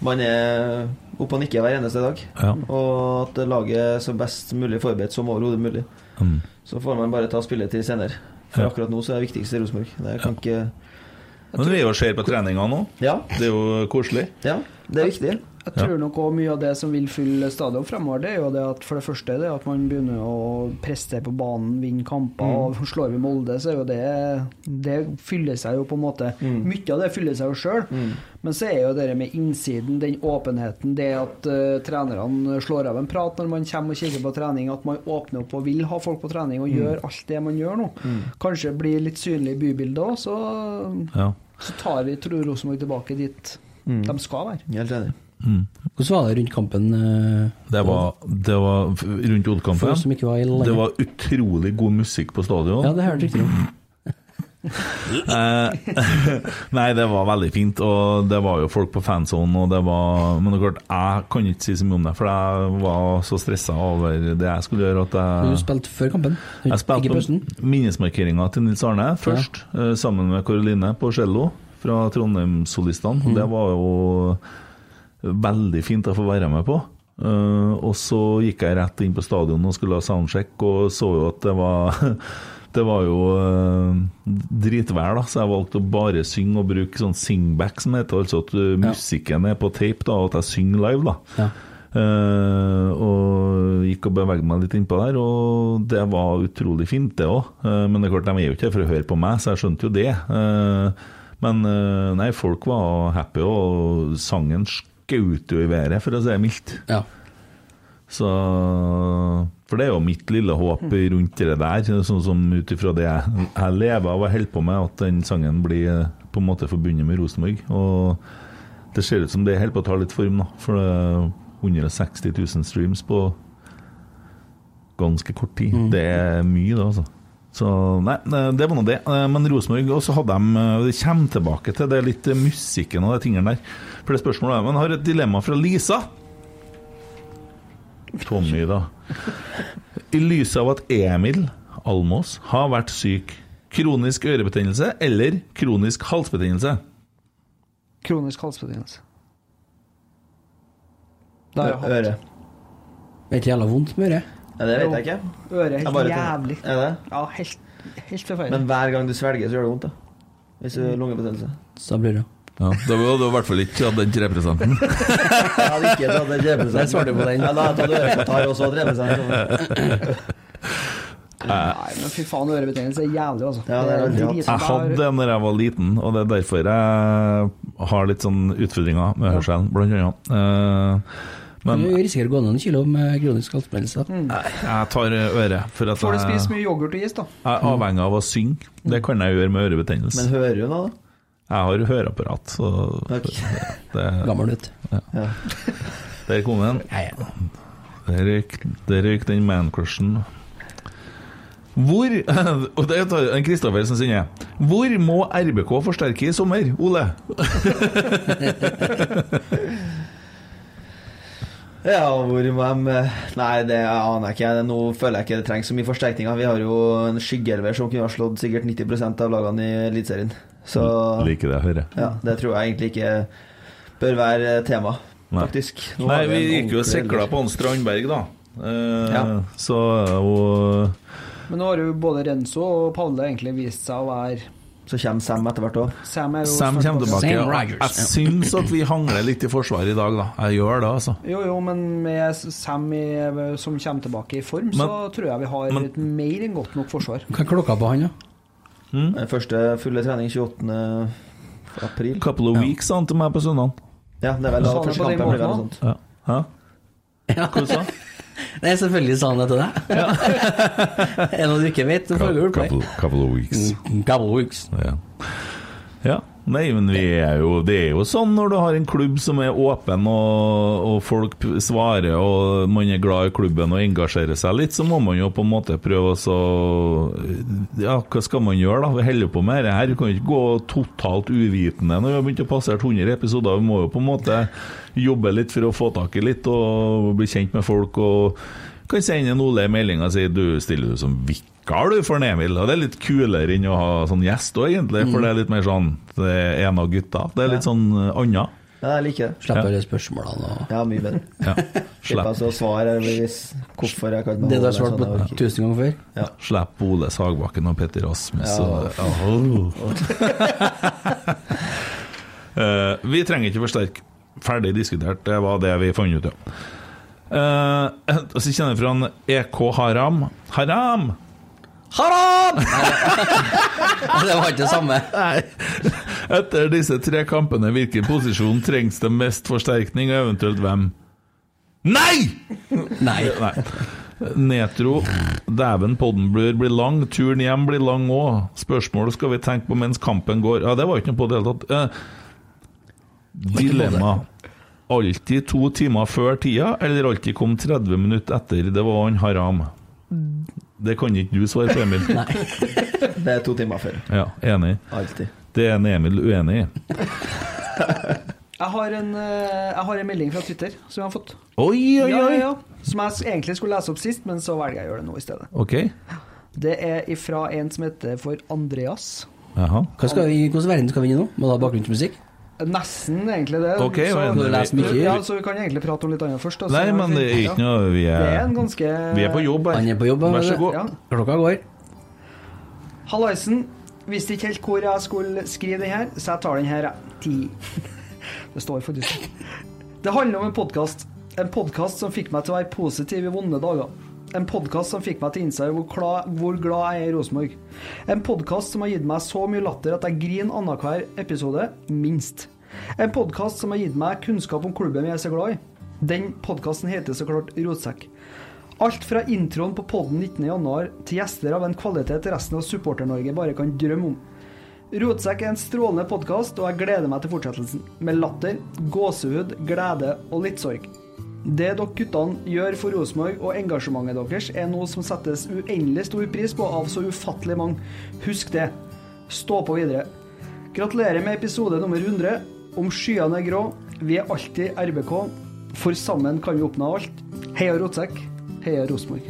F: man er oppe og nikker hver eneste dag.
D: Ja.
F: Og at laget er så best mulig forberedt som overhodet mulig.
D: Mm.
F: Så får man bare ta spilletid senere. For
D: Ja.
F: akkurat nå så er det viktigste Rosenborg. Det kan ikke
D: Men vi er jo og ser på treninga nå.
F: Ja,
D: Det er jo koselig.
F: ja, det er viktig.
E: Jeg tror nok også mye av det som vil fylle stadion fremover, det er jo det at for det første det er at man begynner å prestere på banen, vinne kamper. og Slår vi Molde, så er jo det Det fyller seg jo på en måte Mye av det fyller seg jo sjøl. Men så er jo det med innsiden, den åpenheten, det at eh, trenerne slår av en prat når man kommer og kikker på trening, at man åpner opp og vil ha folk på trening og gjør alt det man gjør nå. Kanskje blir litt synlig i bybildet òg, så,
D: Ja.
E: så tar vi tror Rosenborg tilbake dit de skal være.
F: Helt enig.
G: Hvordan var det rundt kampen? eh,
D: Det var, det var f- rundt
G: For oss
D: Oddkampen.
G: som ikke var i landet.
D: Det var utrolig god musikk på stadion. Eh,
G: Ja, det hørte riktig om.
D: Nei, det var veldig fint, og det var jo folk på fansonen, og det var Men det er klart, jeg kan ikke si så mye om det, for jeg var så stressa over det jeg skulle gjøre, at
G: Du
D: jeg
G: spilte før kampen?
D: jeg
G: ikke
D: spilte
G: i pausen?
D: på minnesmarkeringa til Nils Arne først, eh, sammen med Karoline på cello fra Trondheimssolistene. og Det var jo veldig fint å få være med på. Eh, og så gikk jeg rett inn på stadion og skulle ha soundcheck, og så jo at det var Det var jo uh, dritvær, da, så jeg valgte å bare synge og bruke sånn singback, som heter altså at eh, musikken er på tape, da, og at jeg synger live, da.
G: Ja.
D: Eh, og gikk og beveget meg litt innpå der, og det var utrolig fint, det òg. men det er klart, de er jo ikke her for å høre på meg, så jeg skjønte jo det. Eh, men eh, nei, folk var happy, og sangen skjøt jo i været, for å si det mildt.
G: Ja.
D: Så For det er jo mitt lille håp rundt det der, sånn som ut ifra det jeg, jeg lever av og holder på med, at den sangen blir eh, på en måte forbundet med Rosenborg. Og det ser ut som det holder på å ta litt form, da. For det er 160 000 streams på ganske kort tid. Det er mye, det, altså. Så nei, det var nå det. Eh, Men Rosenborg, og så hadde de eh, Det kommer tilbake til det litt eh, musikken og de tingene der. For det spørsmålet er Men har et dilemma fra Lisa. Tommy, da. I lyset av at Emil Almås har vært syk. Kronisk ørebetennelse eller kronisk halsbetennelse?
E: Kronisk halsbetennelse. Det har jeg hatt.
F: Øre.
G: Det er ikke jævla vondt med øret.
F: Ja, det vet jeg ikke.
E: Øret er
F: Jeg
E: helt
F: bare
E: jævlig.
F: tenker- Er det?
E: Ja, helt, helt
F: Men
E: forferdelig.
F: hver gang du svelger, så gjør det vondt, da. Hvis du har lungebetennelse.
G: Så da blir det
D: Ja, Da var du i hvert fall ikke hatt den representanten.
F: Jeg hadde ikke tatt den
G: Der svarte du på den.
F: Ja, da hadde jeg tatt ørekotar og så drevet
E: Nei, men fy faen, ørebetennelse er jævlig, altså.
F: Ja, det er veldig
E: drit-
D: Jeg hadde det når jeg var liten, og det er derfor jeg har litt sånn utfordringer med hørselen, blant annet. Eh, Men
G: Du risikerer å gå ned noen kilo med kronisk halsbetennelse. da.
D: jeg tar øret, for at
E: Får du spise
D: jeg
E: mye yoghurt og is, da?
D: jeg er avhengig av å synge. Det kan jeg gjøre med ørebetennelse.
F: Men hører hun da?
D: Jeg har høreapparat, så
F: Ok.
D: det,
G: Gammel, vet du.
D: der kom den. Der røyk, der røyk den mancrushen. Hvor og det er en Kristoffer som sier Hvor må RBK forsterke i sommer, Ole?
F: Ja, hvor må de Nei, det aner jeg ikke. Nå føler jeg ikke det trengs så mye forsterkninger. Vi har jo en skyggeelver som kunne ha slått sikkert 90 av lagene i Eliteserien. Så
D: Liker det jeg hører.
F: ja, det tror jeg egentlig ikke bør være tema,
D: Nei.
F: faktisk. Nå
D: Nei,
F: har
D: vi
F: en
D: gikk jo og
F: ordentlig
D: sikla
F: elver.
D: på han Strandberg, da. Eh,
F: Ja.
D: Så og,
E: Men nå har jo både Renzo og Palle egentlig vist seg å være
F: Så kommer Sam etter hvert òg.
E: Sam er jo
D: Sam
E: snart
D: kommer tilbake.
G: Sam
D: og
G: Rogers,
D: Jeg syns at vi hangler litt i forsvaret i dag, da. Jeg gjør det, altså.
E: Jo, jo, men med Sam i, som kommer tilbake i form, så
D: Men-
E: tror jeg vi har
D: men-
E: et mer enn godt nok forsvar.
G: Hva er klokka på han, da?
D: Mm.
F: Første fulle trening 28. april.
D: Couple of weeks sa han til meg på søndag.
F: Ja, det er vel da
E: Sa han det
F: første
E: på den
F: kampen blir
E: måten
F: vel
E: da?
F: noe sånt.
D: Ja. Hæ?
G: Ja.
D: Hva sa han?
G: Nei, selvfølgelig sa han det til deg. er det noe du ikke vet? Du følger Ullplay.
D: couple of weeks.
G: Gabble weeks.
D: Ja. ja. Nei, men vi er jo, det er jo sånn når du har en klubb som er åpen, og, og folk p- svarer, og man er glad i klubben og engasjerer seg litt, så må man jo på en måte prøve å så- Ja, hva skal man gjøre, da? Vi holder på med dette her. Vi kan jo ikke gå totalt uvitende når vi har begynt å passere 100 episoder. Vi må jo på en måte jobbe litt for å få tak i litt, og bli kjent med folk. og kan sende en Ole en melding og si du stiller du som vikar du for Emil. Og det er litt kulere enn å ha sånn gjest òg, egentlig, for det er litt mer sånn det er en av gutta. Det er litt sånn eh, anna.
F: Ja, jeg liker det.
G: Slipper alle spørsmålene og
F: Ja, mye bedre.
D: Ja.
F: Slipper
D: Slipp-
F: altså å svare hvis- hvorfor jeg kan sånn
G: Det du har svart på tusen ganger før?
D: Slipp Ole Sagbakken og Petter Rasmus og Eh, Vi trenger ikke forsterke. Ferdig diskutert, det var det vi fant ut av. Eh, og så kjenner jeg fra en EK Haram. Haram!
G: Haram! det var ikke det samme.
D: Nei. Etter disse tre kampene, hvilken posisjon trengs det mest forsterkning, og eventuelt hvem? Nei!
G: Nei.
D: Nei. Netro. Dæven, podden blir, blir lang. Turen hjem blir lang òg. Spørsmålet skal vi tenke på mens kampen går. Ja, det var ikke noe på det hele tatt. Eh, dilemma. Alltid to timer før tida, eller alltid kom 30 minutter etter? Det var han Haram. Det kan ikke du svare på, Emil.
F: Det er to timer før.
D: Ja, enig.
F: Alltid.
D: Det er en Emil uenig i.
E: Jeg har, en, eh, jeg har en melding fra Twitter som jeg har fått.
D: Oi, oi,
E: Ja, ja,
D: oi!
E: ja. Som jeg s- egentlig skulle lese opp sist, men så velger jeg å gjøre det nå i stedet.
D: Ok.
E: Det er ifra en som heter for Andreas.
D: Jaha.
G: Hva skal vi, hvordan verden skal vi inn i nå? Må du ha bakgrunnsmusikk?
E: Nesten, egentlig det.
D: Ok,
E: så,
D: men-
G: Må du lese mye?
E: ja, så vi kan egentlig prate om litt annet først. altså.
D: Nei, men det er
E: Ja.
D: ikke noe Vi
E: Det er
D: er,
E: en eh, ganske
D: vi er på jobb
G: Han
D: her.
G: er på jobb.
D: Vær så
G: vet du.
D: god.
E: Ja.
G: Klokka går.
E: Hallaisen. Visste ikke helt hvor jeg skulle skrive den her, så jeg tar den her, jeg. Ti. Det står for dyrt. Det handler om en podkast. En podkast som fikk meg til å være positiv i vonde dager. En podkast som fikk meg til å innse hvor, kla- hvor glad jeg er i Rosenborg. En podkast som har gitt meg så mye latter at jeg griner annenhver episode, minst. En podkast som har gitt meg kunnskap om klubben jeg er så glad i. Den podkasten heter så klart Rotsekk. Alt fra introen på podden 19.1 til gjester av en kvalitet resten av Supporter-Norge bare kan drømme om. Rotsekk er en strålende podkast, og jeg gleder meg til fortsettelsen. Med latter, gåsehud, glede og litt sorg. Det dere guttene gjør for Rosenborg og engasjementet deres, er noe som settes uendelig stor pris på av så ufattelig mange. Husk det. Stå på videre. Gratulerer med episode nummer 100. Om skyene er grå, vi er alltid RBK. For sammen kan vi oppnå alt. Heia Rotsekk. Heia Rosenborg.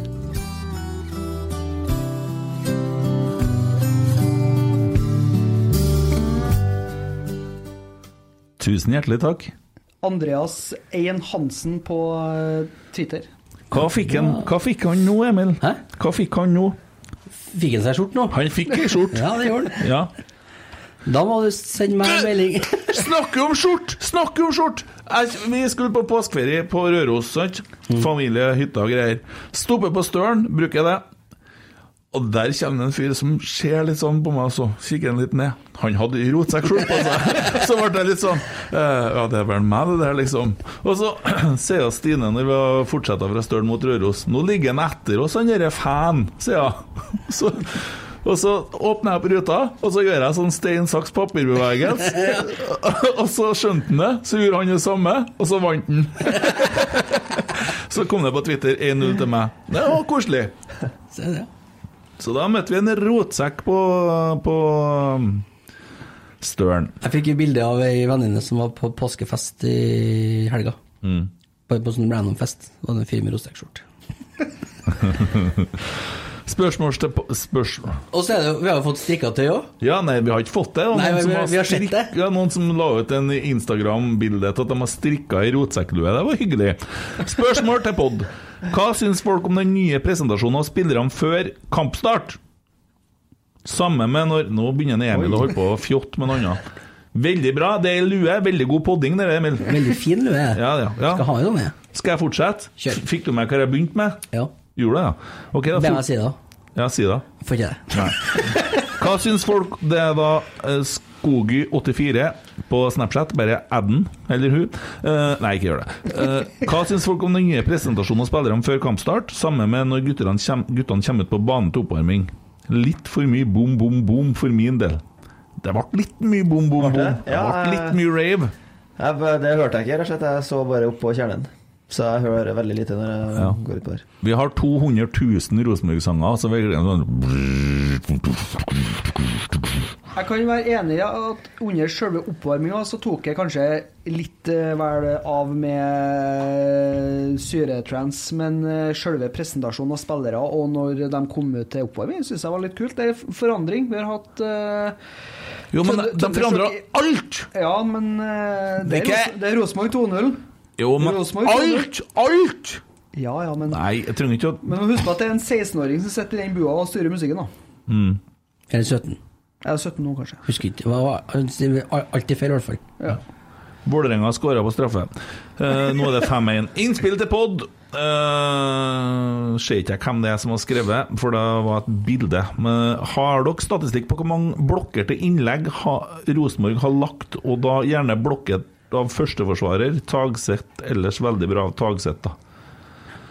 D: Tusen hjertelig takk.
E: Andreas Ein Hansen på eh, Twitter.
D: Hva fikk han, hva fikk han nå, Emil?
G: Hæ?
D: Hva fikk han nå?
G: Fikk han seg skjorte nå?
D: Han fikk ei skjorte!
G: Ja, det gjorde han.
D: Ja.
G: Da må du sende meg en melding.
D: Snakker om skjort! Snakker om skjort! Jeg, vi skulle på påskeferie på Røros, sant? Familie, hytte og greier. Stopper på Støren, bruker det. Og der kommer det en fyr som ser litt sånn på meg, og så kikker han litt ned. Han hadde rotsekkskjorte på seg! Så ble jeg litt sånn eh, Ja, det er vel meg, det der, liksom. Og så sier jeg Stine, når vi har fortsatt fra Stølen mot Røros Nå ligger han etter oss, han derre fan, sier hun. Så, og så åpner jeg opp ruta, og så gjør jeg sånn stein, saks, papir-bevegelse. Og så skjønte han det, så gjorde han det samme, og så vant han. Så kom det på Twitter 1-0 til meg. Det var koselig.
G: Se det.
D: Så da møtte vi en rotsekk på, på um, Støren.
G: Jeg fikk jo bilde av ei venninne som var på påskefest i helga. Bare på sånn random fest. Det var en fyr med rotsekkskjorte.
D: Spørsmål til spørsmål.
G: Og så er det jo Vi har jo fått strikketøy òg.
D: Ja, nei, vi har ikke fått det. og
G: Nei,
D: noen
G: men
D: som
G: vi- vi har sett
D: strikket-
G: det.
D: Ja, noen som la ut en Instagram-bilde til at de har strikka i rotsekklue. Det var hyggelig. Spørsmål til pod. Hva syns folk om den nye presentasjonen av spillerne før kampstart? Samme med når Nå begynner Emil å holde på å fjotte med noe annet. Veldig bra. Det er ei lue. Veldig god podding, det, Emil.
G: Veldig fin lue.
D: Ja, ja, ja.
G: Skal ha en sånn, jeg.
D: Skal jeg fortsette?
G: Kjør.
D: Fikk du med hva jeg begynte med?
G: Ja.
D: Gjorde det, ja. Ok, da.
G: Det må
D: fort-
G: jeg si, da.
D: Ja, si det.
G: Får ikke det.
D: Hva syns folk det er da eh, Skogy84 på Snapchat, bare adden, eller hun? Eh, nei, ikke gjør det. Eh, hva syns folk om den nye presentasjonen av spillerne før kampstart, samme med når gutterne kjem- guttene kommer ut på banen til oppvarming? Litt for mye bom, bom, bom for min del. Det ble litt mye bom, bom, bom.
F: det?
D: Det
F: Ja,
D: ble litt mye rave.
F: Jeg, b- det hørte jeg ikke, rett og slett. Jeg så bare opp på kjernen. Så jeg hører veldig lite når jeg
D: Ja.
F: går ut på der.
D: Vi har 200 000 Rosenborg-sanger, så vi gleder oss sånn
E: Jeg kan være enig i at under selve oppvarminga så tok jeg kanskje litt eh, vel av med syretrans, men eh, selve presentasjonen av spillere og når de kom ut til oppvarming, syns jeg var litt kult. Det er forandring. Vi har hatt eh,
D: Jo, men
E: Tønde-
D: de forandra
E: Tøndersjokk-
D: alt!
E: Ja, men eh, det
D: Det er
E: er,
D: ikke-
E: Ros- det er Rosenborg 2-0.
D: Jo, men
E: Rosenborg-
D: alt! Alt!
E: Ja, ja, men
D: Nei, jeg trenger ikke å
E: Men husk på at det er en 16-åring som sitter i den bua og styrer musikken, da.
G: Eller 17.
E: Jeg er 17 nå, kanskje.
G: Husker ikke. Hva var- Alltid feil, i hvert fall.
D: Vålerenga skåra på straffe. Eh, nå er det 5-1. Innspill til pod! Uh, ser ikke jeg hvem det er som har skrevet, for det var et bilde. Men har dere statistikk på hvor mange blokker til innlegg ha, Rosenborg har lagt, og da gjerne blokket av førsteforsvarer? Tagsett ellers veldig bra av Tagsett, da.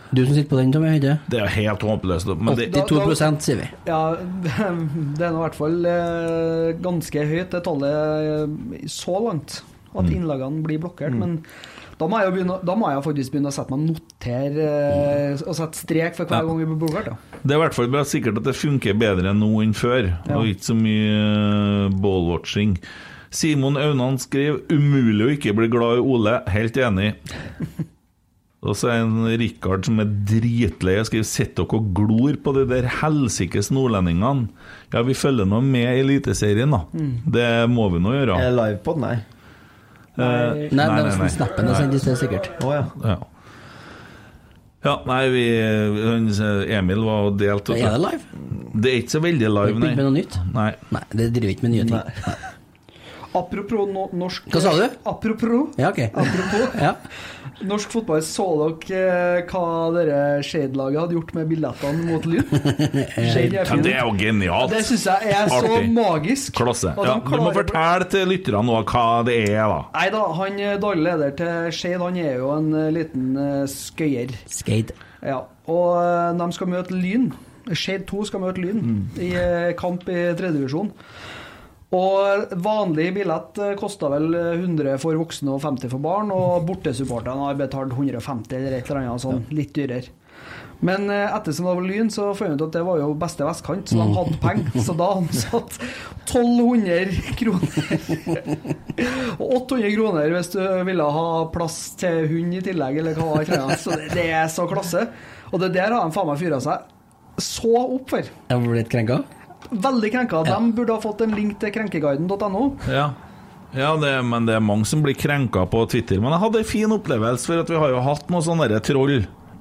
G: Du som sitter på den, Tommy Høyde.
D: Det er helt håpløst. Men det,
G: 82 sier vi.
E: Ja, det er nå i hvert fall eh, ganske høyt, det tallet eh, så langt,
D: Mm.
E: at innlagene blir blokkert. Men da må, jeg jo begynne, da må jeg faktisk begynne å sette meg noter eh, og sette strek for hver
D: Ja.
E: gang vi blir blokkert. Da.
D: Det er i hvert fall bra sikkert at det funker bedre nå enn før, og ikke så mye eh, ballwatching. Simon Aunan skriver 'umulig å ikke bli glad i Ole'. Helt enig. Og så er en Rikard som er dritlei og skriver 'sitter dere og glor på de der helsikes nordlendingene'? Ja, vi følger nå med i Eliteserien, da.
G: Mm.
D: Det må vi nå gjøre.
F: Er det live på den? Nei.
D: Eh,
G: Nei, det var sånn snappen jeg sendte i sted, sikkert.
F: Å ja.
D: Ja. ja, nei, vi han- Emil var og delte
G: Er det live?
D: Det er ikke så veldig
G: Har
D: live,
G: du begynt med noe
D: nei.
G: nytt?
D: nei.
G: Nei, det driver ikke med nye ting.
E: Apropos no norsk
G: Hva sa du?
E: Apropos
G: Ja, ok.
E: Apropos
G: Ja.
E: norsk fotball, så dere eh, hva dere Shade-laget hadde gjort med billettene mot Lyn? Shade
D: Ja, det er jo genialt.
E: Det syns jeg er så
D: Artig.
E: magisk.
D: Klasse.
E: At de
D: Ja, du må
E: klarer-
D: fortelle til lytterne nå hva det er, da.
E: Nei da, han eh, daglig leder til Skeid, han er jo en eh, liten eh, skøyer.
G: Skate.
E: Ja. Og eh, de skal møte Lyn. Skeid 2 skal møte Lyn i eh, kamp i tredjevisjon. Og eh, vanlig billett eh, kosta vel eh, 100 for voksne og 50 for barn, og bortesupporterne har betalt 150 eller et eller annet sånn, litt dyrere. Men eh, ettersom det var Lyn, så fant jeg ut at det var jo beste vestkant, så de hadde penger. Så da ansatt 1200 kroner. Og 800 kroner hvis du ville ha plass til hund i tillegg, eller hva det var. Så det, det er så klasse. Og det der har de faen meg fyra seg så opp for.
G: Jeg ble litt krenka.
E: Veldig krenka. De burde ha fått en link til krenkeguiden.no.
D: Ja. Ja, det, men det er mange som blir krenka på Twitter. Men jeg hadde en fin opplevelse, for at vi har jo hatt noen sånne der troll.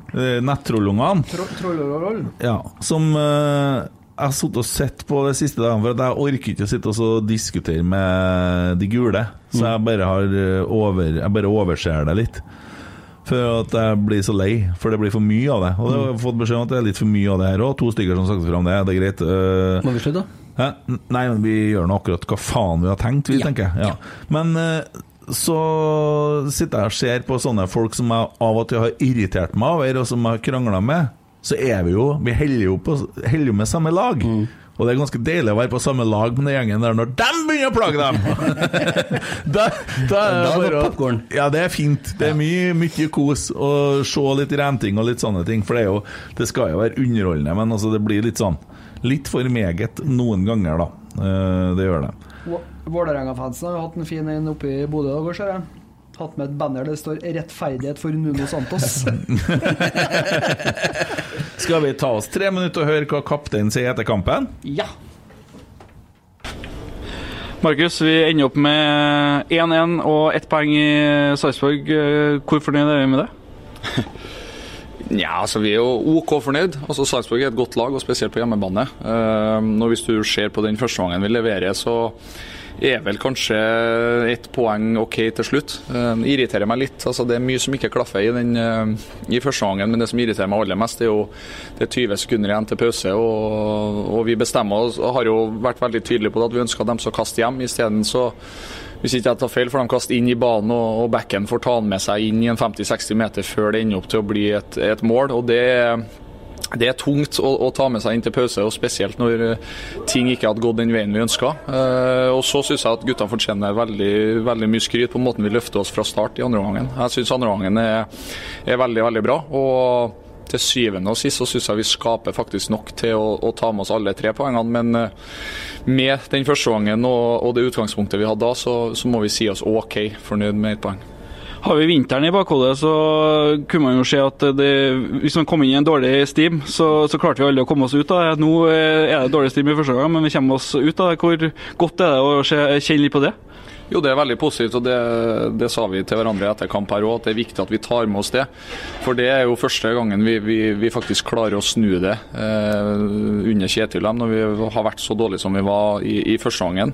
D: eh, Nettrollungene.
E: Tro- trollololol.
D: Ja, som eh, jeg har sittet og sett på det siste dagen, for at jeg orker ikke å sitte og så diskutere med de gule. Så jeg bare, har eh, over, jeg bare overser det litt. For at jeg blir så lei, for det blir for mye av det. Og jeg har fått beskjed om at det er litt for mye av det her òg. To stykker som snakket fram det, det er greit. Eh,
G: Må vi slutte, da?
D: Hæ? N- Nei, men vi gjør nå akkurat hva faen vi har tenkt, vi,
G: Ja.
D: tenker jeg. Ja. Men eh, så sitter jeg og ser på sånne folk som jeg av og til har irritert meg over, og som jeg har krangla med. Så er vi jo Vi holder jo, på, holder jo med samme lag.
G: Mm.
D: Og det er ganske deilig å være på samme lag med den gjengen der når de begynner å plage dem! da, da er
G: Da
D: det
G: går
D: bare å-
G: popcorn.
D: Ja, det er fint. Det er mye, mye kos å se litt renting og litt sånne ting. For det, er jo, det skal jo være underholdende, men altså, det blir litt sånn Litt for meget noen ganger, da. Eh, Det gjør det.
E: Vå- Vålerenga-fansen har jo hatt en fin en oppe i Bodø i går, ser jeg. Hatt med et banner det står 'Rettferdighet for Nuno Santos'.
D: Skal vi ta oss tre minutter og høre hva kapteinen sier etter kampen?
E: ja.
I: Markus, vi ender opp med 1-1 og ett poeng i Sarpsborg. Eh, Hvor fornøyd er vi med det?
J: Nja, altså vi er jo OK fornøyd. Altså Sarpsborg er et godt lag, og spesielt på hjemmebane. Eh, nå Hvis du ser på den førsteomgangen vi leverer, så er vel kanskje ett poeng OK til slutt. Eh, Det irriterer meg litt. altså Det er mye som ikke klaffer i, den, eh, i førsteomgangen, men det som irriterer meg aller mest, det er jo det er 20 sekunder igjen til pause. og, og Vi bestemmer oss og har jo vært veldig tydelige på det at vi ønsker dem som kaster hjem. Isteden så hvis ikke jeg tar feil, får de kaste inn i banen, og, og backen får ta den med seg inn i en 50-60 meter før det ender opp til å bli et, et mål. og det er- det er tungt å, å ta med seg inn til pause, og spesielt når eh, ting ikke hadde gått den veien vi ønska. Eh, og så syns jeg at guttene fortjener veldig, veldig mye skryt på måten vi løfter oss fra start i andre omgangen. Jeg syns andre omgangen er, er veldig, veldig bra. og til syvende og sist så syns jeg vi skaper faktisk nok til å, å ta med oss alle tre poengene. Men eh, med den første gangen og, og det utgangspunktet vi hadde da, så, så må vi si oss OK fornøyd med ett poeng.
I: Har vi vinteren i bakhodet, så kunne man jo se at det, hvis man kom inn i en dårlig stim, så, så klarte vi alle å komme oss ut av det. Nå eh, er det dårlig stim i første gang, men vi kommer oss ut av det. Hvor godt er det å se- kjenne litt på det?
J: Jo, det er veldig positivt, og det, det sa vi til hverandre etter kamp her òg, at det er viktig at vi tar med oss det. For det er jo første gangen vi, vi, vi faktisk klarer å snu det eh, under Kjetil dem, når vi har vært så dårlige som vi var i, i første gangen.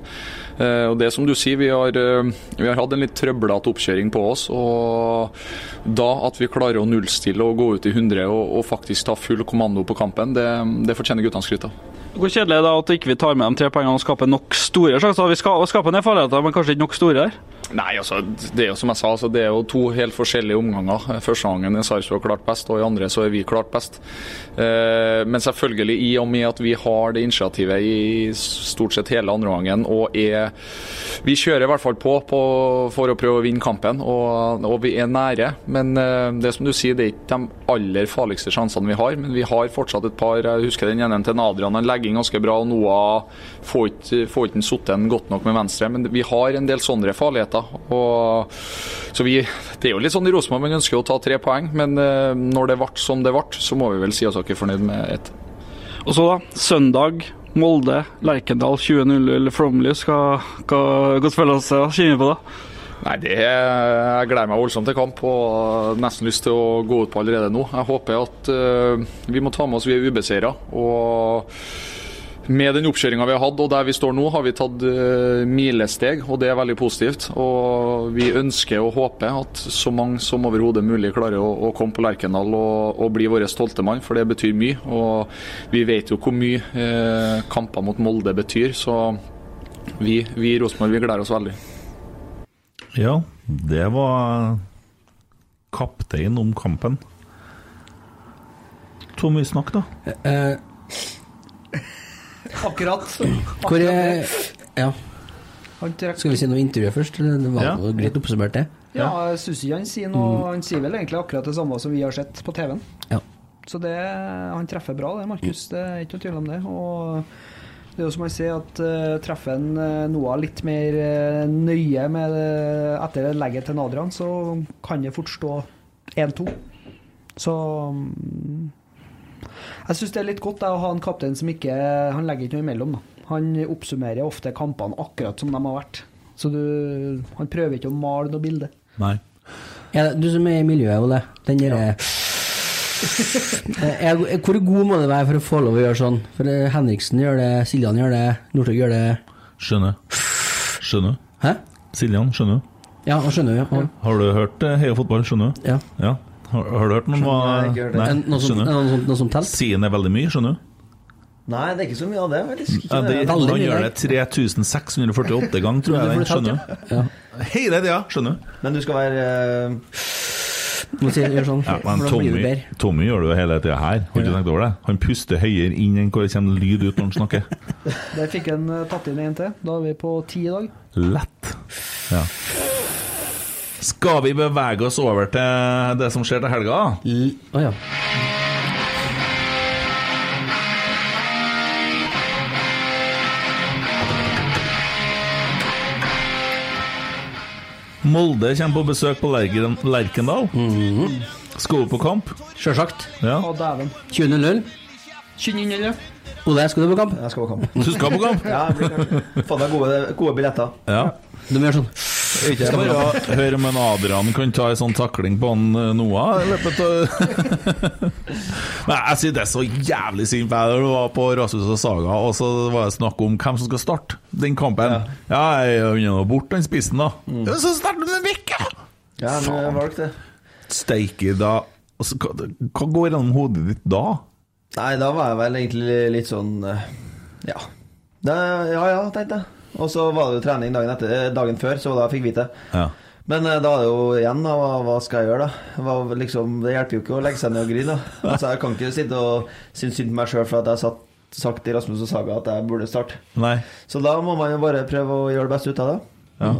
J: Eh, og det er som du sier, vi har, eh, vi har hatt en litt trøblete oppkjøring på oss. Og da at vi klarer å nullstille og gå ut i 100 og, og faktisk ta full kommando på kampen, det, det fortjener guttene skryt av.
I: Hvor kjedelig er det at ikke vi tar med de tre poengene og skaper nok store sjanser? Vi ska- skaper en del farligheter, men kanskje ikke nok store her?
J: Nei, altså, det er jo som jeg sa, altså, det er jo to helt forskjellige omganger. Første gangen er Sarpsborg klart best, og i andre så er vi klart best. Eh, men selvfølgelig, i og med at vi har det initiativet i stort sett hele andre gangen, og er Vi kjører i hvert fall på, på for å prøve å vinne kampen, og, og vi er nære. Men eh, det er som du sier, det er ikke de aller farligste sjansene vi har. Men vi har fortsatt et par. Jeg husker den ene til Adrian. Han legger inn ganske bra, og Noah får ikke- får ikke satt den godt nok med venstre. Men vi har en del sånne farligheter. Og, så vi, det er jo litt sånn i Rosenborg, man ønsker jo å ta tre poeng. Men eh, når det ble som det ble, så må vi vel si oss ikke fornøyd med ett.
I: Og så da, søndag, Molde, Lerkendal 20-0 Flomly. Skal hva- Godt følelse å kjenne på det.
J: Nei, det Jeg gleder meg voldsomt til kamp og har nesten lyst til å gå ut på allerede nå. Jeg håper at eh, vi må ta med oss vi er ubeseira. Og med den oppkjøringa vi har hatt og der vi står nå, har vi tatt eh, milesteg, og det er veldig positivt. Og vi ønsker og håper at så mange som overhodet mulig klarer å, å komme på Lerkendal og, og bli vår stolte mann, for det betyr mye. Og vi vet jo hvor mye eh, kamper mot Molde betyr, så vi, vi i Rosenborg vi gleder oss veldig.
D: Ja, det var kaptein om kampen. Hvor mye snakk, da?
G: Eh,
E: Akkurat.
G: hvor er
E: Akkurat
G: Ja.
E: Han trakk-
G: Skal vi si noe intervju først? eller? Det var
E: Ja.
G: jo greit oppsummert, det.
E: Ja, jeg synes ikke han sier noe. Han sier vel egentlig akkurat det samme som vi har sett på TV-en.
G: Ja.
E: Så det, han treffer bra, det, Markus. Det er ikke noe tvil om det. Og det er jo som han sier, at eh, treffer han eh, Noah litt mer eh, nøye med, eh, etter legget til Adrian, så kan det fort stå 1-2. Så mm, jeg syns det er litt godt da, å ha en kaptein som ikke Han legger ikke noe imellom. Da. Han oppsummerer ofte kampene akkurat som de har vært. Så du, han prøver ikke å male noe bilde.
D: Nei.
G: Ja, du som er i miljøet, Ole. Den der, Eh, er- Hvor god må det være for å få lov å gjøre sånn? For eh, Henriksen gjør det, Siljan gjør det, Northug gjør det.
D: Skjønner. Skjønner.
G: Hæ?
D: Siljan, skjønner du?
G: Ja, og skjønner jo. Og,
D: Har du hørt eh, Heia fotball, skjønner du?
G: Ja.
D: Har, har du hørt noe om hva
F: Skjønner, jeg har ikke hørt det.
D: Nei,
G: Eh, Noe som,
D: skjønner.
G: noe som, noe som telt?
D: Siden er veldig mye, skjønner du?
F: Nei, det er ikke så mye av det. faktisk. Ikke
D: Ja, det,
F: det.
G: veldig
D: han
G: mye,
D: gjør
G: nei.
D: det 3648 ganger, tror jeg. Den,
G: Men du får det
D: skjønner
G: talt,
D: du? Hele tida, skjønner du?
F: Men du skal være eh,
G: Må si, gjør sånn,
D: Ja,
G: for
D: men
G: da blir det
D: Tommy,
G: bedre.
D: Tommy gjør det jo hele tida her. Har du ikke tenkt over det? Han puster høyere inn enn hvor det kommer lyd ut når han snakker.
E: Der fikk han eh, tatt inn en til. Da er vi på ti i dag.
D: Lett. Ja. Skal vi bevege oss over til det som skjer til helga?
G: L- Å ja.
D: Molde kommer på besøk på Lerken, Lerkendal.
G: Mhm.
D: Skal du på kamp?
G: Sjølsagt.
D: Ja.
E: Å, dæven.
G: 20.00. Ole, skal du på kamp?
F: Jeg skal på kamp.
D: Du skal på kamp?
F: Ja, jeg blir kanskje- Få deg gode, gode billetter.
D: Ja.
G: Du må gjøre sånn.
D: Skal jeg bare høre om en Adrian kan ta en sånn takling på han eh, Noah i løpet av Nei, jeg synes det er så jævlig synd, for jeg var på Rasmus og Saga, og så var det snakk om hvem som skal starte den kampen. Ja, Mm. jeg er jo borte den spissen, da. Ja, så starter du med Bekke!
F: Ja, men jeg valgte det.
D: Steike, da. Altså, hva, hva går gjennom hodet ditt da?
F: Nei, da var jeg vel egentlig litt sånn eh, Ja. Det, ja ja, tenkte jeg. Og så var det jo trening dagen, etter, eh, dagen før, så da fikk jeg vite det.
D: Ja.
F: Men eh, da er det jo igjen, da. Hva, hva skal jeg gjøre, da? Hva, liksom, det hjelper jo ikke å legge seg ned og grine, da. Altså, jeg kan ikke sitte og synes synd på meg sjøl for at jeg satt, sagt til Rasmus og Saga at jeg burde starte.
D: Nei.
F: Så da må man jo bare prøve å gjøre det beste ut av det.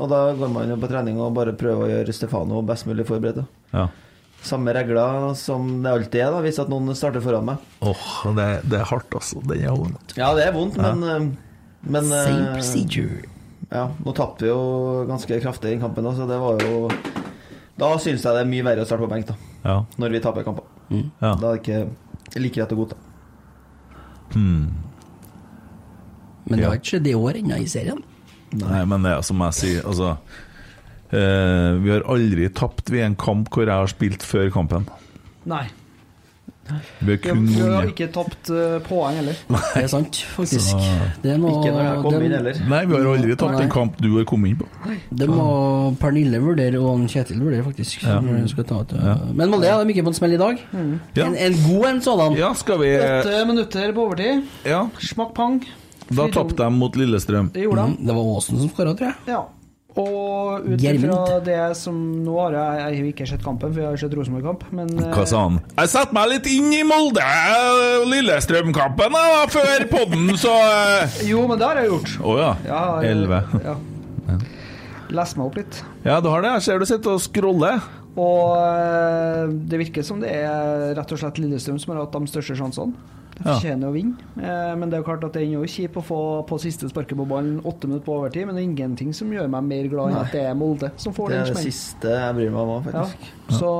F: Og da går man jo på trening og bare prøver å gjøre Stefano best mulig forberedt. da.
D: Ja.
F: Samme regler som det alltid er, da, hvis at noen starter foran meg.
D: Åh, det, det er hardt, altså. Den er vond.
F: Ja, det er vondt, men, eh, men eh, Ja, nå tapte vi jo ganske kraftig i den kampen, da, så det var jo Da syns jeg det er mye verre å starte på benk, da.
D: Ja.
F: Når vi taper kamper.
D: Ja.
F: Da er det ikke like rett å godta.
G: Men det har ikke skjedd i år ennå i serien.
D: Nei, men det er som jeg sier, altså eh, Vi har aldri tapt ved en kamp hvor jeg har spilt før kampen.
E: Nei.
D: Vi har
E: Vi har-
D: kun
E: vi har
D: vunnet.
E: ikke tapt eh, poeng heller.
G: Det er sant, faktisk. Det, må,
F: Ikke når jeg kom inn
G: det,
F: heller.
D: Nei, vi har aldri tapt en kamp du har kommet inn på.
G: det må Pernille vurdere, og han Kjetil vurdere, faktisk. Når hun skal ta ut, Men Molde ja, de gikk på en smell i dag.
D: Ja.
G: En, en god en sådan.
D: Ja, skal vi eh,
E: Åtte minutter på overtid.
D: Ja,
E: Smakk pang.
D: da tapte de mot Lillestrøm.
E: Det gjorde de.
G: Mm, Det var Aasen som skåra, tror jeg.
E: Ja. Og ut ifra
G: Gjermund.
E: det som Nå har jeg, jeg har ikke sett kampen, for jeg har sett Rosenborg-kamp, men eh,
D: Hva sa han? Jeg satte meg litt inn i Molde eh, Lillestrøm-kampen eh, før podden, så eh.
E: Jo, men det har jeg gjort.
D: Å ja.
E: Ja, jeg-
D: Elleve.
E: Ja. Les meg opp litt.
D: Ja, du har det. Jeg ser du sitter og scroller.
E: Og eh, det virker som det er rett og slett Lillestrøm som har hatt de største sjansene. De
D: Ja.
E: fortjener å vinne, eh, men det er jo klart at det er jo kjipt å få på siste sparket på ballen åtte minutter på overtid, men det er ingenting som gjør meg mer glad enn at det er Molde som får
F: Det
E: den
F: er det
E: smellen.
F: siste jeg bryr meg om òg,
E: Ja.
F: faktisk.
E: Så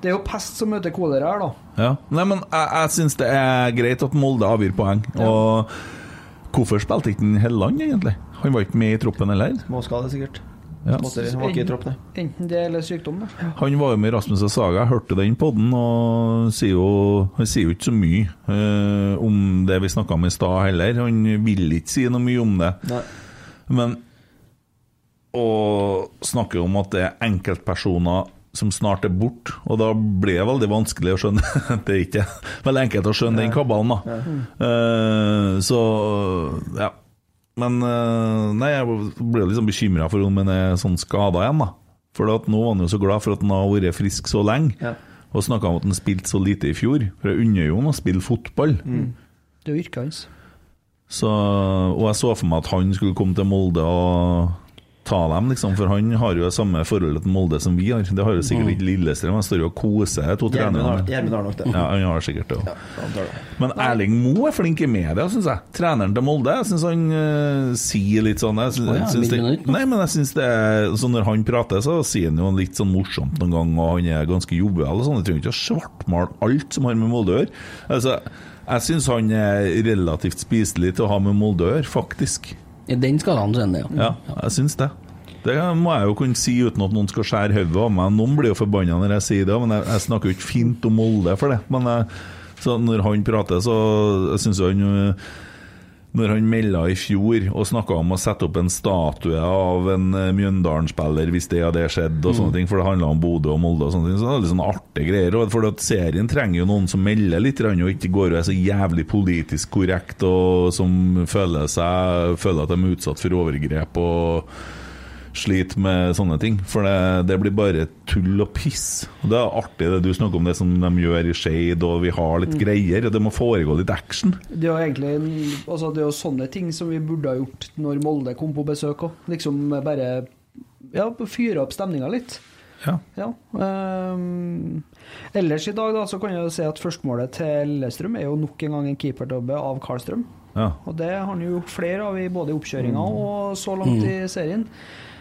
E: det er jo pest som møter kolera her, da.
D: Ja. Nei, men jeg, jeg syns det er greit at Molde avgir poeng. Og hvorfor spilte ikke han Helland, egentlig? Han var ikke med i troppen heller.
F: Småskade, sikkert.
D: Ja.
F: Måtte, var ikke i tropp, det.
E: Enten det eller sykdom, da.
D: Han var jo med i Rasmus og Saga, jeg hørte den podden, og sier jo, han sier jo ikke så mye eh, om det vi snakka om i stad heller. Han vil ikke si noe mye om det.
F: Nei.
D: Men å snakke om at det er enkeltpersoner som snart er borte, og da blir det veldig vanskelig å skjønne at Det er ikke veldig enkelt å skjønne den kabalen, da. Eh, så ja. Men eh, nei, jeg ble liksom bekymra for om han er sånn skada igjen, da. For at nå var han jo så glad for at han har vært frisk så lenge,
F: Ja.
D: og snakka om at han spilte så lite i fjor. For jeg unner jo han å spille fotball.
F: Mm.
E: Det er jo yrket hans.
D: Så, og jeg så for meg at han skulle komme til Molde og ta dem, liksom, for han har jo det samme forholdet til Molde som vi har. Det har jo sikkert ikke Lillestrøm. Han står jo og koser de to
F: Gjermund Mm. har,
D: trenerne.
F: Gjermund har nok det.
D: Ja, han har sikkert det også.
F: Han tar det.
D: Men Erling Moe er flink i media, syns jeg. Treneren til Molde. Jeg syns han eh, sier litt sånn jeg synes,
G: Å ja,
D: jeg synes det,
G: mildt minutt,
D: Nei, men jeg synes det er så Når han prater, så sier han jo litt sånn morsomt noen gang, og han er ganske jovial og sånn. Jeg trenger ikke å svartmale alt som har med Molde å gjøre. Altså, jeg syns han er relativt spiselig til å ha med Molde å gjøre, faktisk.
G: I den skalaen så er det, ja.
D: Ja, jeg syns det. Det må jeg jo kunne si uten at noen skal skjære hodet av meg. Noen blir jo forbanna når jeg sier det, men jeg, jeg snakker jo ikke fint om Molde for det. Men jeg, så når han prater, så jeg syns han øh, Når han melda i fjor og snakka om å sette opp en statue av en øh, Mjøndalen-spiller hvis det hadde skjedd, og sånne ting, for det handla om Bodø og Molde og sånne ting, så det er litt sånn artige greier. og For at serien trenger jo noen som melder litt, grann, og ikke går og er så jævlig politisk korrekt, og som føler, seg, føler at de er utsatt for overgrep og sliter med sånne ting. For det, det blir bare tull og piss. Og Det er artig det du snakker om det som de gjør i Shade, og vi har litt greier. og Det må foregå litt action.
E: Det er jo egentlig en- altså det er jo sånne ting som vi burde ha gjort når Molde kom på besøk òg. Liksom bare ja, fyre opp stemninga litt.
D: Ja.
E: Ja. ehm, ellers i dag da, så kan jeg jo si at førstemålet til Lillestrøm er jo nok en gang en keeperdobbe av Karlstrøm.
D: Ja. Mm.
E: Og det har han jo gjort flere av i både oppkjøringa og så langt i serien.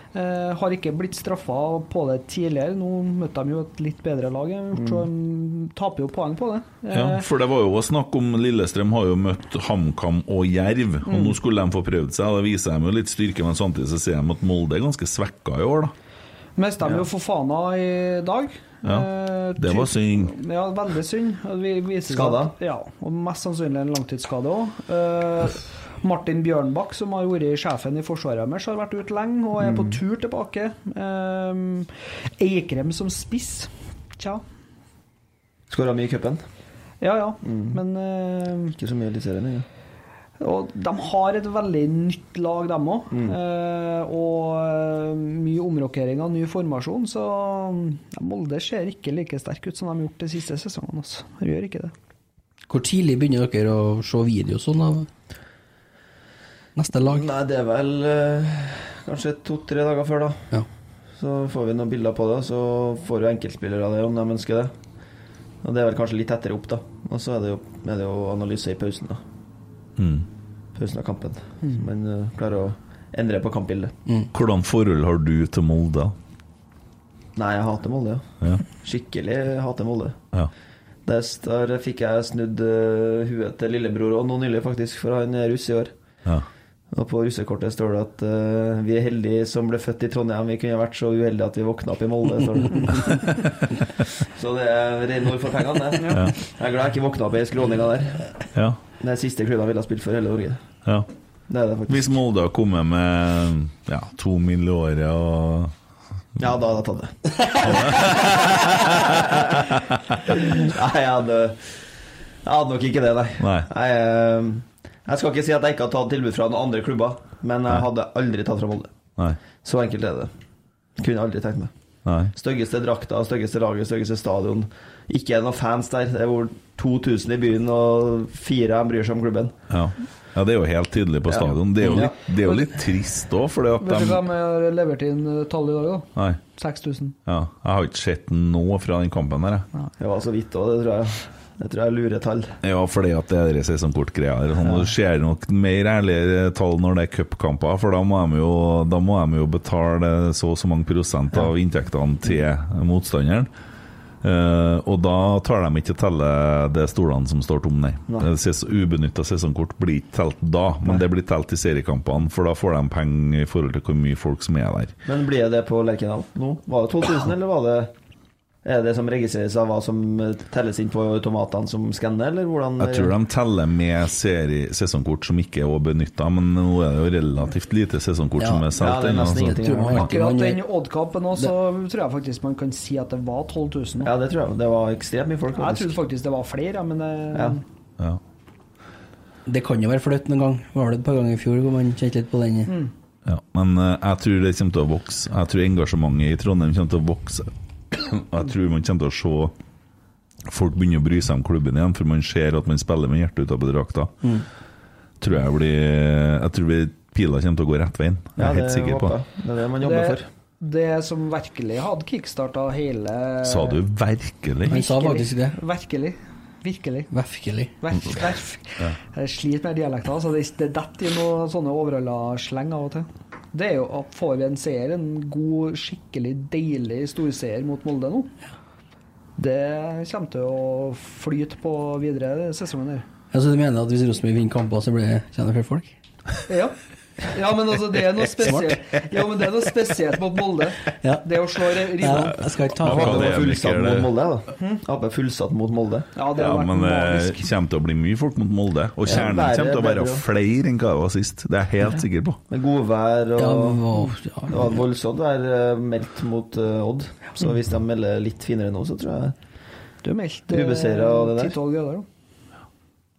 E: Eh, har ikke blitt straffa på det tidligere. Nå møtte de jo et litt bedre lag, så de taper jo poeng på det. Eh,
D: Mm. Ja, for det var jo også snakk om Lillestrøm har jo møtt HamKam og Jerv, og
E: Mm.
D: nå skulle de få prøvd seg. og Det viser dem jo litt styrke, men samtidig så ser de at Molde er ganske svekka i år, da.
E: Mest de jo for Fana i dag.
D: Ja,
E: Eh,
D: det var
E: ty-
D: synd.
E: Ja, veldig synd. Og vi- viser seg
D: Skada?
E: at- Ja, og mest sannsynlig en langtidsskade òg. Martin Bjørnbakk, som har vært sjefen i forsvaret deres, har vært ute lenge og er på
G: Mm.
E: tur tilbake. Eh, Eikrem som spiss, tja.
F: Skåra mye i cupen.
E: Ja ja,
F: Mm.
E: men eh,
F: Ikke så mye i Eliteserien. Ja.
E: Og de har et veldig nytt lag, dem òg.
F: Mm.
E: Eh, og eh, mye omrokeringer, ny formasjon. Så ja, Molde ser ikke like sterk ut som de har gjort de siste sesongene. Altså. De gjør ikke det.
G: Hvor tidlig begynner dere å se video sånn av neste lag?
F: Nei, det er vel eh, kanskje to-tre dager før, da. Så får vi noen bilder på det, og så får jo enkeltspillere det om de ønsker det. Og det er vel kanskje litt tettere opp, da. Og så er det jo, er det jo analyse i pausen, da.
D: Mm.
F: Pausen av kampen.
E: Mm.
F: Så man eh, klarer å endre på kampbildet.
D: Mm. Hvordan forhold har du til Molde?
F: Nei, jeg hater Molde, ja.
D: Ja.
F: Skikkelig hater Molde.
D: Ja.
F: Der, der fikk jeg snudd eh, huet til lillebror og nå nylig, faktisk, for han er russ i år.
D: Ja.
F: Og på russekortet står det at eh, vi er heldige som ble født i Trondheim. Vi kunne vært så uheldige at vi våkna opp i Molde. Står det. så det er rene ord for pengene, det.
D: Ja.
F: Jeg er glad jeg ikke våkna opp i skråninga der.
D: Ja.
F: Det er siste klubben jeg ville ha spilt for i hele Norge.
D: Ja.
F: Det er det faktisk.
D: Hvis Molde har kommet med ja, to mill. i året og
F: Ja, da hadde jeg tatt det. nei, jeg hadde, jeg hadde nok ikke det, nei.
D: Nei.
F: Jeg, eh, jeg skal ikke si at jeg ikke har tatt tilbud fra noen andre klubber, men jeg hadde aldri tatt fra Molde.
D: Nei.
F: Så enkelt er det. Kunne aldri tenkt meg.
D: Nei.
F: Styggeste drakta, styggeste laget, styggeste stadion. Ikke er det noen fans der. Det er hvor 2000 i byen, og fire de bryr seg om klubben.
D: Ja. ja, det er jo helt tydelig på
F: Ja.
D: stadion. Det er jo
F: Ja.
D: litt, det er jo litt trist òg, fordi at
E: Vet du hva
D: de
E: de har levert inn eh, tall i dag, da?
D: Nei.
E: 6000.
D: Ja. Jeg har ikke sett noe fra den kampen der, jeg.
F: Det var så vidt òg, det tror jeg. Det tror jeg er lure tall.
D: Ja, fordi at det er det sesongkortgreia der. Sånn, Du ser nok mer ærlige tall når det er cupkamper, for da må, de jo, da må de jo betale så og så mange prosent av inntektene til motstanderen. Eh, og da tar de ikke telle de stolene som står tomme, nei. Eh,
H: Nei.
D: ses Ubenytta sesongkort blir ikke telt da, men det blir telt i seriekampene, for da får de penger i forhold til hvor mye folk som er der.
F: Men blir det på Lerkendal nå? Var det 2000, eller var det er det det som registreres av hva som eh, telles inn på automatene som skanner, eller hvordan
D: Jeg tror de teller med seri sesongkort som ikke er benytta, men nå er det jo relativt lite sesongkort som er solgt. ennå,
F: Altså,
D: altså. så-
E: Akkurat
F: eh,
E: den Odd-kampen òg, så tror jeg faktisk man kan si at det var 12 000.
F: Ja, det tror jeg. Det var ekstremt mye folk.
E: Jeg trodde faktisk det var flere, ja, men eh,
F: Ja.
G: Det kan jo være flaut noen gang. Var det et par ganger i fjor hvor man kjente litt på den?
D: Ja, men eh, jeg tror det kommer til å vokse. Jeg tror engasjementet i Trondheim kommer til å vokse. Og jeg tror man kommer til å se folk begynne å bry seg om klubben igjen, for man ser at man spiller med hjertet utapå drakta.
F: Mm.
D: Tror jeg blir Jeg tror vi- pila kommer til å gå rett veien. Jeg er
F: Ja,
D: helt
F: det
D: sikker på
F: håper jeg. Det er det man jobber
E: det-
F: for.
E: Det som virkelig hadde kickstarta hele
D: Sa du virkelig?
G: Han sa faktisk det.
E: Virkelig. Virkelig.
G: Virkelig.
E: Verf, verf.
D: Ja.
E: Jeg sliter med dialekter. Altså det det detter i noen sånne overhalla-sleng av og til. Det er jo at får vi en seier, en god, skikkelig deilig storseier mot Molde nå, det kommer til å flyte på videre i sesongen her.
G: Altså, du mener at hvis Rosenborg vinner kamper, så blir det tjener flere folk?
E: Ja. ja, men altså, det er noe spesielt Ja, men det er noe spesielt mot Molde. Det å slå
G: Ja,
E: ribba.
G: jeg skal ikke ta
F: Ap var
D: Akademiker,
F: fullsatt mot
D: det-
F: Molde, da.
E: Hm?
F: Ap er fullsatt mot Molde.
E: Ja,
D: Ja, men eh, det kommer til å bli mye folk mot Molde. Og
F: Ja,
D: kjernen
F: være-
D: kommer til å være
F: være-
D: flere enn hva det var sist. Det er jeg helt sikker på.
F: Med godvær og
D: Ja, men
F: Det var voldsomt vær eh, meldt mot eh, Odd. Så hvis de melder litt finere nå, så tror jeg
E: Du meldte
F: Ubeseiret og det der.
E: 10-12 grader, da.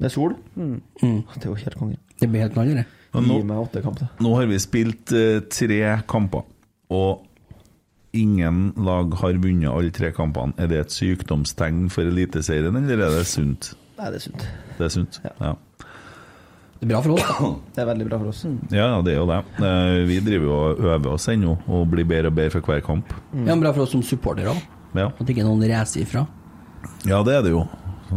F: Med sol.
E: Mm.
F: Det er jo helt konge.
G: Det blir helt knall, det.
D: Og nå-
F: Gi meg åtte kamp, da.
D: Nå har vi spilt eh, tre kamper, og ingen lag har vunnet alle tre kampene. Er det et sykdomstegn for Eliteserien, eller er det sunt?
F: Nei, det er sunt.
D: Det er sunt, ja.
G: Det er bra for oss, da.
F: Det er veldig bra for oss.
D: Ja, ja, det er jo det. Eh, Vi driver jo og øver oss ennå, og blir bedre og bedre for hver kamp.
G: Ja, men bra for oss som supportere òg.
D: Ja.
G: At ikke noen reiser ifra.
D: Ja, det er det jo. Eh,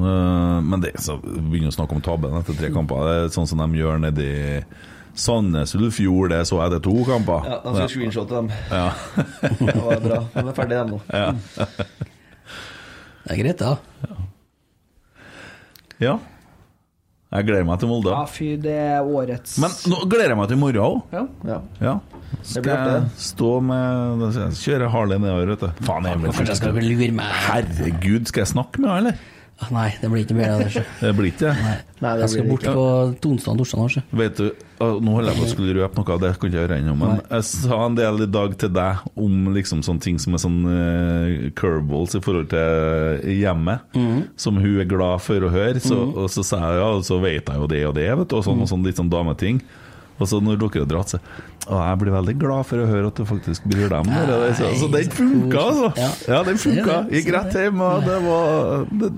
D: Men det så begynner å snakke om tabben etter tre kamper. Det er sånn som de gjør nedi Sandnes Ullfjord, det så jeg det to kamper.
F: Ja, de skal screenshotte dem.
D: Ja.
F: Det var bra. De er ferdige, de nå.
D: Ja.
G: Det er greit, da.
D: ja. Jeg gleder meg til Molde.
E: Ja, fy, det er årets
D: Men nå gleder jeg meg til i morgen òg.
E: Ja.
D: Ja.
E: blir
D: Skal
E: artig,
D: jeg stå med Kjøre Harley nedover, vet du. Faen, Emil.
G: Kanskje jeg skal lure meg
D: Herregud, skal jeg snakke med henne, eller?
G: Ah, Nei, det blir ikke bedre av det. sjø.
D: Det blir ikke det.
G: Jeg skal bort på onsdag og torsdag. nå, sjø.
D: Vet du, ah, Nå holder jeg på å skulle røpe noe, det kan ikke jeg gjøre ennå. Men jeg sa en del i dag til deg om liksom sånne ting som er sånn eh, curveballs i forhold til hjemmet, som hun er glad for å høre. Så,
H: Mhm.
D: Og så sa jeg ja, og så vet jeg jo det og det, vet du, og sånn og sånn litt sånn dameting. Og så når dere har dratt, så Å, jeg blir veldig glad for å høre at du faktisk bryr deg om det. der». Så, så den funka, altså! Ja, den funka. Gikk rett hjem, og det var det,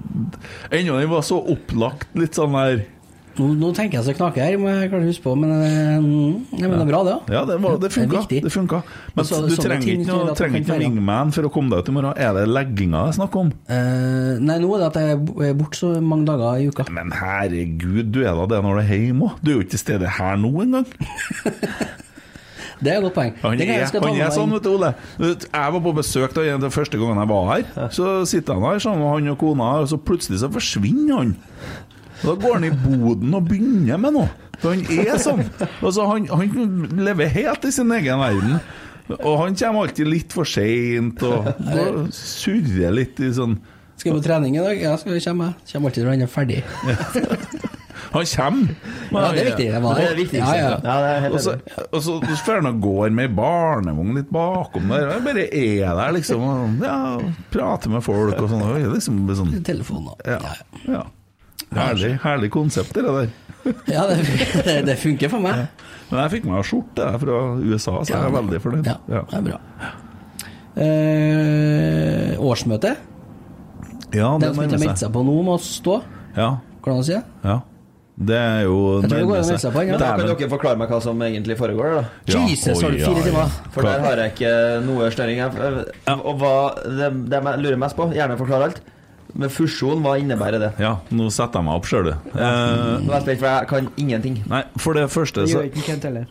D: Ennå den var så opplagt, litt sånn der
G: Nå, nå tenker jeg så knaker her, må jeg klart huske på, men, eh, mm, nei, men det er bra, det. da.
D: Ja, det, var, det funka.
G: Det er viktig.
D: Det funka. Men
G: Så-
D: du
G: sånne
D: trenger
G: ting
D: ikke
G: gjør
D: noe,
G: at man
D: trenger
G: kan
D: ikke noe
G: feire.
D: wingman for å komme deg ut i morgen. Er det legginga det er snakk om?
G: Eh, nei, nå er det at jeg er borte så mange dager i uka.
D: Men herregud, du er da det når du er hjemme òg. Du er jo ikke til stede her nå engang.
G: Det er et godt poeng.
D: Han
G: Det kan jeg-
D: er,
G: skal ta
D: han
G: med
D: er
G: meg
D: sånn,
G: inn.
D: vet du, Ole. Du vet, Jeg var på besøk da den første gangen jeg var her. Så sitter han her sammen med han og kona, og så plutselig så forsvinner han. Og Da går han i boden og begynner med noe. For han er sånn. Altså, han, han lever helt i sin egen verden. Og han kommer alltid litt for seint og og surrer litt i sånn
G: Skal jeg på trening i dag? Ja, skal jeg komme. jeg. Kommer alltid når han er ferdig.
D: Han kommer.
G: Ja, det er viktig, det var- Det er det viktigste. Ja, ja. Ja, det er helt
D: Og så- Og så drar han og går med ei barnevogn litt bakom der. Jeg bare er der, liksom. Og, ja, prater med folk og sånn. Det er Liksom, sånn.
G: Telefon og
D: ja. ja. Herlig, herlig konsept, det der.
G: Ja, det, det, det funker for meg.
D: Men jeg fikk meg skjorte jeg, fra USA, så jeg er veldig fornøyd. Ja,
G: det er bra. Eh, årsmøte.
D: Ja,
G: De
D: det
G: som
D: nærmer
G: ikke har
D: seg.
G: meldt seg på nå, må stå.
D: Ja,
G: Hvordan sier jeg?
D: ja. Det er jo
G: Jeg tror det går an å
D: nærmer
G: melde seg på, ja.
F: Men da kan
D: Dæven.
F: dere forklare meg hva som egentlig foregår, da.
D: Ja, Jesus, har du oi, fire oi. timer?
F: For der har jeg ikke noe snøring. Jeg- Og hva det, det jeg lurer mest på, gjerne forklare alt, men fusjon, hva innebærer det?
D: Ja, nå setter jeg meg opp sjøl, du. Eh,
F: Nå er jeg spent, for jeg kan ingenting.
D: Nei, for det første
E: Det
D: så
E: gjør ikke Kent heller.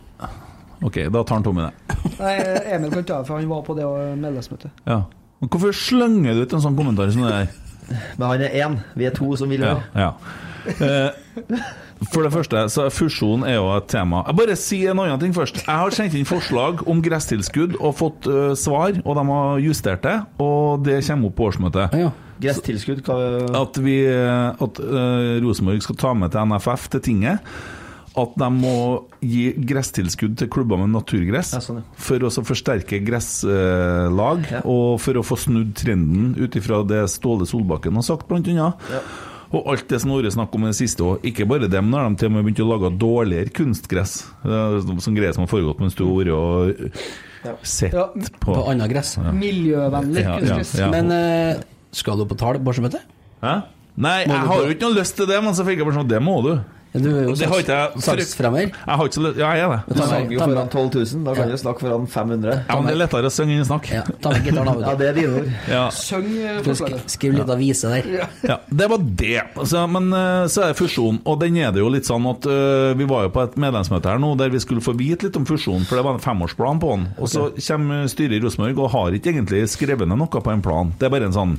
D: Ok, da tar han Tommy det.
E: Nei, Emil kan ta det, for han var på det og- medlemsmøtet.
D: Ja. Men hvorfor slenger du ut en sånn kommentar som det der?
F: Men han er én, vi er to som vil
D: Ja,
F: høre.
D: ja. Eh, for det første, så fusjon er jo et tema. Jeg bare si en annen ting først. Jeg har sendt inn forslag om gresstilskudd og fått eh, svar, og de har justert det. Og det kommer opp på årsmøtet.
F: Gresstilskudd, hva
D: At, vi, eh, at eh, Rosenborg skal ta med til NFF, til tinget, at de må gi gresstilskudd til klubber med naturgress for å så forsterke gresslag, og for å få snudd trenden ut ifra det Ståle Solbakken har sagt, blant annet. Og alt det som det har vært snakk om i det siste òg. Ikke bare dem, nå har de til og med begynt å lage dårligere kunstgress. Det er sånn greier som har foregått mens du har vært og sett
E: Ja,
D: på
G: På annet gress.
D: Ja.
E: Miljøvennlig
D: Ja, ja,
E: kunstgress.
D: ja.
G: Men eh, skal du på tall på årsmøtet?
D: Hæ? Nei,
G: Må
D: jeg
G: du
D: har
G: på-
D: jo ikke noe lyst til det, men så fikk jeg bare sånn Det må du.
G: Du er jo
D: Og det har ikke jeg
G: salgsfremmer.
D: Jeg har ikke så lyst Ja, jeg er
F: Du
D: det.
F: sang jo foran 12 000, da kan du snakke foran 500.
D: Ja, men det er lettere å synge enn å snakke.
G: Ta med gitaren av.
F: Ja, det er dine ord.
D: Ja.
E: Søng eh,
G: Du sk
E: forslaget.
G: skriv litt avise der.
D: Ja, det var det. Altså, men eh, så er det fusjon, og den er det jo litt sånn at eh, Vi var jo på et medlemsmøte her nå der vi skulle få vite litt om fusjon, for det var en femårsplan på den. Og så kommer eh, styret i Rosenborg og har ikke egentlig skrevet ned noe på en plan. Det er bare en sånn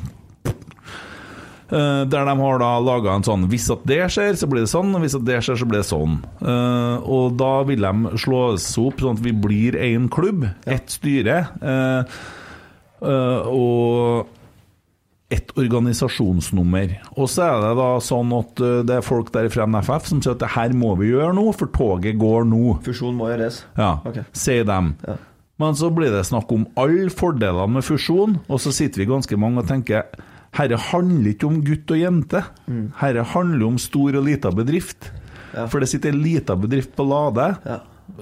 D: Eh, der de har da laga en sånn Hvis at det skjer, så blir det sånn, og hvis at det skjer, så blir det sånn. Eh, og da vil de slå oss opp sånn at vi blir én klubb, ett styre, eh, eh, og ett organisasjonsnummer. Og så er det da sånn at eh, det er folk der fra NFF som sier at det her må vi gjøre nå, for toget går nå.
F: Fusjon må gjøres.
D: Ja, sier dem. Men så blir det snakk om alle fordelene med fusjon, og så sitter vi ganske mange og tenker herre handler ikke om gutt og jente,
F: Mm.
D: herre handler om stor og lita bedrift. For det sitter ei lita bedrift på Lade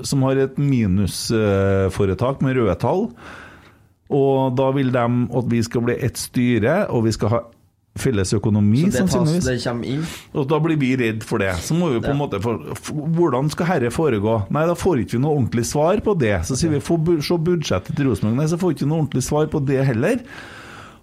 D: som har et minusforetak med røde tall. Og da vil de at vi skal bli ett styre, og vi skal ha felles økonomi,
F: Så det, tas,
D: sannsynligvis.
F: det kommer inn.
D: Og da blir vi redd for det. Så må vi på en måte for, f- Hvordan skal herre foregå? Nei, da får ikke vi noe ordentlig svar på det. Så sier vi få bu- se budsjettet til Rosenborg. Nei, så får vi ikke noe ordentlig svar på det heller.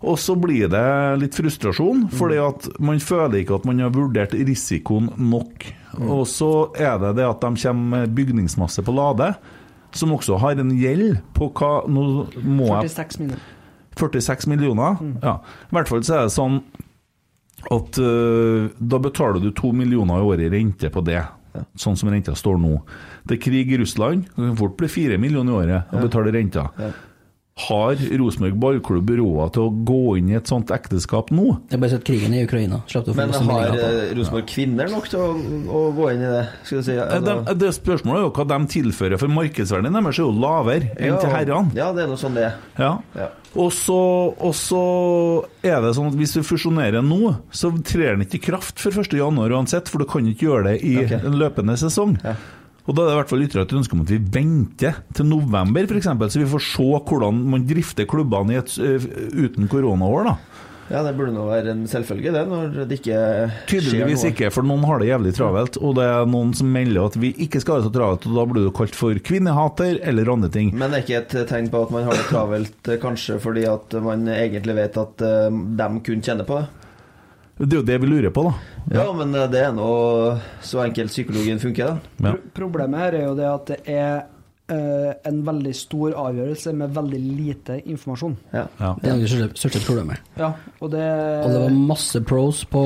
D: Og så blir det litt frustrasjon, fordi at man føler ikke at man har vurdert risikoen nok. Og så er det det at de kommer med bygningsmasse på Lade, som også har en gjeld på hva Nå må jeg
E: 46 minutter.
D: 46 millioner. Ja. I hvert fall så er det sånn at eh, da betaler du to millioner i året i rente på det. Sånn som renta står nå. Det er krig i Russland, det kan fort bli fire millioner i året å betale renta. Har Rosenborg ballklubb råd til å gå inn i et sånt ekteskap nå?
G: Det er bare sånn at krigen i Ukraina slapp du å få
F: Men
G: masse
F: har
G: meldinger
F: eh, Rosenborg kvinner nok til å, å gå inn i det? Skal du si
D: Eh,
F: altså,
D: De, det spørsmålet er jo hva de tilfører, for markedsverdien deres er jo lavere enn til herrene.
F: Ja, det er noe sånn det er.
D: Ja. Og så, og så er det sånn at hvis du fusjonerer nå, så trer den ikke i kraft for 1. januar uansett, for du kan ikke gjøre det i
F: Ok.
D: en løpende sesong. Og da er det i hvert fall ytret et ønske om at vi venter til november, f.eks., så vi får se hvordan man drifter klubbene i et, eh, uten koronaår, da.
F: Ja, det burde nå være en selvfølge, det, når det ikke
D: Tydeligvis
F: skjer noe.
D: ikke, for noen har det jævlig travelt, og det er noen som melder at vi ikke skal ha det så travelt, og da blir du kalt for kvinnehater eller andre ting.
F: Men det er ikke et tegn på at man har det travelt, eh, kanskje fordi at man egentlig vet at eh, dem kun kjenner på det?
D: Det er jo det vi lurer på, da.
F: Ja, men eh, det er nå så enkelt psykologien funker, da.
E: Pro- Problemet her er jo det at det er eh, en veldig stor avgjørelse med veldig lite informasjon.
G: om. Det er det største- største problemet.
E: Ja, og det
G: Og det var masse pros på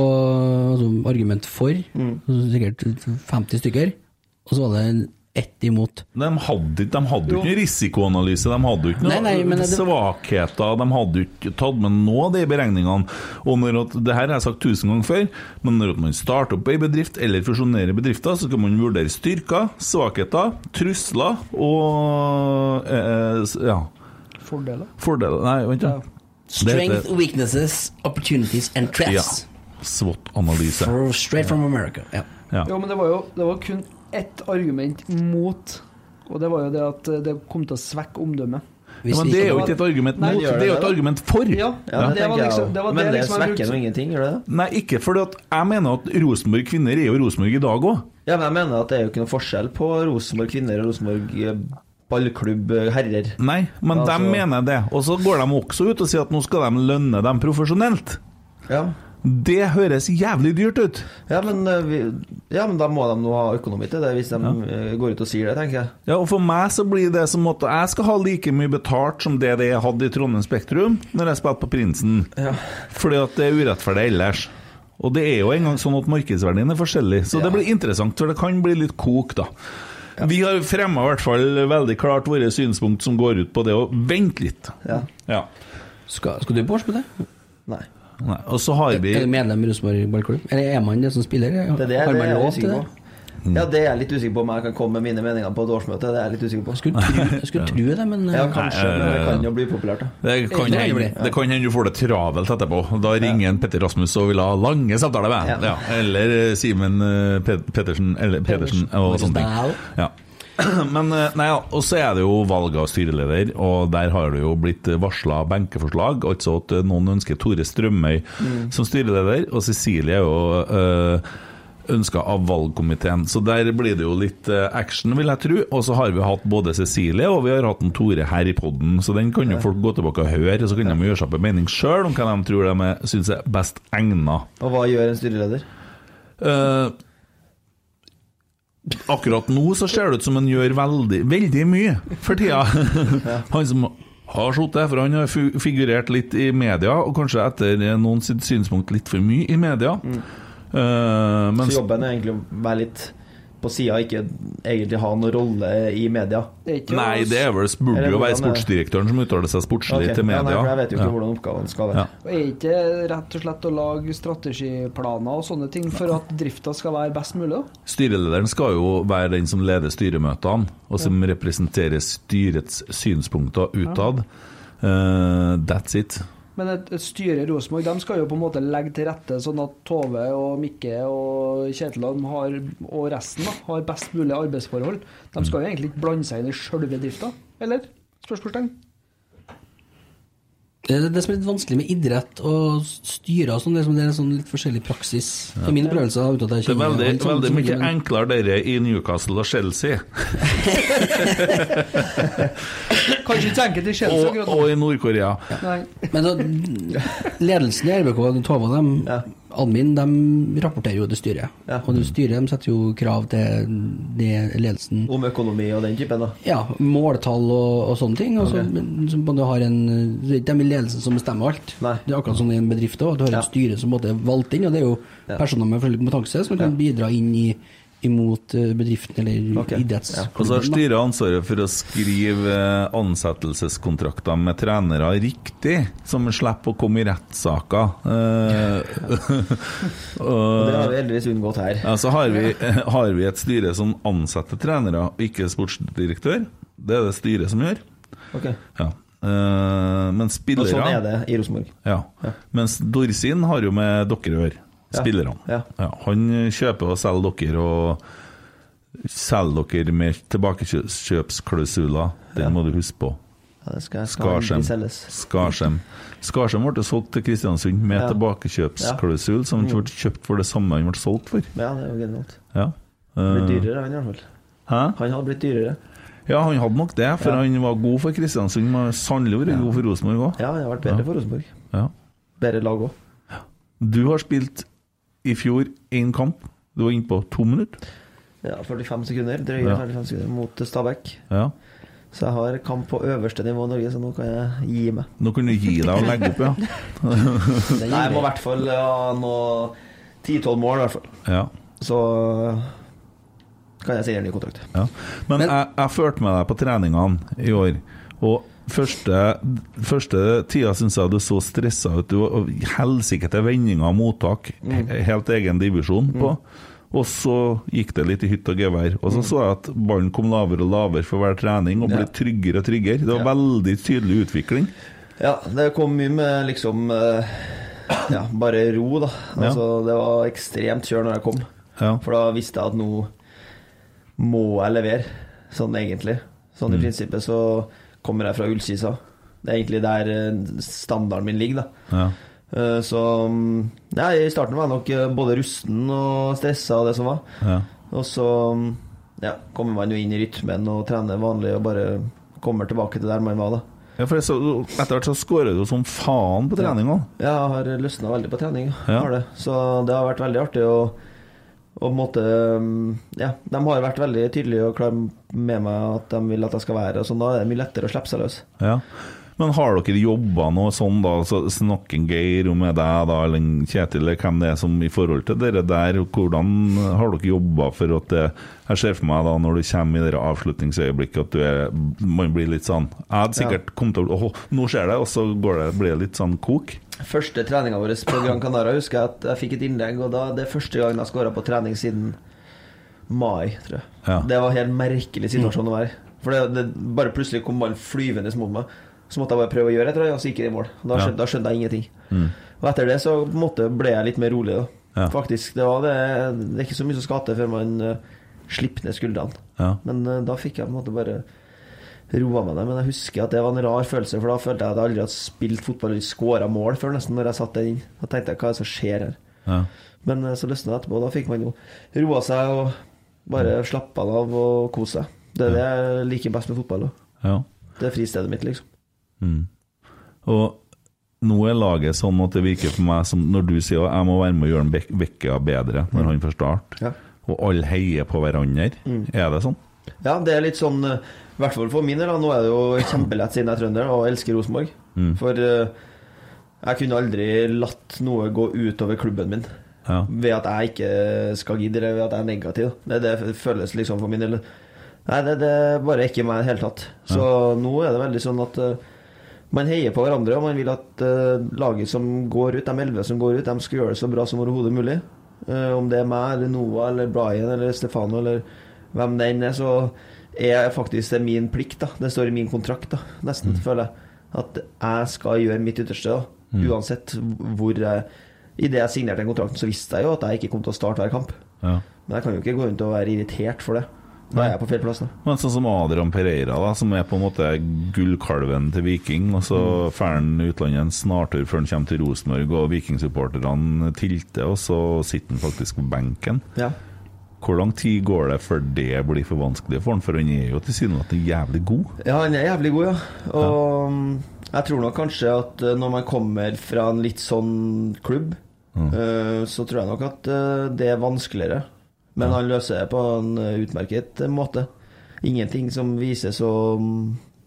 G: altså, argument for,
F: Mm.
G: sikkert 50 stykker, og så var det en- ett imot.
D: De hadde, ikke- de hadde jo ikke noen risikoanalyse, de hadde jo ikke noen
G: Nei, nei, men det-
D: svakheter, de hadde jo ikke tatt med noe av det i beregningene. Og når at, det her har jeg sagt tusen ganger før, men når at man starter opp ei bedrift eller fusjonerer bedrifter, så skal man vurdere styrker, svakheter, trusler og eh, s- ja,
E: fordeler.
D: fordeler Nei, vent, da. Det heter-
G: Strength, weaknesses, opportunities and
D: Ja.
G: threats.
D: SWOT-analyse.
G: For- Straight from America. Ja.
D: Ja.
E: Jo, men det var jo det var kun ett argument mot, og det var jo det at eh, det kom til å svekke omdømmet.
D: Ja, men det er jo ikke et argument
E: Nei,
D: mot,
E: gjør
D: det er jo et
E: da?
D: argument for.
F: Ja, det,
E: det var
F: tenker jeg
E: liksom-
F: også.
E: det var det
F: Men det
E: liksom jeg brukte-
F: svekker nå ingenting, gjør det det?
D: Nei, ikke fordi at jeg mener at Rosenborg kvinner er jo Rosenborg i dag òg.
F: Ja, men jeg mener at det er jo ikke noe forskjell på Rosenborg kvinner og Rosenborg eh, ballklubb eh, herrer.
D: Nei, men
F: Altså-
D: de mener det. Og så går de også ut og sier at nå skal de lønne dem profesjonelt.
F: Ja.
D: Det høres jævlig dyrt ut.
F: Ja men, eh, vi, ja, men da må de nå ha økonomi til det, hvis de eh, går ut og sier det, tenker jeg.
D: Ja, og For meg så blir det som at jeg skal ha like mye betalt som det det jeg hadde i Trondheim Spektrum når jeg spilte på Prinsen. Fordi at det er urettferdig ellers. Og det er jo engang sånn at markedsverdien er forskjellig. Så det blir interessant, for det kan bli litt kok, da. Vi har fremma i hvert fall veldig klart våre synspunkt som går ut på det å vente litt.
F: Ja.
D: Ja.
G: Skal, skal du på årsmøte?
F: Nei.
D: Nei, og så har vi
G: Er du medlem i Rosenborg ballklubb? Eller er man det som spiller?
F: Det er det,
G: Har
F: det
G: man
F: er jeg
G: lov til
F: usikker
G: det?
F: på. Ja, det er jeg litt usikker på om jeg kan komme med mine meninger på et årsmøte. Det er jeg litt usikker på.
G: Skulle tru, jeg skulle tro det, men
F: Ja,
G: eh,
F: kanskje, men det kan jo bli populært, da.
D: Det kan,
G: Det
D: hende,
G: blir.
D: det kan hende du får det travelt etterpå. Da ringer en Petter Rasmus og vil ha lange samtaler med deg. Ja. Eller eh, Simen eh, Pet- Pettersen eller Pedersen og sånne ting. Ja. Men eh, nei, ja, og så er det jo valg av styreleder, og der har det jo blitt varsla benkeforslag. Altså at eh, noen ønsker Tore Strømøy som styreleder, og Cecilie er jo eh, ønska av valgkomiteen. Så der blir det jo litt eh, action, vil jeg tro. Og så har vi hatt både Cecilie og vi har hatt en Tore her i podden, så den kan jo folk gå tilbake og høre. Og så kan de gjøre seg opp en mening sjøl om hva de tror de er- syns er best egna.
F: Og hva gjør en styreleder?
D: Eh, akkurat nå så ser det ut som han gjør veldig, veldig mye for tida. han som har sittet, for han har fu- figurert litt i media, og kanskje etter noen sitt synspunkt litt for mye i media. Eh,
F: Mm. Så
D: mens
F: jobben er egentlig å være litt på sida, ikke egentlig ha noen rolle i media.
E: Det er ikke
D: Nei,
E: å-
D: det er vel, burde
F: Eller
D: jo være
F: hvordan er det?
D: sportsdirektøren som uttaler seg sportslig
F: Ok,
D: til
F: Ja, nei,
D: media.
F: for jeg vet jo ikke
D: Ja.
F: hvordan oppgavene skal være.
D: Ja.
E: Og Er ikke rett og slett å lage strategiplaner og sånne ting for at drifta skal være best mulig? da?
D: Styrelederen skal jo være den som leder styremøtene, og som representerer styrets synspunkter utad. Eh, that's it.
E: Men et, et styre i Rosenborg de skal jo på en måte legge til rette sånn at Tove og Mikke og Kjetil og de har, og resten da, har best mulig arbeidsforhold. De skal jo egentlig ikke blande seg inn i sjølve drifta, eller? Spørsmålstegn.
G: Det er det som er litt vanskelig med idrett og styre og sånn, det er som det er en sånn litt forskjellig praksis. For min prøvelse uten
D: Det
G: at jeg
D: er
G: kjenner
D: veldig,
G: alt sånt
D: veldig
G: så
D: mye
G: men-
D: enklere dere i Newcastle og Chelsea,
E: Kanskje ikke enkelte i Chelsea
D: og,
E: akkurat nå.
D: og i Nord-Korea.
E: Nei.
G: Men da, ledelsen i RBK, Tove og dem, admin de rapporterer jo til styret. Og det styret de setter jo krav til det ledelsen
F: Om økonomi og den typen, da.
G: Ja, måltall og, og sånne ting. Og så,
F: Ok.
G: men så man har en, det er ikke de i ledelsen som bestemmer alt. Det er akkurat som i en bedrift også, at Du har et styre som både er valgt inn, og det er jo
F: Ja.
G: personer med forskjellig kompetanse som kan bidra inn i, imot eh, bedriften eller
D: Og så har
G: idrettsklubben. da.
D: Altså, styret ansvaret for å skrive eh, ansettelseskontrakter med trenere riktig, som slipper å komme i rettssaker. Eh,
F: Og det har vi
D: og-
F: heldigvis unngått her.
D: Ja, så har vi, eh, har vi et styre som ansetter trenere, og ikke sportsdirektør. Det er det styret som gjør.
F: Ok.
D: Ja. Eh, men spillere
F: Og sånn er det i Rosenborg.
D: Ja. Mens Dorsin har jo med dere å gjøre,
F: Ja.
D: spillerne.
F: Ja.
D: Han kjøper og selger dere, og selger dere med tilbakekjøpsklausuler. Den må du huske på.
F: Ja, det skal, skal
D: Skarsheim.
F: aldri selges.
D: Skarsheim Skarsheim ble solgt til Kristiansund med
F: Ja.
D: tilbakekjøpsklausul, som
F: Mm.
D: ble kjøpt for det samme han ble solgt for.
F: Ja, det er jo genialt.
D: Ja.
F: Det blir
D: Eh,
F: dyrere, han i hvert fall.
D: Hæ?
F: Han hadde blitt dyrere.
D: Ja, han hadde nok det, for
F: Ja.
D: han var god for Kristiansund, men sannelig vært god for Rosenborg òg.
F: Ja, det har vært bedre for Rosenborg.
D: Ja.
F: Bedre lag òg.
D: Du har spilt i fjor én kamp. Du var inne på to minutter.
F: Ja, 45 sekunder. Drøye
D: Ja.
F: 45 sekunder mot Stabæk.
D: Ja.
F: Så jeg har kamp på øverste nivå i Norge, så nå kan jeg gi meg.
D: Nå kan du gi deg og legge opp, ja.
F: Nei, jeg må i hvert fall ha noe 10-12 mål, i hvert fall.
D: ja.
F: Så eh, kan jeg signere ny kontrakt.
D: ja. Men, jeg, jeg førte med deg på treningene i år, og første, første tida syns jeg du så stressa ut. Du var helsike til vendinger og mottak.
H: Mm.
D: he- Helt egen divisjon på. Og så gikk det litt i hytt og gevær. Og så så jeg at ballen kom lavere og lavere for hver trening, og ble
F: Ja.
D: tryggere og tryggere. Det var veldig tydelig utvikling.
F: Ja, det kom mye med liksom eh, Ja, bare ro, da.
D: Ja.
F: Altså, det var ekstremt kjør når jeg kom.
D: Ja.
F: For da visste jeg at nå må jeg levere, sånn egentlig. Sånn i
D: Mm.
F: prinsippet så kommer jeg fra Ullkisa. Det er egentlig der eh, standarden min ligger, da.
D: Ja.
F: Eh, Så mm, ja, i starten var jeg nok eh, både rusten og stressa og det som var.
D: Ja.
F: Og så mm, ja, kommer man jo inn i rytmen og trener vanlig og bare kommer tilbake til der man var, da.
D: Ja, for jeg så, Etter hvert så skårer du som faen på trening òg.
F: Ja, jeg har løsna veldig på trening.
D: Ja.
F: Har det. Så det har vært veldig artig å og på en måte mm, Ja, de har vært veldig tydelige og klare med meg at de vil at jeg skal være her, og sånn. Da er det mye lettere å slippe seg løs.
D: Ja. Men har dere jobba noe sånn, da? Så snakker Geir om med deg, da, eller en Kjetil, eller hvem det er som i forhold til dere der? og Hvordan har dere jobba for at det Jeg ser for meg da, når du kommer i det avslutningsøyeblikket, at du er Man blir litt sånn Jeg hadde sikkert kommet til å Åh, nå skjer det, og så går det, blir det litt sånn kok.
F: Første treninga vår på Gran Canaria husker jeg at jeg fikk et innlegg, og da det er første gangen jeg skåra på trening siden mai, tror jeg.
D: Ja. Mm.
F: Det var en helt merkelig situasjon å være i. For det, det bare plutselig kom ballen flyvende mot meg. Så måtte jeg bare prøve å gjøre et eller annet, og så gikk det i mål. Da
D: Ja.
F: skjønte, da skjønte jeg ingenting.
D: Mm.
F: Og etter det så på en måte ble jeg litt mer rolig, da.
D: Ja.
F: Faktisk. Det, var det, det er ikke så mye som skal til før man eh, slipper ned skuldrene.
D: Ja.
F: Men eh, da fikk jeg på en måte bare roa meg ned. Men jeg husker at det var en rar følelse, for da følte jeg at jeg aldri hadde spilt fotball eller skåra mål før, nesten, når jeg satt den inn. Da tenkte jeg hva er det som skjer her?
D: Ja.
F: Men eh, så løsna det etterpå. og Da fikk man jo roa seg og bare slappa av og kosa seg. Det er det jeg liker best med fotball. Da.
D: Ja.
F: Det er fristedet mitt, liksom.
D: Mm. Og nå er laget sånn at det virker for meg som når du sier at jeg må være med og gjøre en Bek- Vekka bedre når han får start,
F: Mm. Ja.
D: og alle heier på hverandre.
F: Mm.
D: Er det sånn?
F: Ja, det er litt sånn eh, I hvert fall for min del. da. Nå er det jo kjempelett siden jeg er trønder og elsker Rosenborg.
D: Mm.
F: For eh, jeg kunne aldri latt noe gå utover klubben min
D: Ja.
F: ved at jeg ikke skal gidde, eller ved at jeg er negativ. Det, det føles liksom for min del Nei, det, det er bare ikke meg i det hele tatt. Så nå er det veldig sånn at eh, man heier på hverandre, og man vil at eh, laget som går ut, de elleve som går ut, de skal gjøre det så bra som overhodet mulig. Eh, om det er meg eller Noah eller Brian eller Stefano eller hvem det enn er, så er faktisk det min plikt. da Det står i min kontrakt, da nesten, føler jeg. At jeg skal gjøre mitt ytterste, da
D: Mm.
F: uansett hvor jeg Idet jeg signerte den kontrakten, så visste jeg jo at jeg ikke kom til å starte hver kamp.
D: Ja.
F: Men jeg kan jo ikke gå rundt og være irritert for det. Da
D: Nei.
F: er jeg på feil plass, da.
D: Men sånn som Adrian Pereira, da, som er på en måte gullkalven til Viking, og så
F: Mm.
D: drar han utlandet en snartur før han kommer til Rosenborg, og vikingsupporterne tilter, og så sitter han faktisk på benken.
F: Ja.
D: Hvor lang tid går det før det blir for vanskelig for han? For han er jo tilsynelatende jævlig god.
F: Ja, han er jævlig god, ja. um, Og mm, jeg tror nok kanskje at eh, når man kommer fra en litt sånn klubb, Eh, Så tror jeg nok at eh, det er vanskeligere. Men han løser det på en eh, utmerket eh, måte. Ingenting som viser så mm,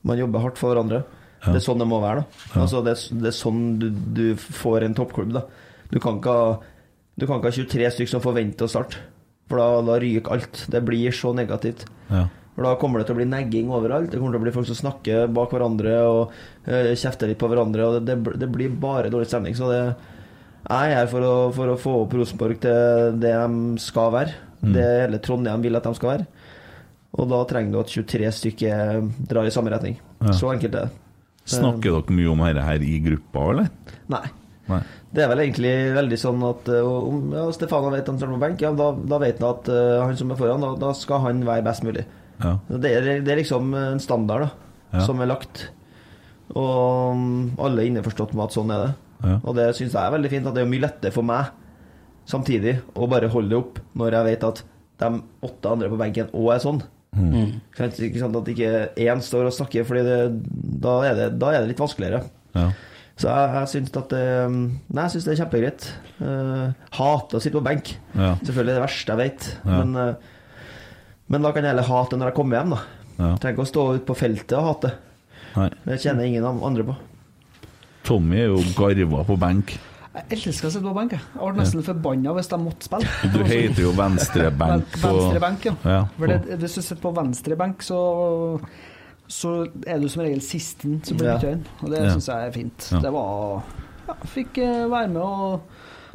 F: Man jobber hardt for hverandre.
D: Ja.
F: Det er sånn det må være. da
D: Ja.
F: altså, det, er s- det er sånn du, du får en toppklubb. da Du kan ikke ha Du kan ikke ha 23 stykker som forventer å starte. For da, da ryker alt. Det blir så negativt.
D: Ja.
F: For Da kommer det til å bli negging overalt. Det kommer til å bli folk som snakker bak hverandre og eh, kjefter litt på hverandre. Og det, det, det blir bare dårlig stemning. Så det, jeg er her for å, for å få opp Rosenborg til det de skal være.
D: Mm.
F: Det hele Trondheim vil at de skal være. Og da trenger du at 23 stykker drar i samme retning.
D: Ja.
F: Så enkelt er det.
D: Snakker dere mye om dette her i gruppa, eller?
F: Nei.
D: Nei.
F: Det er vel egentlig veldig sånn at eh, om ja, Stefano vet han står på benk, ja, da, da vet han at eh, han som er foran, da, da skal han være best mulig.
D: Ja.
F: Det er, det er liksom en standard da,
D: Ja.
F: som er lagt. Og mm, alle er innforstått med at sånn er det.
D: Ja.
F: Og det syns jeg er veldig fint. At det er mye lettere for meg samtidig å bare holde det opp når jeg vet at de åtte andre på benken òg er sånn.
D: Mm.
F: Ikke sant? Ikke sant? At ikke én står og snakker, for da, er det- da er det litt vanskeligere.
D: Ja.
F: Så jeg, jeg syns at det um, Nei, jeg syns det er kjempegreit. Uh, hater å sitte på benk.
D: Ja.
F: Selvfølgelig det verste jeg vet.
D: Ja.
F: Men, eh, men da kan jeg heller hate når jeg kommer hjem, da.
D: Ja.
F: Trenger ikke å stå ute på feltet og hate.
D: Nei.
F: Det kjenner ingen av- andre på.
D: Tommy er jo garva på benk.
E: Jeg elsker å sitte på benk. jeg. Jeg ble nesten forbanna hvis jeg måtte spille.
D: Du heter jo venstrebenk på
E: Venstrebenk, ja.
D: ja
E: For det, hvis du sitter på venstrebenk, så, så er du som regel sisten som blir
F: Ja.
E: bytta inn. Og det
D: Ja.
E: syns jeg er fint.
D: Ja.
E: Det var ja, Fikk eh, være med og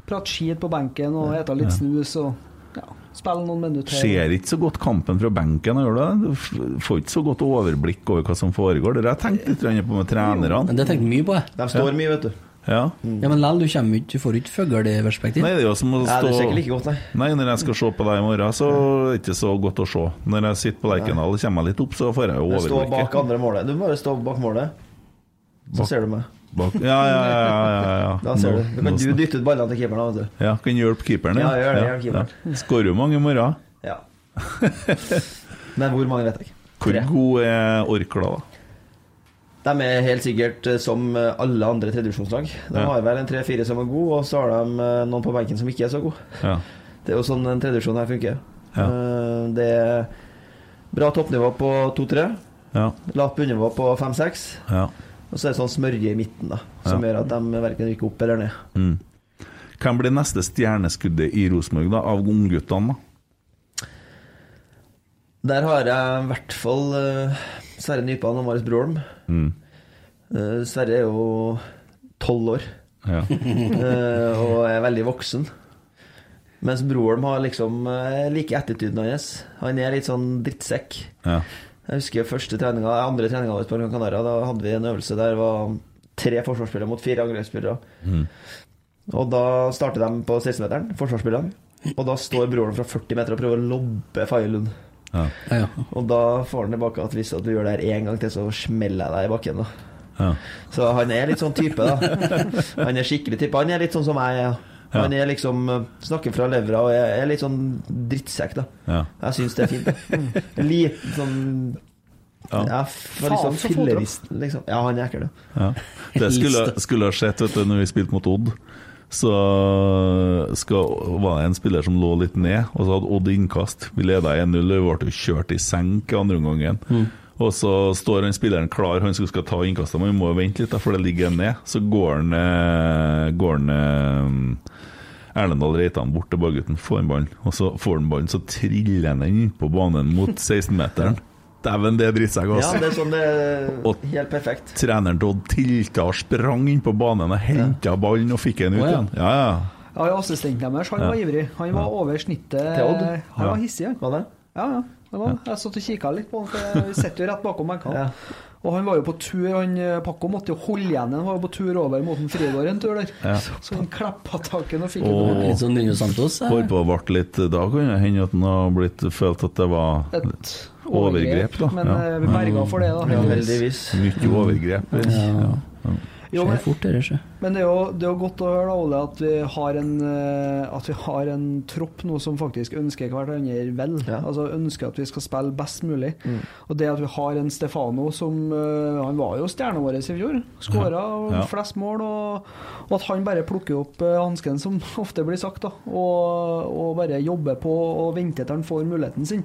E: prate skit på benken og ete litt snus og ja, spille noen minutter.
D: Ser ikke så godt kampen fra benken, gjør du det? Du f- får ikke så godt overblikk over hva som foregår. Det har jeg tenkt litt grann på med trenerne.
G: Men det tenkte jeg mye på, jeg.
F: De står mye, vet du.
D: Ja.
G: Ja, men lell, du kommer jo ikke, du får jo ikke fugl i
D: Mm.
G: perspektiv.
D: Nei, det er jo som å
F: Nei,
D: stå
F: det ser ikke like godt, nei.
D: Nei, når jeg skal se på deg i morgen, så er det ikke så godt å se. Når jeg sitter på Lerkendal og kommer meg litt opp, så får jeg jo
F: Du står bak
D: overblikket.
F: andre målet. Du må bare stå bak målet, så
D: Bak-
F: ser du meg.
D: Bak. Ja, ja, ja. ja, ja, ja.
F: Da ser
D: Nå-
F: du. Du kan
D: nå
F: du
D: snak-
F: dytte ut ballene til keeperen, da, vet du.
D: Ja, kan hjelpe keeperen.
F: Ja, gjør det, hjelp keeperen.
D: ja. Skårer jo mange i morgen.
F: Ja. Men hvor mange vet jeg ikke.
D: Hvor
F: Tre.
D: god er Orkla, da?
F: De er helt sikkert eh, som eh, alle andre tredjevisjonslag. De
D: Ja.
F: har vel en tre-fire som er gode, og så har de eh, noen på benken som ikke er så gode.
D: Ja.
F: Det er jo sånn en tredjevisjon her funker.
D: Ja.
F: Eh, Det er bra toppnivå på 2-3,
D: Ja.
F: lavt bunnivå på 5-6,
D: ja.
F: og så er det sånn smørje i midten, da, som
D: Ja.
F: gjør at de verken rykker opp eller ned.
D: Mm. Hvem blir neste stjerneskuddet i Rosenborg, da? Av ungguttene, da?
F: Der har jeg i hvert fall eh, Sverre Nypan og Marius Broholm.
D: Mm.
F: Eh, Sverre er jo tolv år.
D: Ja.
F: Eh, og er veldig voksen. Mens broren har liksom eh, like attituden hans. Han er litt sånn drittsekk.
D: Ja.
F: Jeg husker første treninga, eh, andre treninga vår på Gran Canaria. Da hadde vi en øvelse der det var tre forsvarsspillere mot fire angrepsspillere.
D: Mm.
F: Og da starter de på 16-meteren, forsvarsspillerne. Og da står broren fra 40 meter og prøver å lobbe Faye Lund.
D: Ja.
G: Ja, ja.
F: Og da får han tilbake at hvis at du gjør det her én gang til, så smeller jeg deg i bakken. da
D: Ja.
F: så han er litt sånn type, da. Han er skikkelig type. Han er litt sånn som jeg er. Han er liksom eh, Snakker fra levra og er er litt sånn drittsekk, da.
D: Ja.
F: Jeg syns det er fint. da. En Liten sånn
D: Ja.
F: Jeg får litt
E: Faen,
F: sånn
E: så fotbra.
F: fillerist, liksom. Ja, han er ekkel, ja.
D: Ja. Det skulle, skulle ha skjedd vet du, når vi spilte mot Odd. Så skal, var det en spiller som lå litt ned, og så hadde Odd innkast. Vi leda 1-0, og vi ble jo kjørt i senk i andre omgangen.
F: Mm.
D: Og så står han spilleren klar, han som skal ta innkastet, men vi må jo vente litt, da, for det ligger en ned. Så går han, eh, går han eh, Erlendal Reitan bort til ballgutten, får han ballen. Og så får han ballen, så triller han den inn på banen mot 16-meteren. Dæven, det er drittsekk,
F: ja.
D: altså!
F: Det er sånn det
D: Og-
F: er helt perfekt.
D: Treneren til Odd tilta og sprang inn på banen og henta ballen og fikk den ut
G: Å, ja.
D: igjen. Ja, ja.
E: Ja, ja, Assistenten deres, han var ivrig. Han var over snittet.
F: Til Odd?
E: Han
D: Ja.
E: var hissig, han.
F: Var det?
E: Ja, ja. Det var. Jeg satt og kikka litt på han, for vi sitter jo rett bakom benkene.
F: Ja.
E: Og han var jo på tur, han eh, Paco måtte jo holde igjen, han var jo på tur over mot en Frigård en tur der. Så han kleppa taken og fikk
D: Åh.
E: oh.
G: Litt sånn Nuno Santos. eh.
D: Holdt på å varte litt da, kan det hende at han har blitt følt at det var
E: et
D: Overgrep, da.
E: Men
D: Ja.
E: eh, vi berga for det, da.
F: Heldigvis.
D: mye overgrep. Ja.
G: Ja.
E: Jo, men-
G: Skjer fort, det der, sjø.
E: Men det er, jo, det er jo godt å høre da, Ole, at vi har en, eh, at vi har en tropp nå som faktisk ønsker hverandre vel. Altså Ønsker at vi skal spille best mulig. Og det at vi har en Stefano som eh, Han var jo stjerna vår i fjor. Skåra
K: Ja. Ja.
E: flest mål. Og, og at han bare plukker opp eh, hansken, som ofte blir sagt, da. Og, og bare jobber på og venter til han får muligheten sin.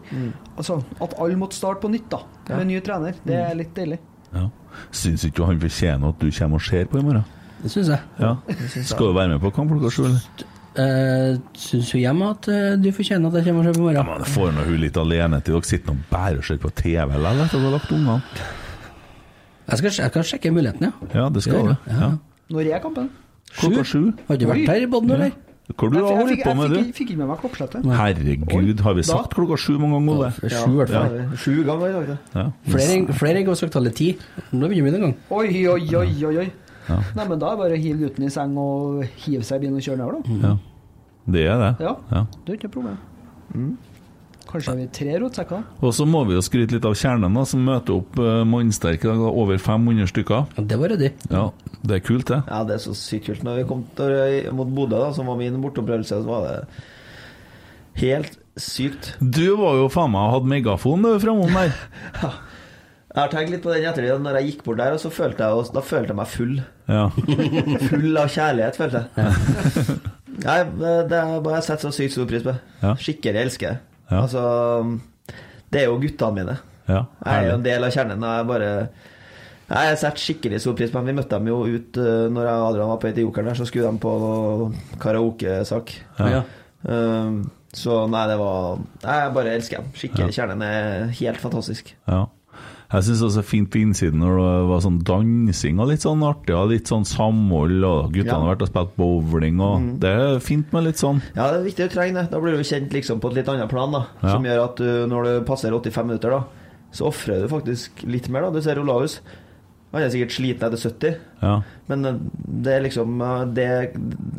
E: Altså At alle måtte starte på nytt da med ny trener, det er litt deilig.
D: Ja. Syns ikke han fortjener at du kommer og ser på i morgen?
G: Det syns jeg.
D: Ja.
G: Det syns jeg.
D: Skal du være med på kamp klokka sju, eller?
G: Uh, syns jo hjemme at eh, du fortjener at jeg kommer og ser på i morgen.
D: Men får nå hun litt alene til dere sitter nå bare og ser på TV likevel etter at dere har lagt ungene.
G: Jeg skal, jeg skal sjekke muligheten, ja.
D: Ja, det skal du. Ja.
E: Når er kampen?
D: Klokka sju.
G: Har du vært her i Bodø, eller?
D: Hvor du
E: Jeg
D: har
E: fikk-
D: holdt
E: jeg
D: på med,
E: fikk-
D: du?
E: Jeg fikk ikke med meg klokkeslettet.
D: Herregud, har vi sagt klokka sju mange ganger, Ole?
G: Ja, sju i hvert fall.
D: Ja.
F: Sju ganger i dag, da.
D: Ja.
G: Flere enn- Flere enn sagt tallet ti. Nå begynner vi en gang.
E: Oi, oi, oi, oi. oi.
D: Ja.
E: Nei, men da er det bare å hive gutten i seng og hive seg i bilen og kjøre nedover, da.
D: Ja. Det er det.
E: Ja.
D: Ja.
E: Det er ikke noe problem.
F: Mm.
E: Kanskje har vi tre rotsekker?
D: Og så må vi jo skryte litt av kjernen, da, som møter opp uh, mannsterk i dag. da, Over 500 stykker.
G: Ja, det var ryddig.
D: Ja, det er kult, det.
F: Ja, det er så sykt kult. Når vi kom til, mot Bodø, da, som var min borteopplevelse, så var det helt sykt.
D: Du var jo faen meg hadde megafon du, framom der.
F: Jeg har tenkt litt på den i ettertid. at Når jeg gikk bort der, og så følte jeg, oss- da følte jeg meg full.
D: Ja.
F: Full av kjærlighet, følte jeg. Nei, det har jeg sett så sykt stor pris på. Skikkelig elsker jeg.
D: Ja.
F: Altså, det er jo guttene mine.
D: Ja,
F: Jeg er jo
D: herlig.
F: en del av kjernen. og Jeg bare Nei, jeg setter skikkelig stor pris på dem. Vi møtte dem jo ut eh, Når jeg og Adrian var på et i Jokeren her, så skulle de på noe karaokesak.
D: Ja.
F: Um, så nei, det var Nei, jeg bare elsker dem. Skikkelig. Kjernen er helt fantastisk.
D: Ja. Jeg syns også fint på innsiden når det var sånn dansing og litt sånn artig, og litt sånn samhold, og guttene
F: Ja.
D: har vært og spilt bowling, og
F: Mm.
D: det er fint med litt sånn.
F: Ja, det er viktig å trenge det. Da blir du kjent liksom på et litt annet plan, da.
D: Ja.
F: Som gjør at du, når du passer 85 minutter, da, så ofrer du faktisk litt mer, da. Du ser Olavus. Han er sikkert sliten etter 70,
D: Ja.
F: men eh, det er liksom eh, det,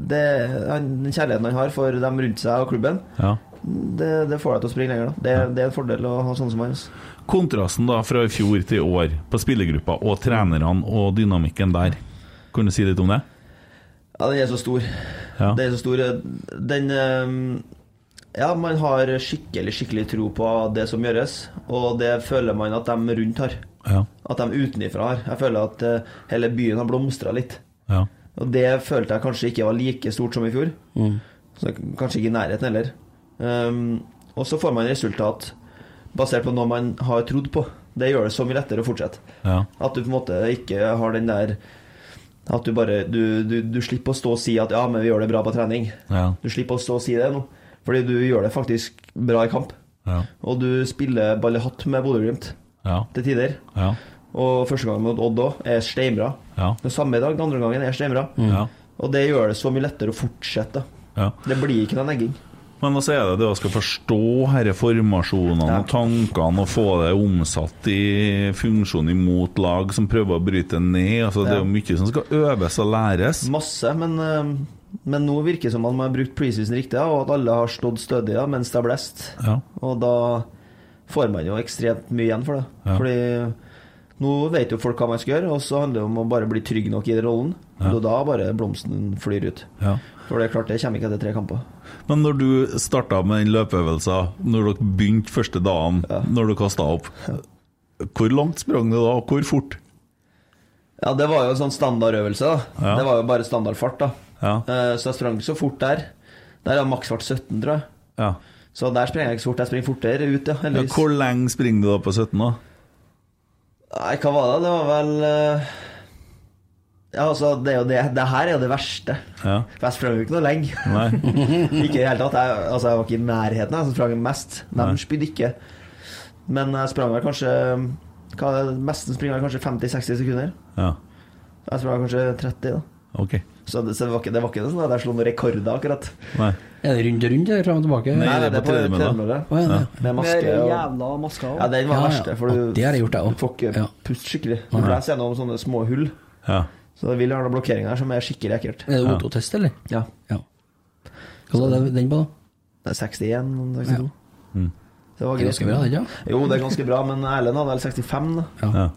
F: det, han, Den kjærligheten han har for dem rundt seg og klubben,
D: Ja.
F: det, det får deg til å springe lenger, da. Det, det er en fordel å ha sånne som han. altså.
D: Kontrasten da fra i fjor til i år på spillergruppa og trenerne og dynamikken der, kan du si litt om det?
F: Ja, den er så stor.
D: Ja.
F: Den er så stor. Den ehm, Ja, man har skikkelig, skikkelig tro på det som gjøres, og det føler man at de rundt har.
D: Ja.
F: At de utenifra har. Jeg føler at eh, hele byen har blomstra litt.
D: Ja.
F: Og det følte jeg kanskje ikke var like stort som i fjor.
G: Mm.
F: Så kanskje ikke i nærheten heller. Ehm, og så får man resultat basert på noe man har trodd på. Det gjør det så mye lettere å fortsette.
D: Ja.
F: At du på en måte ikke har den der At du bare du, du, du slipper å stå og si at 'ja, men vi gjør det bra på trening'.
D: Ja.
F: Du slipper å stå og si det nå, fordi du gjør det faktisk bra i kamp.
D: Ja.
F: Og du spiller ball i hatt med Bodø-Glimt
D: Ja.
F: til tider.
D: Ja.
F: Og første gangen mot Odd òg er steinbra.
D: Ja.
F: Den samme i dag, den andre gangen er steinbra.
D: Mm. Ja.
F: Og det gjør det så mye lettere å fortsette.
D: Ja.
F: Det blir ikke noen egging.
D: Men også er det det å skal forstå herre formasjonene og tankene og få det omsatt i funksjon imot lag som prøver å bryte ned. Altså, Det er jo mye som skal øves og læres.
F: Masse, men, eh, men nå virker det som om man har brukt preseason riktig, ja, og at alle har stått stødig ja, mens det er blest.
D: Ja.
F: Og da får man jo ekstremt mye igjen for det.
D: Ja.
F: Fordi nå vet jo folk hva man skal gjøre, og så handler det om å bare bli trygg nok i den rollen.
D: Ja.
F: Og da bare blomsten flyr ut.
D: Ja.
F: For det er klart, det kommer ikke etter tre kamper.
D: Men når du starta med den løpeøvelsen, når dere begynte første dagen, når du kasta opp, hvor langt sprang du da, og hvor fort?
F: Ja, det var jo en sånn standardøvelse, da.
D: Ja.
F: Det var jo bare standardfart, da.
D: Ja.
F: Eh, Så jeg sprang ikke så fort der. Der har maksfart 17, tror jeg.
D: Ja.
F: Så der springer jeg ikke så fort. Jeg springer fortere ut, ja.
D: Ja,
F: heldigvis.
D: hvor lenge springer du da på 17, da?
F: Nei, hva var det? Det var vel eh, Ja, altså, det er jo det Det her er jo det verste.
D: Ja.
F: For jeg sprang jo ikke noe lenge.
D: Nei.
F: ikke i det hele tatt. Jeg, altså, jeg var ikke i nærheten jeg som sprang mest. De
D: Nei.
F: spydde ikke. Men jeg sprang vel kanskje hva er det? Mesten springer jeg kanskje 50-60 sekunder.
D: Ja.
F: Jeg sprang kanskje 30, da.
D: Ok.
F: Så det, så det var ikke, det var ikke noe sånn at jeg slo noen rekorder, akkurat.
D: Nei.
G: Er det rundt og rundt, eller fram og tilbake?
F: Nei, det er på tredemølle.
G: Å, ja, det.
F: Med maske
E: Med
F: og
E: jævla masker også.
F: Ja, den var
G: Ja, ja.
F: verste, for du,
G: Ja, det har jeg gjort, jeg også.
F: du får ikke puste skikkelig. Du
G: Nei.
F: blæser gjennom sånne små hull.
D: Ja.
F: Så det vil ha noen blokkeringer her som er skikkelig ekkelt.
G: Er det O2-test, eller?
F: Ja.
G: Hva var det den på, da?
F: Det er 61, 62.
D: Mm.
F: Så det var
G: Det er ganske
F: greit.
G: bra, det, ja.
F: Jo, det er ganske bra, men Erlend hadde vel 65, da.
G: Ja.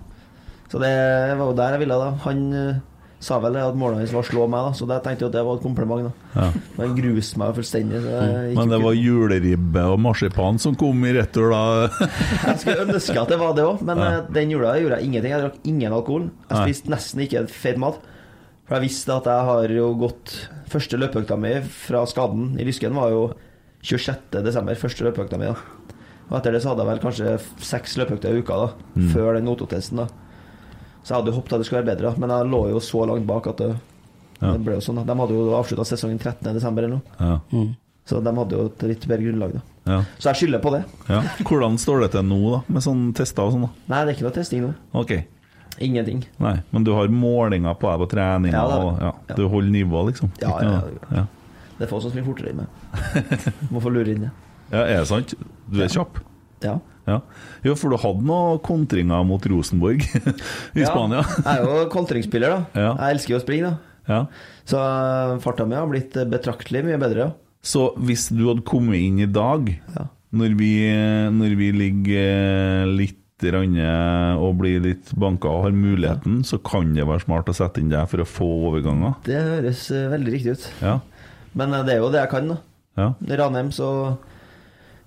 F: Så det var jo der jeg ville, da. Han eh, sa vel det at målet hans var å slå meg, da, så da tenkte jeg at det var et kompliment. da
D: Ja.
F: Men gruste meg fullstendig.
G: Mm.
F: Så det gikk
D: Men det
F: ikke.
D: var juleribbe og marsipan som kom i retur da.
F: Jeg skulle ønske at det var det òg, men
D: Ja.
F: eh, den jula gjorde jeg ingenting. Jeg drakk ingen alkohol. Jeg
D: Nei.
F: spiste nesten ikke feit mat. For jeg visste at jeg har jo gått Første løpeøkta mi fra skaden i lysken var jo 26. desember, første løpeøkta mi. da. Og etter det så hadde jeg vel kanskje f- seks løpeøkter i uka da,
D: Mm.
F: før den nototesten. da. Så jeg hadde jo håpet at det skulle være bedre, da, men jeg lå jo så langt bak at det,
D: Ja.
F: det ble jo sånn. da. De hadde jo avslutta sesongen 13. desember eller noe,
D: Ja.
F: så de hadde jo et litt bedre grunnlag da.
D: Ja.
F: Så jeg skylder på det.
D: ja. Hvordan står det til nå, da? Med sånne tester og sånn, da?
F: Nei, det er ikke noe testing nå.
D: Ok.
F: Ingenting.
D: Nei, men du har målinger på deg på treninga,
F: Ja, det har jeg.
D: og ja, du holder nivået, liksom?
F: Ja,
D: Ikke
F: ja,
D: noe-
F: ja. Det er få som springer fortere enn meg. Må få lure inn det.
D: Ja, er det sant? Du er kjapp?
F: Ja.
D: ja. Jo, for du hadde noen kontringer mot Rosenborg i Spania.
F: jeg er jo kontringsspiller, da.
D: Ja.
F: Jeg elsker jo å springe, da. Så eh, farta mi har blitt eh, betraktelig mye bedre. Ja.
D: Så hvis du hadde kommet inn i dag, når, vi, eh, når vi ligger eh, litt grann eh, og blir litt banka og har muligheten, så kan det være smart å sette inn deg for å få overganger.
F: Det høres eh, veldig riktig ut.
D: Ja.
F: Men eh, det er jo det jeg kan, da.
D: Ja.
F: I Ranheim så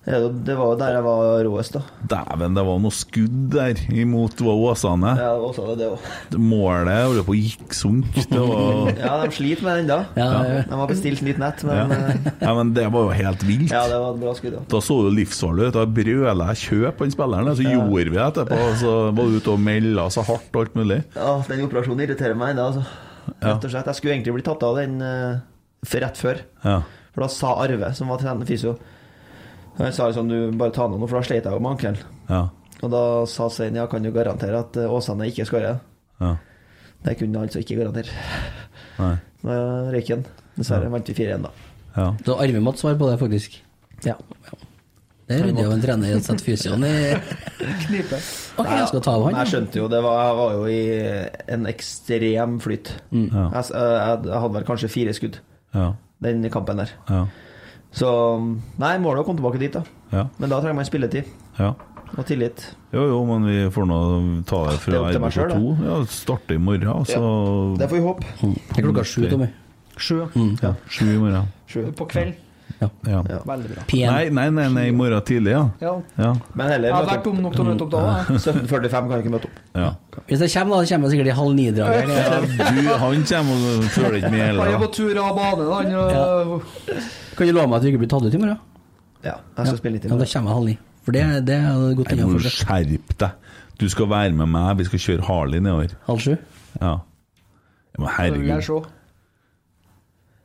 F: er det, jo- det var jo der jeg var råest, da.
D: Dæven, det var noe skudd der imot var Åsane.
F: Ja, det var også det òg.
D: Målet holdt på å gikk sunk. Det var
F: Ja, de sliter med den da.
D: Ja, ja, ja.
F: De har bestilt nytt nett, men
D: ja.
F: eh,
D: ja, men det var jo helt vilt.
F: ja, det var et bra skudd, da.
D: Da så du livsfarlig ut. Da brøla jeg 'kjøp han spilleren', så gjorde vi det etterpå. og Så var du ute og melda så hardt og alt mulig.
F: Ja, den operasjonen irriterer meg ennå, altså. Rett og slett. Jeg skulle egentlig bli tatt av den eh, f- rett før.
D: Ja.
F: For da sa Arve, som var trener fysio Han sa liksom du bare ta noe nå, for da slet jeg jo med ankelen.
D: Ja.
F: Og da sa Svein ja, kan du garantere at eh, Åsane ikke skårer?
D: Ja.
F: Det kunne han altså ikke garantere.
D: Nei.
F: Da røyk han. Dessverre vant vi 4-1, da.
G: Så Arve måtte svare på det, faktisk. Ja. Det rydder jo en trener i å sette fysioen i
E: Knipe.
G: Ok, jeg skal ta av han.
F: Jeg skjønte jo det var, Jeg var jo i en ekstrem flyt.
D: Ja.
F: Jeg, s- jeg, jeg hadde vel kanskje fire skudd
D: Ja.
F: den kampen der.
D: Ja.
F: Så Nei, målet er å komme tilbake dit, da.
D: Ja.
F: Men da trenger man spilletid
D: ja.
F: og tillit.
D: Jo, jo, men vi får nå ta det
F: Det
D: fra
F: er opp til meg selv,
D: RBK2. Ja, starte i morgen, altså. og så
F: Det får vi håpe.
D: Mm.
G: Det er klokka sju, Tommy.
E: Sju.
D: Ja, sju i morgen.
E: På kveld.
D: Ja.
E: Veldig bra.
D: Nei, nei, nei, nei, i morgen tidlig, ja.
E: Ja.
D: Ja.
F: Men heller
E: Jeg har vært dum nok til å møte opp da, da.
F: 17.45 kan jeg ikke møte opp.
D: ja.
G: Hvis jeg kommer, da, så kommer jeg sikkert i halv
D: Ja,
G: ni-draget.
D: Du, han kommer og følger ikke med
E: Han er
D: heller.
E: på tur av bane, da. Han, øh, og-
G: Kan du love meg at du ikke blir tatt ut i morgen?
F: Ja, jeg skal spille litt i
G: Ja, da
F: morgen.
G: kommer jeg halv ni. For det, det er godt
D: Nei, må
G: innenfor
D: du skjerpe deg. Du skal være med meg, vi skal kjøre Harley nedover.
G: halv sju.
D: Ja. Ja, Men
E: Det vil jeg
D: herregud.
E: se.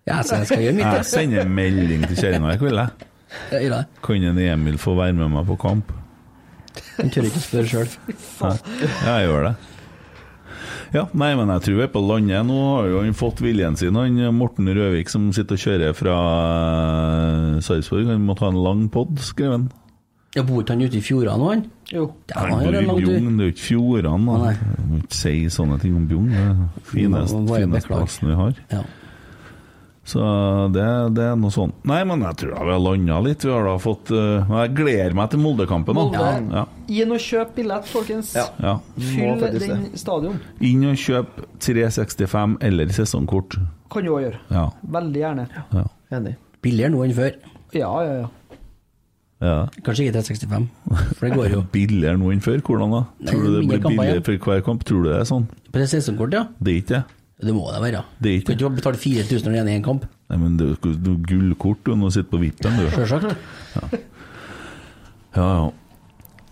G: Ja, så jeg skal gjøre mitt.
D: Jeg sender melding til kjerringa i kveld, jeg.
G: jeg. Jeg gjør det.
D: Kan en Emil få være med meg på kamp?
G: Jeg tør ikke å spørre sjøl.
D: Ja, jeg gjør det. Ja, nei, men jeg tror vi er på landet. Nå har jo han fått viljen sin, han Morten Røvik som sitter og kjører fra eh, Sarpsborg. Han må ta en lang pod, skrev han.
G: Ja, Bor ikke han ute i fjordene nå, han?
E: Jo.
G: Ja,
D: Han
G: han
D: bor
G: gjør
D: i
G: en lang tur.
D: Bjugn, det er jo ikke fjordene.
G: Nei.
D: da. Jeg Må ikke si sånne ting om Bjugn. Det er finest,
G: Må- må jeg
D: finest
G: beklage.
D: plassen vi har.
G: Ja.
D: Så det, det er noe sånt. Nei, men jeg tror da vi har landa litt. Vi har da fått eh, men Jeg gleder meg til Moldekampen. da.
E: Molde.
D: Ja.
E: Inn og kjøp billett, folkens.
F: Ja.
D: Ja.
F: Må
E: Fyll
F: faktisk
E: den stadion.
D: Inn og kjøp 365 eller sesongkort.
E: Kan du òg gjøre.
D: Ja.
E: Veldig gjerne.
D: ja.
F: Enig.
G: Billigere nå enn før.
E: Ja, ja, ja.
D: ja.
G: Kanskje ikke 365, for det går jo.
D: Billigere nå enn før? Hvordan da?
G: Nei,
D: Tror du det
G: mindre
D: blir
G: kamper
D: billigere
G: igjen.
D: for hver kamp? Tror du det er sånn?
G: På det sesongkortet, ja.
D: Det er ikke det.
G: Det må det være.
D: Det er ikke
G: Du kan ikke betale 4000 når du er igjen i en kamp.
D: Nei, men det er jo noe gullkort du nå sitter på vippen, du. Ja,
G: Sjølsagt.
D: ja.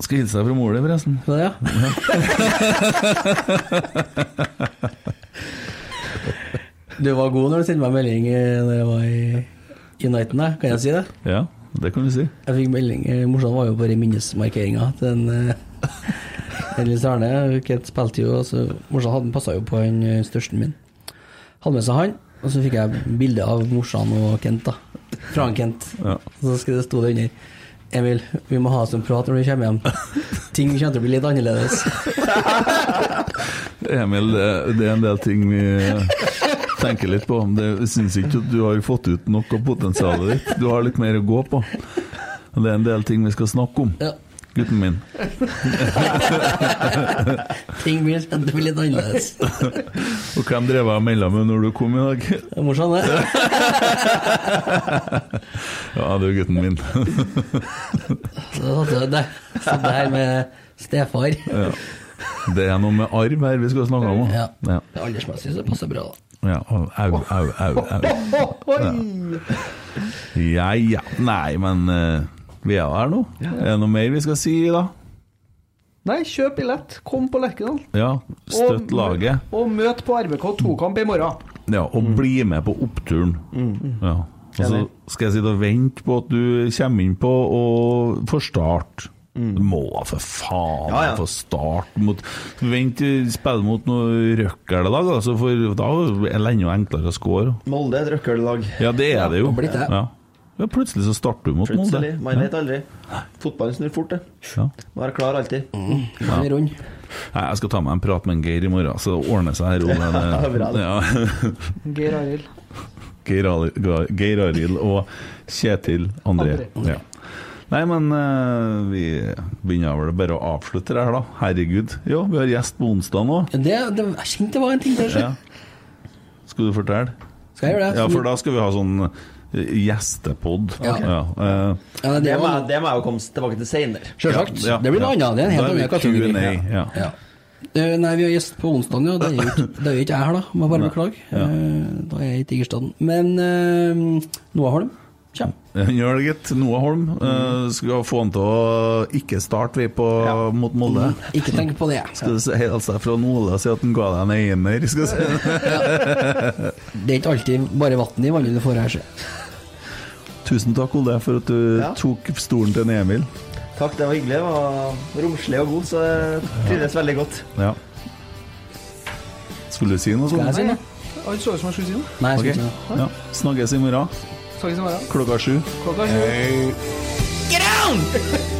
D: Skal hilse deg fra mor di, forresten.
G: Det er det, ja. Du var god når du sendte meg melding eh, Når jeg var i Uniten, da. Kan jeg si det?
D: Ja, det kan du si.
G: Jeg fikk melding eh, Morsan var jo bare i minnesmarkeringa til en eh, Ellis Arne. Kent spilte jo, altså Morsan hadde passa jo på han eh, størsten min. Hadde med seg han, og så fikk jeg bilde av morsan og Kent, da. Fra han Kent.
D: Ja.
G: Så skrev det sto det under Emil, vi må ha oss en prat når du kommer hjem. Ting kommer til å bli litt annerledes.
D: Emil, det det er en del ting vi tenker litt på. Men det syns ikke at du har fått ut nok av potensialet ditt. Du har litt mer å gå på. Og det er en del ting vi skal snakke om.
G: Ja.
D: gutten min.
G: Ting blir spennende, blir litt annerledes.
D: Og hvem drev jeg mellom med når du kom i dag?
G: Det er morsomt, det.
D: Ja, det er jo gutten min.
G: Så satt jeg der- satt jeg her med stefar.
D: Ja. Det er noe med arv her vi skal snakke om.
G: Ja.
D: også. Ja.
G: Aldersmessig så passer det bra, da.
D: Ja, au, au, au, au.
E: Oi!
D: Ja, ja. Nei, men eh, vi er jo her nå. Er det noe mer vi skal si, da?
E: Nei, kjøp billett. Kom på Lerkendal.
D: Ja, støtt
E: Og-
D: laget.
E: Og møt på RBK 2-kamp i morgen.
D: Ja, og bli med på oppturen. Ja. Og så
E: Enig.
D: skal jeg sitte og vente på at du kommer inn på og får start. Du må da for faen
F: Ja, ja.
D: få start mot Vent til spille mot noe røkkel i dag, altså, for da er det enda enklere å score.
F: Molde er et røkkellag.
D: Ja, det er det jo.
G: blitt det.
D: Ja. Ja, plutselig så starter du mot Molde.
F: Plutselig. Man vet aldri. Fotballen snur fort, det.
D: Ja.
F: Må være klar alltid.
G: Den er rund.
D: Nei, jeg skal ta meg en prat med en Geir i morgen, så det ordner seg her. Ole.
F: Bra, det.
D: Ja.
E: Geir Arild.
D: Geir Ali- Geir Arild og Kjetil André.
E: André.
D: Ja. Nei, men eh, vi begynner vel bare å avslutte det her, da. Herregud. Jo, vi har gjest på onsdag nå.
G: Ja, Det, det, jeg kjente det var en ting der. så.
D: Ja. Skal du fortelle?
G: Skal jeg gjøre det?
D: Ja, for da skal vi ha sånn eh, gjestepod.
G: Ja.
D: eh,
G: Ja, det,
F: Det må,
G: var-
F: det må jeg jo komme tilbake til seinere.
G: Selvsagt.
D: Ja,
G: det blir noe
D: ja.
G: annet. Det er en helt
D: Da er
G: annen
D: vi
G: kategori.
D: Q&A, ja.
G: Eh, Nei, vi har gjest på onsdag, ja. Det er jo ikke, det er jo ikke jeg her, da. Må bare beklage. Eh, Da er jeg i Tigerstaden. Men eh, Noah Holm kommer.
D: Han gjør det, gitt. Noah Holm. eh, skal få han til å ikke starte, vi, på, mot Molde.
G: Ikke tenk på det.
D: Skal du si- hilse deg fra Ole og si at han ga deg en einer? Skal du si.
G: Det er ikke alltid bare vann i vannet du får her. se.
D: Tusen takk, Ole, for at du
F: Ja.
D: tok stolen til en Emil.
F: Takk, det var hyggelig. Det var romslig og god, så jeg trives veldig godt.
D: Ja. Skulle du si noe
G: Skal
D: sånt?
G: jeg si noe?
E: Han så ut som han skulle si noe.
G: Nei, jeg skal
D: Ok.
G: ikke si noe.
D: Ja. Snakkes i morgen
E: Snakkes i morgen.
D: klokka sju.
E: Klokka er sju.